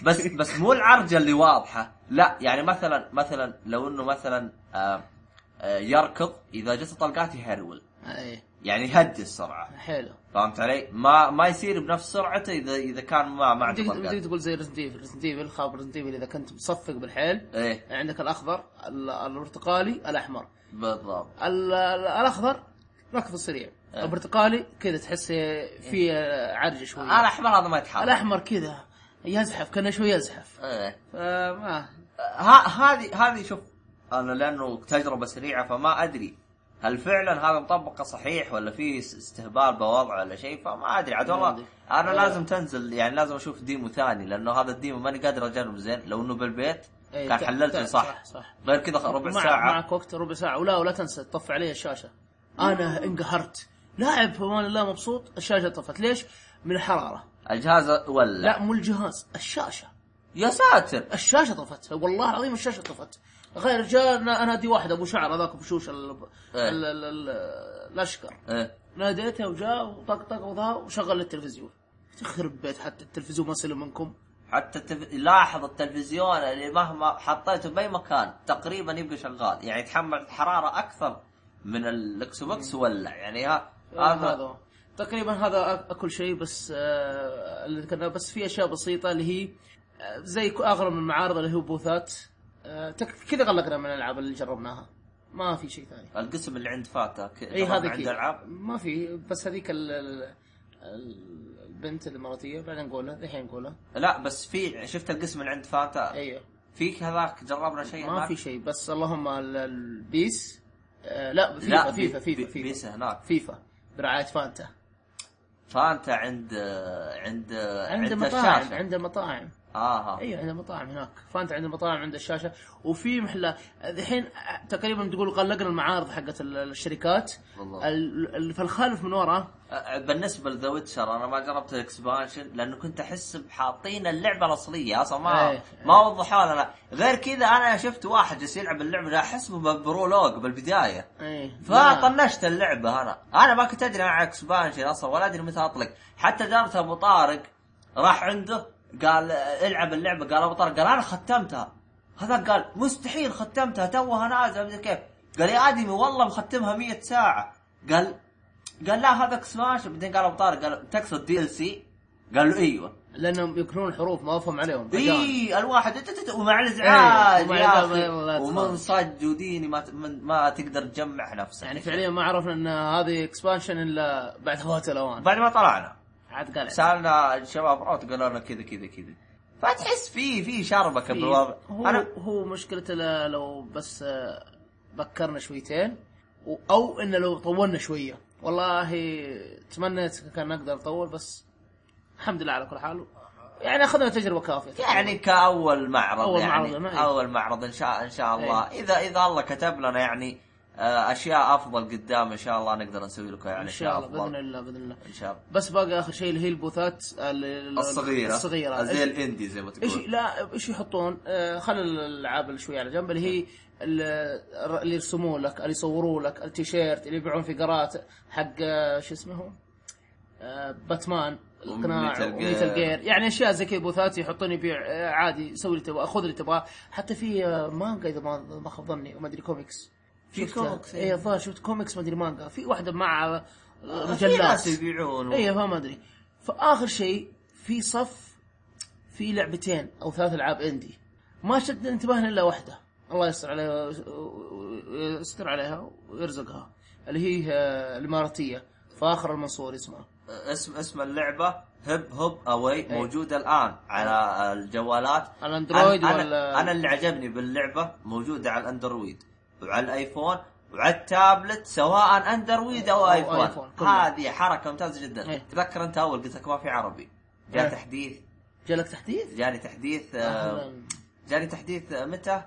A: بس بس مو العرجه اللي واضحه لا يعني مثلا مثلا لو انه مثلا آه آه يركض اذا جت طلقات يهرول
B: اي
A: يعني يهدي السرعه
B: إيه، حلو
A: فهمت علي؟ ما ما يصير بنفس سرعته اذا اذا كان ما ما عنده
B: بديك بديك
A: طلقات.
B: تقول زي ريزنت ايفل ريزنت ايفل خاب ريزنت ايفل اذا كنت مصفق بالحيل
A: ايه
B: عندك الاخضر ال- البرتقالي الاحمر
A: بالضبط
B: ال- ال- الاخضر ركض سريع
A: إيه.
B: البرتقالي كذا تحس في عرج شوي
A: انا احمر هذا ما يتحرك
B: الاحمر كذا يزحف كانه شوي يزحف
A: ايه
B: فما
A: ها- هذه هذه شوف انا لانه تجربه سريعه فما ادري هل فعلا هذا مطبقه صحيح ولا في س- استهبال بوضعه ولا شيء فما ادري عاد
B: ما
A: والله
B: أدري.
A: انا
B: إيه.
A: لازم تنزل يعني لازم اشوف ديمو ثاني لانه هذا الديمو ماني قادر اجربه زين لو انه بالبيت
B: إيه،
A: كان
B: ت-
A: حللته
B: ت-
A: صح
B: صح صح
A: غير كذا ربع
B: مع-
A: ساعه
B: معك وقت ربع ساعه ولا ولا تنسى تطفي علي الشاشه انا انقهرت لاعب في امان الله مبسوط الشاشه طفت ليش؟ من الحراره
A: الجهاز ولا
B: لا مو الجهاز الشاشه
A: يا ساتر
B: الشاشه طفت والله العظيم الشاشه طفت غير جاء نا- نادي واحد ابو شعر هذاك بشوش ال...
A: إيه.
B: ال... ال... ال... الاشقر
A: ايه
B: ناديته وجاء وطقطق وظهر وشغل التلفزيون تخرب بيت حتى التلفزيون ما سلم منكم
A: حتى التف... لاحظ التلفزيون اللي مهما حطيته باي مكان تقريبا يبقى شغال يعني يتحمل الحراره اكثر من الاكس بوكس ولا يعني ها
B: إيه، هذا
A: هذا
B: هو. تقريبا هذا أك- كل شيء بس آه، اللي ذكرناه بس في اشياء بسيطه اللي هي آه، زي ك- اغلب المعارض اللي هو بوثات آه، تك- كذا غلقنا من الالعاب اللي جربناها ما في شيء ثاني
A: القسم اللي عند فاتا ك-
B: اي
A: طبعاً
B: هذه
A: عند
B: إيه، كذا.
A: العاب
B: ما في بس هذيك ال- ال- ال- البنت الاماراتيه بعدين نقولها الحين نقولها
A: لا بس في شفت القسم اللي عند فاتا
B: ايوه
A: في كذاك جربنا شيء
B: ما
A: هناك؟
B: في شيء بس اللهم ال- البيس آه، لا فيفا
A: لا فيفا
B: فيفا فيفا فيفا
A: بيس هناك
B: فيفا برعايه فانتا
A: فانتا عند عند
B: عند مطاعم
A: الشاشه
B: عند مطاعم
A: اه
B: ايوه عند مطاعم هناك فانت عند مطاعم عند الشاشه وفي محلى الحين تقريبا تقول غلقنا المعارض حقت ال- الشركات
A: بالضبط.
B: ال- ال- فالخالف من وراه
A: بالنسبه أه، لذا ويتشر انا ما جربت الاكسبانشن لانه كنت احس بحاطين اللعبه الاصليه اصلا ما
B: إيه،
A: ما وضحوها لنا غير كذا انا شفت واحد جالس يلعب اللعبه لا احس برولوج بالبدايه
B: ايه لا.
A: فطنشت اللعبه انا انا ما كنت ادري عن اكسبانشن اصلا ولا ادري متى اطلق حتى جربت ابو طارق راح عنده قال آه، العب اللعبه قال ابو طارق قال انا ختمتها هذا قال مستحيل ختمتها توها نازله مدري كيف قال يا ادمي والله مختمها 100 ساعه قال قال لا هذا اكسبانشن بعدين قال ابو طارق قال تقصد دي ال سي قال له ايوه
B: لانهم يكرون الحروف ما افهم عليهم عجان.
A: اي الواحد تت- تت- ومع الازعاج
B: إيه، ومع
A: يا
B: الإزعاج،
A: اخي
B: الله يطول.
A: ومنصج وديني ما ت- من- ما تقدر تجمع نفسك
B: يعني فعليا ما عرفنا ان هذه اكسبانشن الا بعد فوات الاوان
A: بعد ما طلعنا
B: عاد قال
A: سالنا الشباب روت قالوا لنا كذا كذا كذا فتحس في في شربكه
B: في-
A: بالوضع
B: هو أنا... هو مشكلته ل- لو بس آه، بكرنا شويتين و- او انه لو طولنا شويه والله تمنيت كان نقدر نطول بس الحمد لله على كل حال يعني اخذنا تجربه كافيه
A: يعني كاول معرض
B: أول معرض، نعم. إيه.
A: يعني
B: ما-
A: اول معرض ان شاء ان شاء الله اذا اذا الله كتب لنا يعني آه، اشياء افضل قدام ان شاء الله نقدر نسوي لكم يعني
B: ان شاء الله
A: أشياء أفضل.
B: باذن الله باذن الله
A: ان شاء الله
B: بس باقي اخر شيء اللي هي البوثات ال- ال-
A: الصغيره
B: الصغيره
A: زي
B: إيش-
A: الاندي زي ما
B: ايش
A: تقول
B: لا ايش يحطون؟ آه خلي الالعاب اللي شوي على جنب اللي هي ال- اللي يرسموا لك اللي يصوروا لك التيشيرت اللي يبيعون فقرات حق آه، شو اسمه هو؟ آه باتمان القناع
A: وميتال
B: وميتال
A: جير.
B: جير يعني اشياء زي كذا بوثات يحطون يبيع آه، عادي سوي اللي تبغاه خذ اللي تبغاه حتى في آه، مانجا اذا ما ما خاب ظني وما ادري كوميكس
A: في
B: شفتها.
A: كوميكس، إيه.
B: اي الظاهر شفت كوميكس ما ادري مانجا في واحده مع آه،
A: في
B: مجلات
A: ناس يبيعون
B: ايوه فما ادري فاخر شيء في صف في لعبتين او ثلاث العاب اندي ما شد انتباهنا الا واحده الله يستر عليها ويستر عليها ويرزقها اللي هي آه، الاماراتيه فاخر المنصور اسمها
A: اسم اسم اللعبه هب هب اواي
B: إيه.
A: موجوده الان على الجوالات
B: على الاندرويد
A: أنا-
B: ولا-
A: أنا, انا اللي عجبني باللعبه موجوده على الاندرويد وعلى الايفون وعلى التابلت سواء اندرويد او
B: أو
A: ايفون,
B: آيفون، كله.
A: هذه حركه ممتازه جدا
B: إيه.
A: تذكر انت اول قلت لك ما في عربي جاء
B: إيه.
A: تحديث
B: جالك تحديث؟
A: جاني تحديث آه
B: أهلاً.
A: جاني تحديث آه، متى؟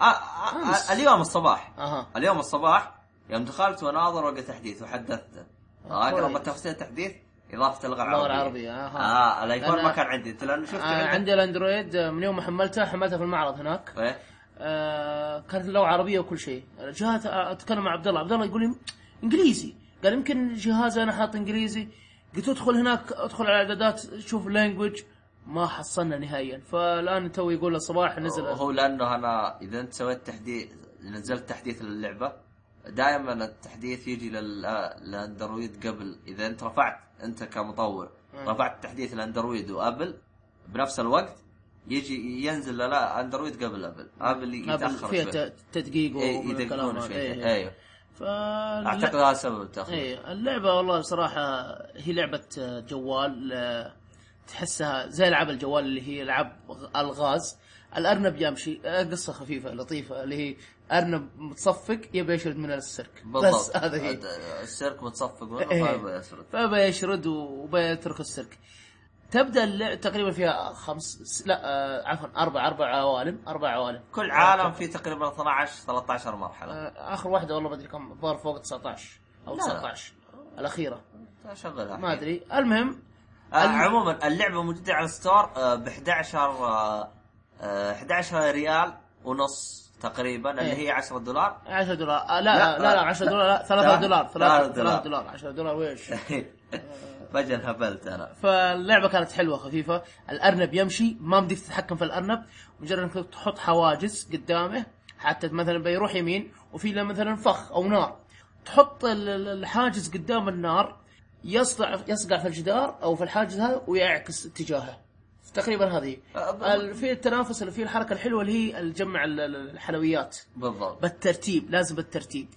A: آه آه
B: أمس.
A: آه اليوم الصباح
B: اها
A: اليوم الصباح يوم دخلت واناظر وقت تحديث وحدثته
B: آه،
A: اقرب
B: كويس.
A: التفاصيل تحديث اضافه اللغه
B: اللغة
A: العربيه
B: العربية، آها.
A: اه الايفون
B: أنا-
A: ما كان عندي لانه شفت
B: آه،
A: عندك
B: عندي الاندرويد آه، من يوم ما حملتها حملتها في المعرض هناك
A: إيه؟
B: آه، كانت اللغه عربيه وكل شيء جهات اتكلم مع عبد الله عبد الله يقول لي انجليزي قال يمكن جهازي انا حاط انجليزي قلت له ادخل هناك ادخل على الاعدادات شوف لانجوج ما حصلنا نهائيا فالان تو يقول الصباح نزل
A: هو لانه انا اذا انت سويت تحديث نزلت تحديث للعبه دائما التحديث يجي لل- للاندرويد قبل اذا انت رفعت انت كمطور
B: مم.
A: رفعت تحديث الاندرويد وابل بنفس الوقت يجي ينزل لا اندرويد قبل ابل ابل يتاخر
B: فيها
A: شوي
B: ت- تدقيق
A: إيه،
B: ومن الكلام
A: يدققون
B: هذا.
A: شوي
B: إيه.
A: ايوه
B: فال-
A: اعتقد هذا سبب التاخير
B: ايه اللعبة والله بصراحة هي لعبة جوال آه، تحسها زي العاب الجوال اللي هي العاب الغاز الارنب يمشي آه، قصة خفيفة لطيفة اللي هي ارنب متصفق يبي يشرد من السيرك بس هذا هي
A: السيرك متصفق منه
B: إيه.
A: طيب يسرد
B: فبي يشرد وبيترك السيرك تبدا اللعبة تقريبا فيها خمس لا آه، عفوا اربع اربع عوالم اربع عوالم
A: كل عالم فيه تقريبا 12 13 مرحله
B: آه، اخر واحدة والله ما ادري كم الظاهر فوق 19 او
A: لا.
B: 19 الاخيرة
A: شغلها
B: آه. ما ادري المهم
A: آه، عموما اللعبه موجوده على الستور ب 11 آه، آه، 11 ريال ونص تقريبا اللي
B: إيه.
A: هي 10 دولار [LAUGHS]
B: 10 دولار آه، لا لا لا 10 دولار لا 3
A: ثلاثة
B: دولار
A: دولار.
B: 3 دولار دولار 10 دولار ويش
A: فجاه انهبلت انا
B: فاللعبه كانت حلوه خفيفه الارنب يمشي ما مديك تتحكم في الارنب مجرد انك تحط حواجز قدامه حتى مثلا بيروح يمين وفي له مثلا فخ او نار تحط ال- ال- الحاجز قدام النار يصقع يصقع في الجدار او في الحاجز هذا ويعكس اتجاهه تقريبا هذه ال- في التنافس اللي في الحركه الحلوه اللي هي اللي تجمع ال- ال- الحلويات
A: بالضبط
B: بالترتيب لازم بالترتيب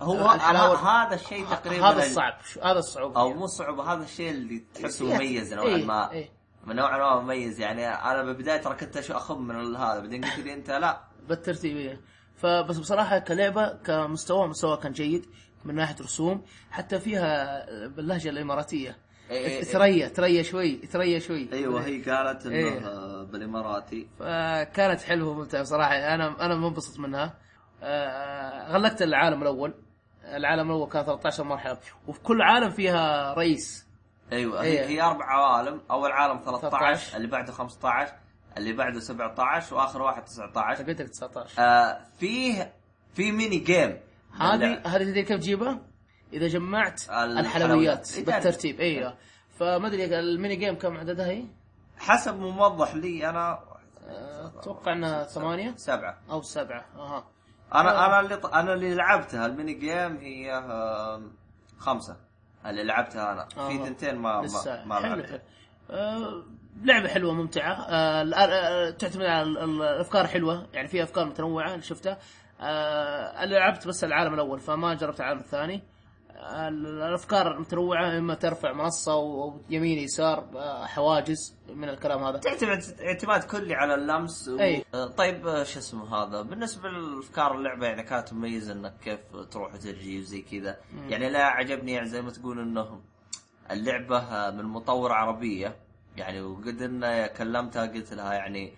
A: هو
B: الحلاوة-
A: ه- هذا الشيء تقريبا
B: هذا الصعب شو- هذا الصعوبه
A: او مو صعوبه هذا الشيء اللي تحسه
B: فيها-
A: مميز نوعا
B: إيه،
A: ما
B: إيه.
A: من نوعا ما مميز يعني انا بالبدايه ترى كنت أش- اخم من ال- هذا بعدين قلت لي انت لا
B: بالترتيب إيه. فبس بصراحه كلعبه كمستوى مستوى كان جيد من ناحيه رسوم حتى فيها باللهجه الاماراتيه
A: إيه، إيه، إيه.
B: تريا تريا شوي تريا شوي
A: ايوه هي قالت انه
B: إيه.
A: آه، بالاماراتي
B: فكانت حلوه وممتعه بصراحه انا انا منبسط منها آه، غلقت العالم الاول العالم الاول كان 13 مرحله وفي كل عالم فيها رئيس
A: ايوه
B: إيه.
A: هي, هي اربع عوالم اول عالم 13,
B: 13.
A: اللي بعده 15 اللي بعده 17 واخر واحد 19
B: قلت لك 19
A: آه فيه في ميني جيم
B: هذه
A: لا،
B: هذه تدري كيف تجيبها؟ اذا جمعت
A: الحلويات.
B: الحلويات
A: إيه،
B: بالترتيب ايوه فما ادري الميني جيم كم عددها هي؟
A: حسب موضح لي انا
B: اتوقع انها ثمانية
A: سبعه
B: او سبعة اها آه.
A: انا انا اللي ط- انا اللي لعبتها الميني جيم هي آم، خمسه اللي لعبتها انا
B: آه.
A: في ثنتين ما ما,
B: لسه
A: ما
B: حلو
A: لعبتها
B: حلو آه، لعبة حلوة ممتعة آه، الآ- آه، تعتمد على ال- ال- الافكار حلوة يعني فيها افكار متنوعة اللي شفتها آه، انا لعبت بس العالم الاول فما جربت العالم الثاني آه، ال- الافكار متنوعه اما ترفع منصه ويمين يسار آه، حواجز من الكلام هذا
A: تعتمد اعتماد كلي على اللمس و...
B: أي.
A: آه، طيب آه، شو اسمه هذا بالنسبه لافكار اللعبه يعني كانت مميزه انك كيف تروح وتجي وزي كذا يعني لا عجبني يعني زي ما تقول انه اللعبه آه، من مطور عربيه يعني وقد ان كلمتها قلت لها يعني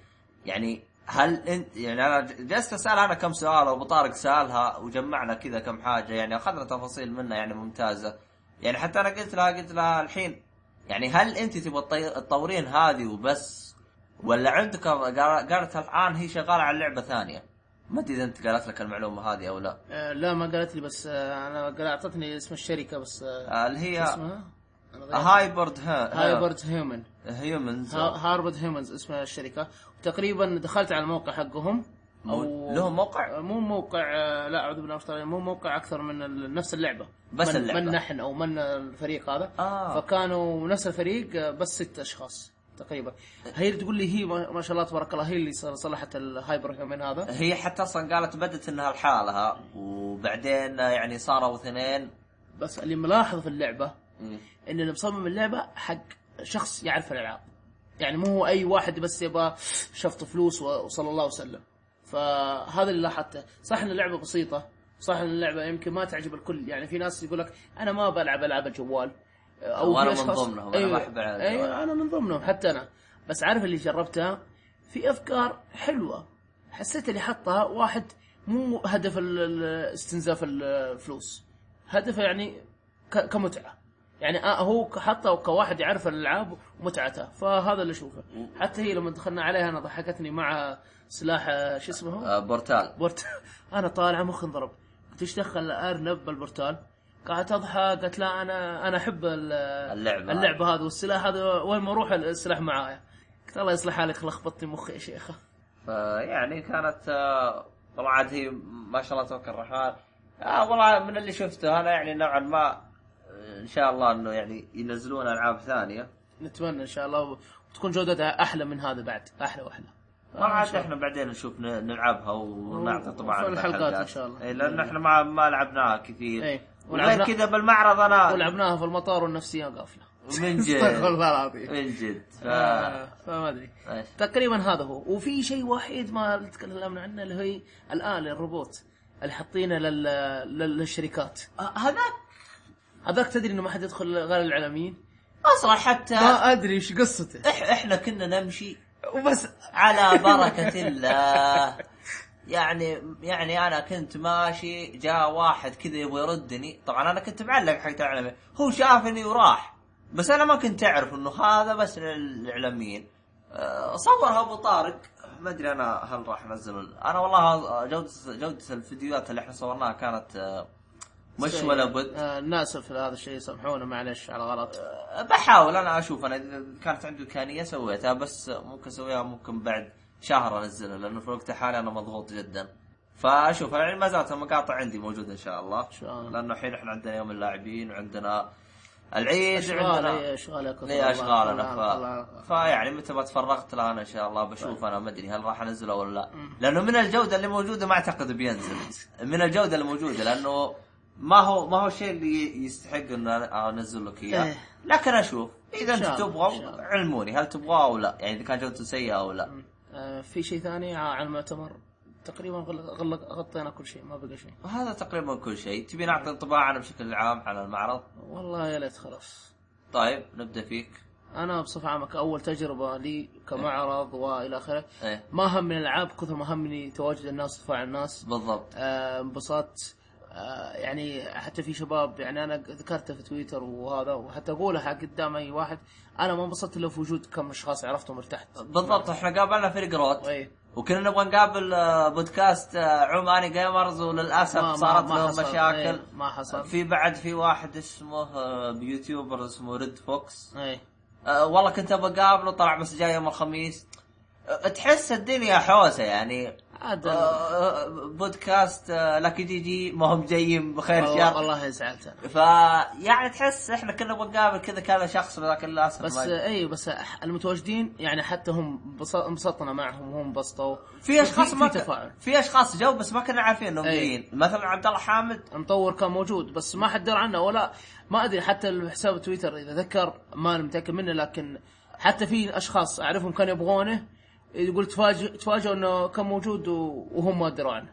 A: يعني هل انت يعني انا جلست اسالها انا كم سؤال وابو طارق سالها وجمعنا كذا كم حاجه يعني اخذنا تفاصيل منها يعني ممتازه يعني حتى انا قلت لها قلت لها الحين يعني هل انت تبغى تطي- تطورين هذه وبس ولا عندك قال- قالت الان هي شغاله على لعبه ثانيه ما ادري اذا انت قالت لك المعلومه هذه او لا
B: آه، لا ما قالت لي بس آه، انا قال- اعطتني اسم الشركه بس آه،
A: آه، اللي هي
B: اسمها أنا ضيعت.
A: هايبرد هايبرد
B: هايبرد هيومن
A: هيومنز
B: ها- هارفرد هيومنز اسم الشركه وتقريبا دخلت على الموقع حقهم
A: مو- لهم موقع؟
B: مو موقع آه، لا اعوذ بالله من الشيطان مو موقع اكثر من ال- نفس اللعبه
A: بس
B: من,
A: اللعبة.
B: من نحن او من الفريق هذا
A: آه.
B: فكانوا نفس الفريق آه، بس ست اشخاص تقريبا هي اللي تقول لي هي ما ما شاء الله تبارك الله هي اللي صلحت الهايبر هيومن هذا
A: هي حتى اصلا قالت بدت انها لحالها وبعدين يعني صاروا اثنين
B: بس اللي ملاحظ في اللعبه
A: مم.
B: ان اللي مصمم اللعبه حق شخص يعرف الالعاب يعني مو هو اي واحد بس يبغى شفط فلوس و- وصلى الله وسلم فهذا اللي لاحظته صح ان اللعبه بسيطه صح ان اللعبه يمكن ما تعجب الكل يعني في ناس يقول لك انا ما بلعب العاب الجوال او
A: وأنا
B: في
A: من
B: أشخاص-
A: ضمنهم، أنا ما أحب ألعب الجوال.
B: ايوه انا من ضمنهم حتى انا بس عارف اللي جربتها في افكار حلوه حسيت اللي حطها واحد مو هدف ال- ال- استنزاف ال- الفلوس هدفه يعني ك- كمتعه يعني آه هو ك- حطه كواحد يعرف الالعاب ومتعتها فهذا اللي اشوفه حتى هي لما دخلنا عليها انا ضحكتني مع سلاح آه، شو اسمه هو؟
A: آه، بورتال
B: [LAUGHS] برت... انا طالع مخي انضرب قلت ايش دخل ارنب بالبرتال؟ قعدت اضحك قلت لا انا انا احب ال-
A: اللعبة.
B: اللعبه هذا والسلاح هذا وين ما اروح السلاح معايا قلت الله يصلح حالك لخبطتني مخي يا شيخه
A: فيعني يعني كانت آه، والله عاد هي ما شاء الله تبارك الرحمن آه والله من اللي شفته انا يعني نوعا ما آه، ان شاء الله انه يعني ينزلون العاب ثانيه
B: [LAUGHS] نتمنى ان شاء الله وتكون جودتها احلى من هذا بعد احلى واحلى آه،
A: ما عاد احنا بعدين نشوف ن- نلعبها ونعطي طبعا
B: ونفعل الحلقات إن شاء الله.
A: إيه لان احنا ما ما لعبناها كثير
B: إيه.
A: وغير
B: ولعبنا-
A: كذا بالمعرض انا
B: ولعبناها في المطار والنفسيه
A: [LAUGHS]
B: قافله [LAUGHS]
A: من
B: استغفر
A: جد
B: الله العظيم
A: من جد ف...
B: آه، فما ادري
A: إيش.
B: تقريبا هذا هو وفي شيء وحيد ما تكلمنا عنه اللي هي الاله الروبوت اللي حاطينه لل... لل- للشركات
A: آه، هذاك
B: هذاك تدري انه ما حد يدخل غير العالميين
A: اصلا حتى
B: ما ادري ايش قصته
A: إح- احنا كنا نمشي
B: وبس
A: على بركة الله يعني يعني انا كنت ماشي جاء واحد كذا يبغى يردني طبعا انا كنت معلق حق الاعلامي هو شافني وراح بس انا ما كنت اعرف انه هذا بس للاعلاميين أه، صورها ابو طارق ما ادري انا هل راح انزل ال- انا والله جوده جوده الفيديوهات اللي احنا صورناها كانت أه، مش ولا بد
B: آه ناسف لهذا الشيء سامحونا معلش على غلط
A: بحاول انا اشوف انا اذا كانت عندي امكانيه سويتها بس ممكن اسويها ممكن بعد شهر انزلها لانه في الوقت الحالي انا مضغوط جدا فاشوف يعني ما زالت المقاطع عندي موجوده ان شاء الله
B: شاء الله.
A: لانه الحين احنا عندنا يوم اللاعبين وعندنا العيد
B: اشغال
A: وعندنا
B: إيه، اشغال يا كثر
A: لي
B: الله.
A: اشغالنا
B: الله- الله- طيب.
A: ف... فيعني متى ما تفرغت لها انا ان شاء الله بشوف انا ما ادري هل راح انزله ولا لا لانه من الجوده اللي موجوده ما اعتقد بينزل من الجوده اللي موجوده لانه ما هو ما هو الشيء اللي يستحق ان أنا انزل لك اياه
B: إيه.
A: لكن اشوف اذا
B: إن
A: انتم
B: شاء الله، إن شاء
A: تبغوا
B: الله.
A: علموني هل تبغاه او لا يعني اذا كان جودته سيئه او لا
B: آه في شيء ثاني على المؤتمر تقريبا غل- غل- غطينا كل شيء ما بقى شيء
A: وهذا تقريبا كل شيء تبي نعطي انطباع عنه بشكل عام على المعرض
B: والله يا ليت خلاص
A: طيب نبدا فيك
B: انا بصفه عامه كاول تجربه لي كمعرض والى اخره
A: ايه
B: ما هم من الالعاب كثر ما همني تواجد الناس وتفاعل الناس
A: بالضبط
B: آه، انبسطت آه، يعني حتى في شباب يعني انا ذكرته في تويتر وهذا وحتى اقولها حق قدام اي واحد انا ما انبسطت الا في وجود كم اشخاص عرفتهم ارتحت
A: بالضبط احنا قابلنا فريق روت
B: إيه.
A: وكنا نبغى نقابل آه، بودكاست آه، عماني جيمرز
B: ما- ما-
A: وللاسف صارت
B: ما
A: له
B: حصل.
A: مشاكل
B: إيه، ما حصل.
A: في بعد في واحد اسمه آه، بيوتيوبر اسمه ريد فوكس
B: اي
A: آه، والله كنت ابغى اقابله طلع بس جاي يوم الخميس آه، تحس الدنيا حوسه يعني
B: عاد
A: آه، بودكاست آه، لكن جي جي ما هم جايين بخير
B: والله
A: شر
B: والله زعلت انا
A: فيعني تحس احنا كنا بنقابل كذا كذا شخص لكن للاسف
B: بس
A: ما-
B: آه، اي بس آه، المتواجدين يعني حتى هم بص- انبسطنا معهم وهم انبسطوا
A: في اشخاص ما
B: في
A: ك-
B: تفاعل إيه.
A: في اشخاص جو بس ما كنا عارفين انهم
B: أي.
A: جايين مثلا عبد الله حامد
B: مطور كان موجود بس ما حد درى عنه ولا ما ادري حتى حساب تويتر اذا ذكر ما أنا متاكد منه لكن حتى في اشخاص اعرفهم كانوا يبغونه يقول تفاجئ تفاجئوا انه كان موجود و- وهم ما دروا عنه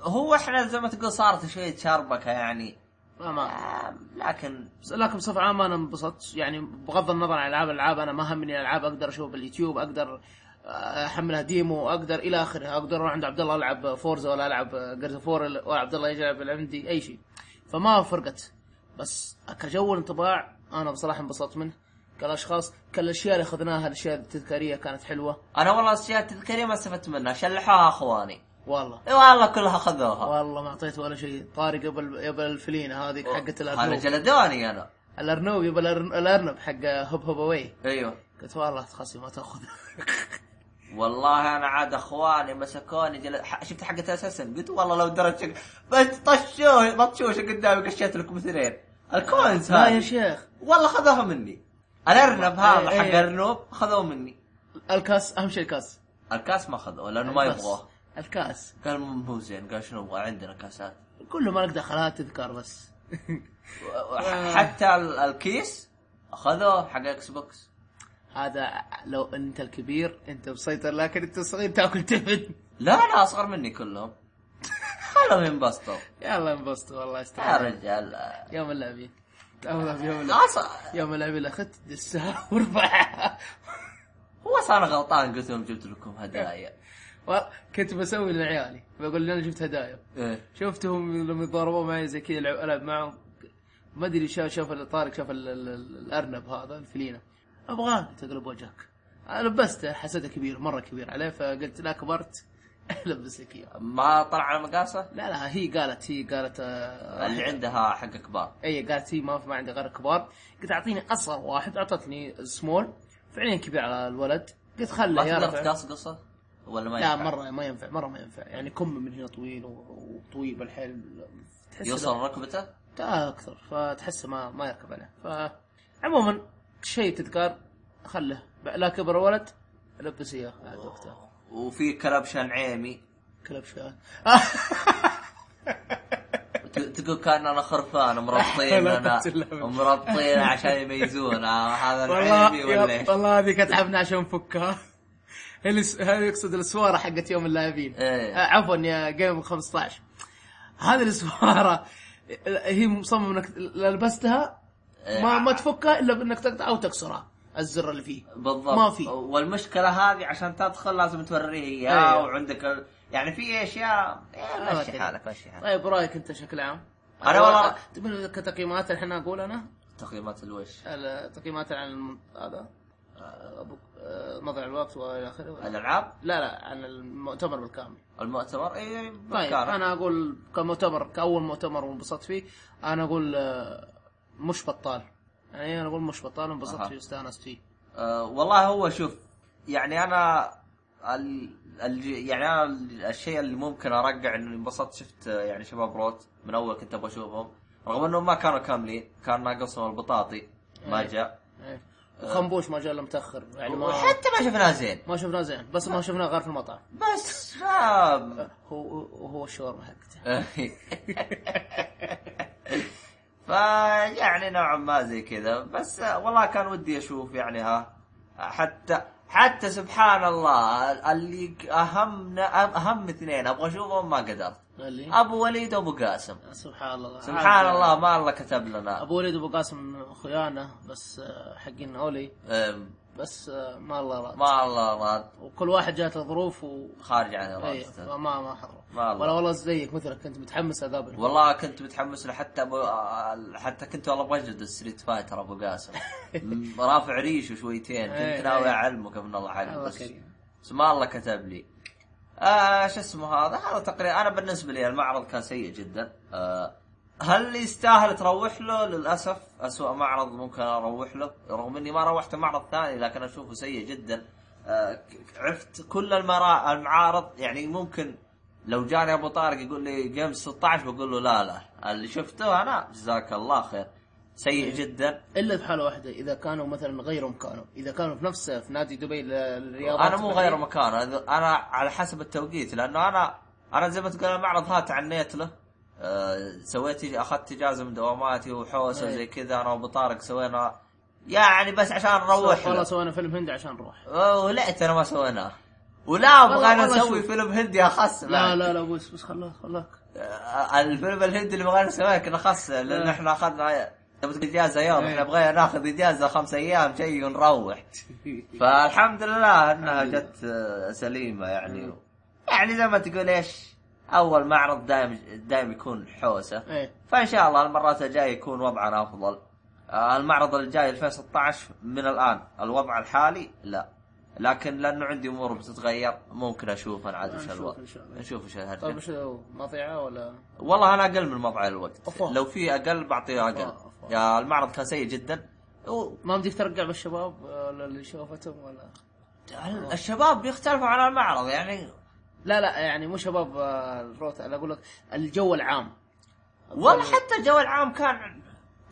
A: هو احنا زي ما تقول صارت شويه شربكه يعني
B: ما ما
A: آه، لكن
B: بس- لكن بصفه عامه انا انبسطت يعني بغض النظر عن العاب الالعاب انا ما همني الالعاب اقدر اشوفها باليوتيوب اقدر آه، احملها ديمو اقدر الى اخره اقدر اروح عند عبد الله العب فورزا ولا العب جرز فور ولا عبد الله يلعب عندي اي شيء فما فرقت بس كجو انطباع انا بصراحه انبسطت منه كالاشخاص كالاشياء اللي اخذناها الاشياء التذكاريه كانت حلوه
A: انا والله الاشياء التذكاريه ما استفدت منها شلحوها اخواني
B: والله
A: إي والله كلها خذوها
B: والله ما اعطيت ولا شيء طارق قبل قبل الفلينه هذه حقت
A: انا
B: الارنوب
A: جلدوني انا
B: الارنوب يبى الأرن- الارنب حق هوب هوب اواي
A: ايوه
B: قلت والله تخصي ما
A: [LAUGHS]
B: تاخذ
A: والله انا عاد اخواني مسكوني جل... ح... شفت حقة اساسا قلت والله لو درت شك... بس طشوه بطشوشه قدامي قشيت لكم اثنين الكوينز
B: لا يا
A: هاي
B: شيخ
A: والله خذوها مني الارنب هذا
B: إيه، إيه.
A: حق ارنب خذوه مني
B: الكاس اهم شيء الكاس
A: الكاس ما خذوه لانه ما
B: الكاس.
A: يبغاه
B: الكاس
A: قال مو زين قال شنو نبغى عندنا كاسات
B: كله ما لك دخل هذا تذكار
A: [LAUGHS]
B: بس آه.
A: ح- حتى ال- الكيس اخذوه حق اكس بوكس
B: هذا لو انت الكبير انت مسيطر لكن انت صغير تاكل تبن
A: لا لا اصغر مني كلهم [LAUGHS] خلهم ينبسطوا
B: [LAUGHS] يلا انبسط والله
A: يا
B: استاذ
A: رجال
B: يوم اللاعبين تأخذها في يوم اللاعبين
A: أص-
B: يوم اللاعبين اخذت [LAUGHS] دسها واربعها
A: هو صار غلطان قلت لهم جبت لكم هدايا
B: و- كنت بسوي لعيالي بقول انا جبت هدايا
A: إيه.
B: شفتهم لما يتضاربوا معي زي كذا العب العب معهم ما ادري شاف شاف طارق شاف ال- ال- ال- الارنب هذا الفلينه ابغاه قلت اقلب وجهك لبسته حسيته كبير مره كبير عليه فقلت لا [LAUGHS] كبرت لبس لك اياه
A: ما طلع على مقاسه
B: لا لا هي قالت هي قالت آه،
A: اللي عندها حق كبار
B: اي قالت هي ما في ما عندي غير كبار قلت اعطيني اصغر واحد اعطتني سمول فعليا كبير على الولد قلت
A: ما
B: خله يا
A: تقدر
B: رفع
A: تقصقصه ولا ما
B: لا
A: ينفع؟
B: مره ما ينفع مره ما ينفع يعني كم من هنا طويل و- وطويل بالحيل تحس
A: يوصل ركبته
B: تا اكثر فتحسه ما ما يركب عليه ف عموما شيء تذكار خله ب- لا كبر ولد لبس اياه عاد وقتها
A: وفي كلبشان عيمي
B: كلب شان
A: ت- تقول كان انا
B: [LAUGHS]
A: خرفان مربطين
B: لا
A: انا
B: تتلعب.
A: مربطين عشان يميزونا هذا
B: والله
A: العيمي ولا ايش؟
B: يا- والله هذيك اتعبنا عشان نفكها الس- هذا يقصد السواره حقت يوم اللاعبين
A: إيه.
B: آه، عفوا يا جيم 15 هذه السواره هي مصممه انك لا لبستها ما ما تفكها الا بانك تقطع او تكسرها الزر اللي فيه
A: بالضبط
B: ما في.
A: والمشكله هذه عشان تدخل لازم توريه اياه
B: أيوه.
A: وعندك ال... يعني في اشياء إيه،
B: ما
A: مشي
B: أدري.
A: حالك مشي حالك
B: طيب رايك انت بشكل عام؟
A: أنا والله-
B: تبي كتقييمات الحين اقول انا
A: تقييمات الوش
B: ال- تقييمات عن الم- هذا آه، ابوك آه، مضيع الوقت والى اخره
A: الالعاب
B: لا لا عن المؤتمر بالكامل
A: المؤتمر إيه، اي
B: طيب
A: كانت.
B: انا اقول كمؤتمر كاول مؤتمر وانبسطت فيه انا اقول آه، مش بطال يعني انا اقول مش بطال وانبسطت
A: أها.
B: فيه واستانست فيه
A: أه والله هو شوف يعني انا ال... ال... يعني انا ال- الشيء اللي ممكن ارجع انه انبسطت شفت آه، يعني شباب روت من اول كنت ابغى اشوفهم رغم انهم ما كانوا كاملين كان ناقصهم البطاطي ما
B: إيه.
A: جاء
B: إيه.
A: آه.
B: وخنبوش ما جاء الا متاخر يعني ما
A: وحتى ما شفناه زين
B: ما شفناه زين بس ما شفناه غير في المطعم
A: بس آه، ما
B: هو هو الشاورما حقته
A: [LAUGHS] فيعني نوعا ما زي كذا بس والله كان ودي اشوف يعني ها حتى حتى سبحان الله اللي اهم اهم اثنين ابغى اشوفهم ما قدرت
B: قال لي
A: ابو وليد وابو قاسم
B: سبحان الله
A: آه. سبحان
B: عاد-
A: الله ما الله كتب لنا
B: ابو وليد ابو قاسم خيانه بس آه، حقين اولي
A: أم،
B: بس آه، ما الله راد
A: ما الله راد
B: وكل واحد جات له ظروف و
A: خارج عن
B: أيه
A: ارادته
B: فما ما حضر
A: ما الله.
B: ولا والله زيك مثلك كنت متحمس اقابله
A: والله كنت متحمس له حتى ابو آه، حتى كنت والله ابغى اجلد الستريت فايتر ابو
B: [LAUGHS]
A: قاسم م- رافع ريشه شويتين
B: إيه،
A: كنت ناوي
B: إيه.
A: اعلمك من الله حق
B: الله
A: بس
B: كريم
A: بس ما الله كتب لي آه شو اسمه هذا هذا تقريبا انا بالنسبه لي المعرض كان سيء جدا آه هل يستاهل تروح له؟ للاسف أسوأ معرض ممكن اروح له، رغم اني ما روحت معرض ثاني لكن اشوفه سيء جدا، آه، عرفت كل المرا المعارض يعني ممكن لو جاني ابو طارق يقول لي جيمز 16 بقول له لا لا اللي شفته انا جزاك الله خير سيء جدا
B: الا في حاله واحده اذا كانوا مثلا غير مكانه اذا كانوا في نفسه في نادي دبي للرياضه
A: انا مو غير مكان انا أنا على حسب التوقيت لانه انا انا زي ما تقول المعرض ها تعنيت له آه، سويت اخذت اجازه من دواماتي وحوسه
B: إيه.
A: وزي كذا انا وابو طارق سوينا يعني بس عشان نروح
B: والله
A: له.
B: سوينا فيلم هندي عشان نروح
A: آه، ولعت انا ما سويناه ولا ابغى انا
B: والله
A: اسوي
B: شوف.
A: فيلم هندي اخس
B: لا لا لا بس بس خلاك خلاك [LAUGHS]
A: آه، الفيلم الهندي اللي بغينا نسويه كنا خاص لان
B: آه.
A: احنا اخذنا إيه، تبغى تقول اجازه يوم
B: إيه.
A: احنا بغينا ناخذ اجازه خمس ايام شيء ونروح فالحمد لله انها
B: الحمد لله.
A: جت آه، سليمه يعني
B: مم.
A: يعني زي ما تقول ايش اول معرض دايم دايم يكون حوسه
B: ايه
A: فان شاء الله المرات الجايه يكون وضعنا افضل آه، المعرض الجاي 2016 من الان الوضع الحالي لا لكن لانه عندي امور بتتغير ممكن اشوف انا عاد وش
B: نشوف
A: الوضع
B: إن شاء الله.
A: نشوف وش
B: طيب
A: الهرجه
B: وش مطيعه ولا
A: والله انا اقل من مضعي الوقت
B: أفا.
A: لو في اقل بعطيه اقل
B: أفا، أفا.
A: يا المعرض كان سيء جدا و-
B: ما بدك ترجع بالشباب ولا اللي شوفتهم ولا
A: هل الشباب بيختلفوا عن المعرض يعني
B: لا لا يعني مو شباب آه، الروت انا اقول لك الجو العام
A: والله حتى الجو العام كان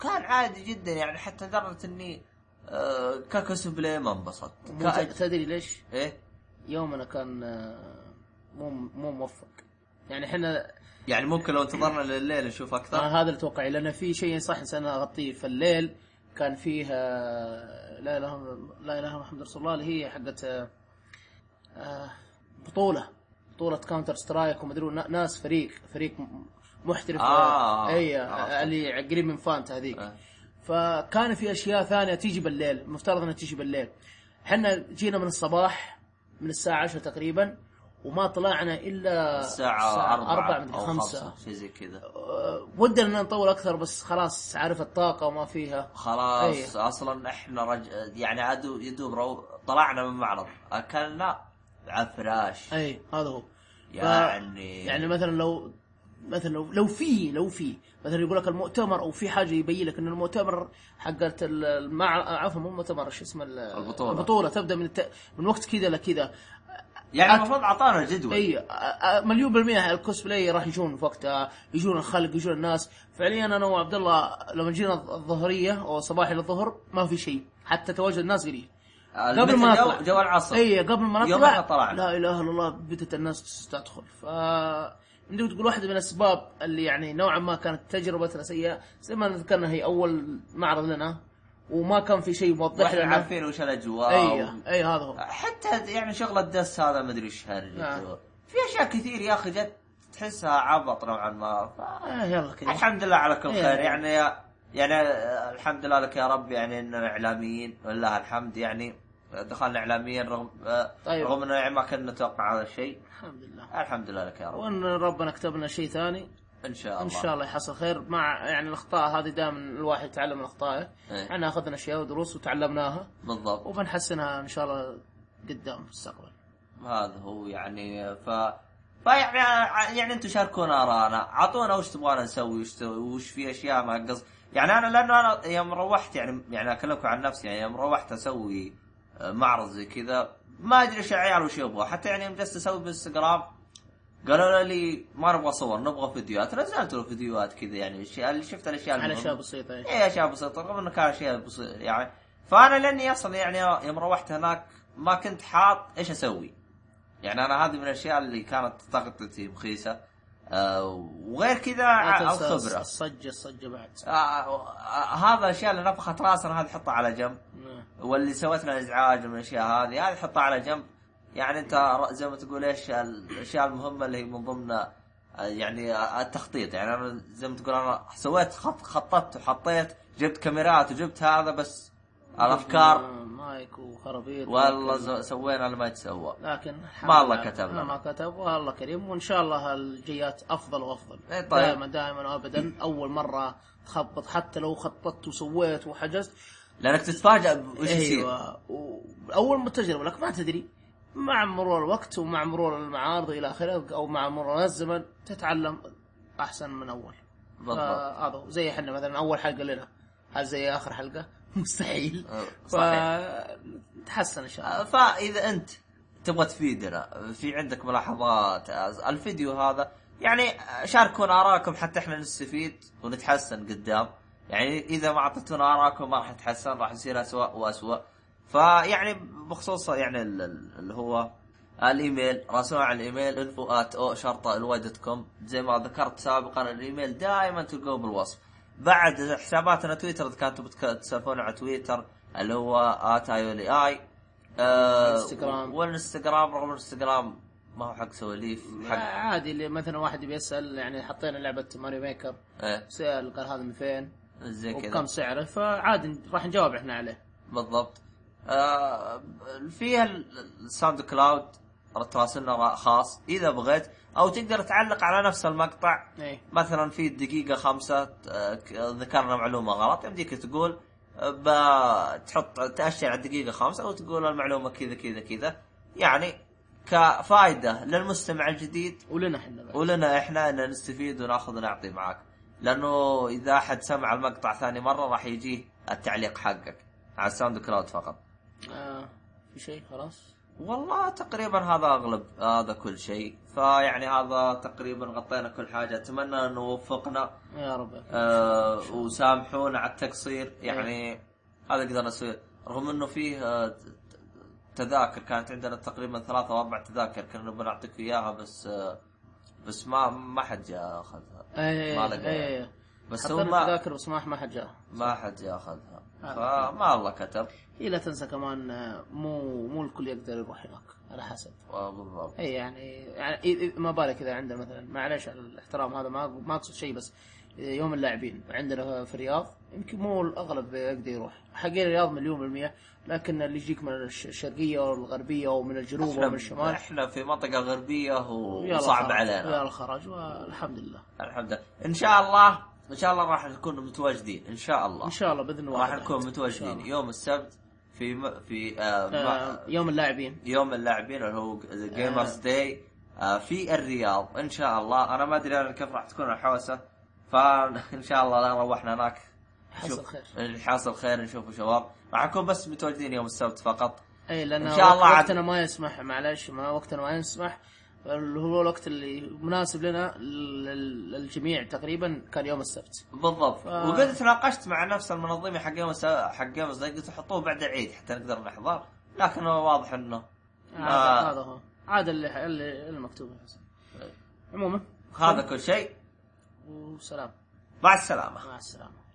A: كان عادي جدا يعني حتى لدرجه اني آه، ككوسبلاي ما انبسطت
B: مو-
A: كأج-
B: تدري ليش؟
A: ايه
B: يومنا كان آه، مو مو موفق يعني احنا
A: يعني ممكن لو انتظرنا لليل نشوف اكثر
B: انا هذا اللي اتوقع لان في شيء صح انسان اغطيه في الليل كان فيه آه، لا اله إلا- لا اله الا محمد رسول الله اللي هي حقت آه، آه، بطوله بطوله كاونتر سترايك ومدري نا- ناس فريق فريق م- محترف
A: آه،
B: آه اي آه،
A: عرفت.
B: اللي قريب من فانت هذيك
A: آه.
B: فكان في اشياء ثانيه تيجي بالليل المفترض انها تيجي بالليل احنا جينا من الصباح من الساعه 10 تقريبا وما طلعنا الا
A: الساعة 4
B: 4 مدري
A: أو
B: 5
A: شيء زي كذا
B: آه، ودنا ان نطول اكثر بس خلاص عارف الطاقه وما فيها
A: خلاص
B: إيه.
A: اصلا احنا رج... يعني عدو يدوب رو... طلعنا من معرض اكلنا عفراش
B: اي هذا هو
A: يعني
B: إيه. يعني مثلا لو مثلا لو لو في لو في مثلا يقول لك المؤتمر او في حاجه يبين لك ان المؤتمر حقت المع عفوا مو مؤتمر شو اسمه ال-
A: البطولة.
B: البطوله تبدا من الت... من وقت كذا لكذا
A: يعني المفروض اعطانا جدول
B: اي أ- أ- مليون بالميه الكوسبلاي راح يجون في وقتها يجون الخلق يجون الناس فعليا انا وعبد الله لما جينا الظهريه او صباحي للظهر ما في شيء حتى تواجد الناس قليل قبل ما
A: آه،
B: إيه.
A: جو...
B: نطلع.
A: جو العصر
B: اي قبل ما
A: يوم
B: نطلع
A: إحنا طلعنا.
B: لا اله الا الله بدت الناس تدخل ف مدري تقول واحده من الاسباب اللي يعني نوعا ما كانت تجربتنا سيئه زي ما ذكرنا هي اول معرض لنا وما كان في شيء موضح
A: واحنا
B: لنا
A: عارفين وش الاجواء
B: اي
A: و...
B: اي هذا هو
A: حتى يعني شغل الدس هذا ما ادري ايش
B: نعم.
A: هرجة في اشياء كثير يا اخي جت تحسها عبط نوعا ما ف...
B: آه يلا كذا
A: الحمد لله على كل
B: إيه.
A: خير يعني يعني آه، الحمد لله لك يا رب يعني اننا اعلاميين والله الحمد يعني دخلنا اعلاميين رغم آه،
B: طيب.
A: رغم انه ما كنا نتوقع هذا الشيء
B: الحمد لله
A: الحمد لله لك يا رب
B: وان ربنا كتب لنا شيء ثاني
A: ان شاء الله
B: ان شاء الله يحصل خير مع يعني الاخطاء هذه دائما الواحد يتعلم من اخطائه
A: إيه.
B: احنا اخذنا اشياء ودروس وتعلمناها
A: بالضبط
B: وبنحسنها ان شاء الله قدام في المستقبل
A: هذا هو يعني ف فيعني يعني انتم شاركونا اراءنا اعطونا وش تبغانا نسوي وش ت- وش في اشياء ما قص يعني انا لانه انا يوم روحت يعني يعني اكلمكم عن نفسي يعني يوم روحت اسوي آه، معرض زي كذا ما ادري ايش العيال وش يبغوا حتى يعني يوم جلست اسوي بالانستغرام قالوا لي ما نبغى صور نبغى فيديوهات نزلت له فيديوهات كذا يعني الشيء- اللي شفت الاشياء
B: على اشياء
A: المهمة.
B: بسيطه إيه.
A: اي اشياء بسيطه رغم انه كان اشياء بسيطه يعني فانا لاني اصلا يعني يوم روحت هناك ما كنت حاط ايش اسوي يعني انا هذه من الاشياء اللي كانت طاقتي مخيسه آه وغير كذا
B: لا
A: ع-
B: تنسى
A: الخبره
B: الصجه الصجه بعد
A: آه آه هذا الاشياء اللي نفخت راسنا هذه حطها على جنب
B: نعم.
A: واللي سوت لنا ازعاج من الاشياء هذه هذه حطها على جنب يعني انت ر- زي ما تقول ايش الاشياء المهمه اللي هي من ضمن آه، يعني آه، التخطيط يعني انا زي ما تقول انا سويت خط خططت وحطيت جبت كاميرات وجبت هذا بس الافكار
B: آه، مايك وخرابيط
A: والله
B: لكن-
A: ز- سوينا اللي ما يتسوى
B: لكن الحمد
A: ما الله
B: لله.
A: كتب لنا.
B: ما كتب والله كريم وان شاء الله الجيات افضل وافضل
A: إيه طيب.
B: دائما دائما وابدا اول مره تخبط حتى لو خططت وسويت وحجزت
A: لانك تتفاجئ وش يصير
B: ايوه واول ما تجربه لك ما تدري مع مرور الوقت ومع مرور المعارض الى اخره او مع مرور الزمن تتعلم احسن من اول
A: بالضبط
B: آه، هذا هو. زي احنا مثلا اول حلقه لنا هل زي اخر حلقه [LAUGHS] مستحيل
A: أه،
B: ف نتحسن ان شاء الله
A: آه، فاذا انت تبغى تفيدنا في عندك ملاحظات آه، الفيديو هذا يعني آه، شاركونا اراءكم حتى احنا نستفيد ونتحسن قدام يعني اذا ما اعطيتونا اراءكم ما راح نتحسن راح نصير اسوء واسوء فيعني بخصوص يعني ال- ال- اللي هو الايميل راسلونا على الايميل انفو ات او شرطه الواي دوت كوم زي ما ذكرت سابقا الايميل دائما تلقوه بالوصف بعد حساباتنا تويتر اذا كنتم بتك- تسولفون على تويتر اللي هو ات اي اي
B: والإنستغرام.
A: والانستغرام آه، رغم الانستغرام ما هو حق سواليف حق
B: آه، عادي اللي مثلا واحد بيسال يعني حطينا لعبه ماريو ميكر
A: إيه،
B: سال قال هذا من فين
A: زي كذا
B: وبكم سعره فعادي راح نجاوب احنا عليه
A: بالضبط آه فيها ال- الساوند كلاود تراسلنا خاص اذا بغيت او تقدر تعلق على نفس المقطع
B: ايه
A: مثلا في الدقيقة خمسة آه، ك- ذكرنا معلومة غلط يمديك تقول آه، ب- تحط تأشر على الدقيقة خمسة وتقول المعلومة كذا كذا كذا يعني كفائدة للمستمع الجديد
B: ولنا احنا بعد.
A: ولنا احنا ان نستفيد وناخذ ونعطي معاك لانه اذا احد سمع المقطع ثاني مرة راح يجيه التعليق حقك على الساوند كلاود فقط
B: آه في شيء خلاص
A: والله تقريبا هذا اغلب هذا كل شيء فيعني هذا تقريبا غطينا كل حاجة اتمنى انه وفقنا
B: يا رب
A: آه وسامحونا على التقصير
B: إيه.
A: يعني هذا قدرنا نسويه رغم انه فيه آه، ت- ت- تذاكر كانت عندنا تقريبا ثلاثة او اربع تذاكر كنا بنعطيك اياها بس آه بس ما ما حد جاء اخذها ما
B: ايه
A: لقى.
B: ايه
A: بس هو
B: حطينا
A: ما
B: تذاكر بس ما ما حد جاء
A: ما حد جاء اخذها
B: آه.
A: فما الله كتب
B: هي لا تنسى كمان آه، مو مو الكل يقدر يروح هناك على حسب
A: آه، بالضبط
B: اي يعني يعني إي- إي- ما بالك اذا عندنا مثلا معلش على الاحترام هذا ما ما اقصد شيء بس يوم اللاعبين عندنا في الرياض يمكن مو الاغلب يقدر يروح حقين الرياض مليون بالمية لكن اللي يجيك من الش- الشرقيه والغربيه ومن الجنوب ومن
A: احنا
B: الشمال
A: احنا في منطقة غربية
B: ويا
A: وصعب
B: الخرج-
A: علينا
B: ويا الخرج والحمد لله
A: الحمد لله ان شاء الله ان شاء الله راح نكون متواجدين ان شاء الله
B: ان شاء الله باذن الله
A: راح نكون متواجدين يوم السبت في م... في آه مع-
B: يوم اللاعبين
A: يوم اللاعبين اللي هو
B: آه.
A: جيمرز داي آه، في الرياض ان شاء الله انا ما ادري انا كيف راح تكون الحوسه [LAUGHS] فان شاء الله لا روحنا هناك
B: حصل
A: نشوف-
B: خير
A: حاصل خير نشوف شباب راح نكون بس متواجدين يوم السبت فقط
B: اي لان
A: إن شاء الله عاد-
B: وقتنا ما يسمح معلش ما وقتنا ما يسمح اللي هو الوقت اللي مناسب لنا لل- للجميع تقريبا كان يوم السبت
A: بالضبط
B: آه.
A: وقد تناقشت مع نفس المنظمه حق يوم الس- حق جيمرز داي قلت حطوه بعد العيد حتى نقدر نحضر لكن هو واضح انه
B: هذا
A: آه.
B: هذا هو عاد اللي اللي المكتوب يا حسن.
A: طيب.
B: عموما طيب.
A: هذا كل شيء
B: وسلام
A: مع السلامه
B: مع السلامه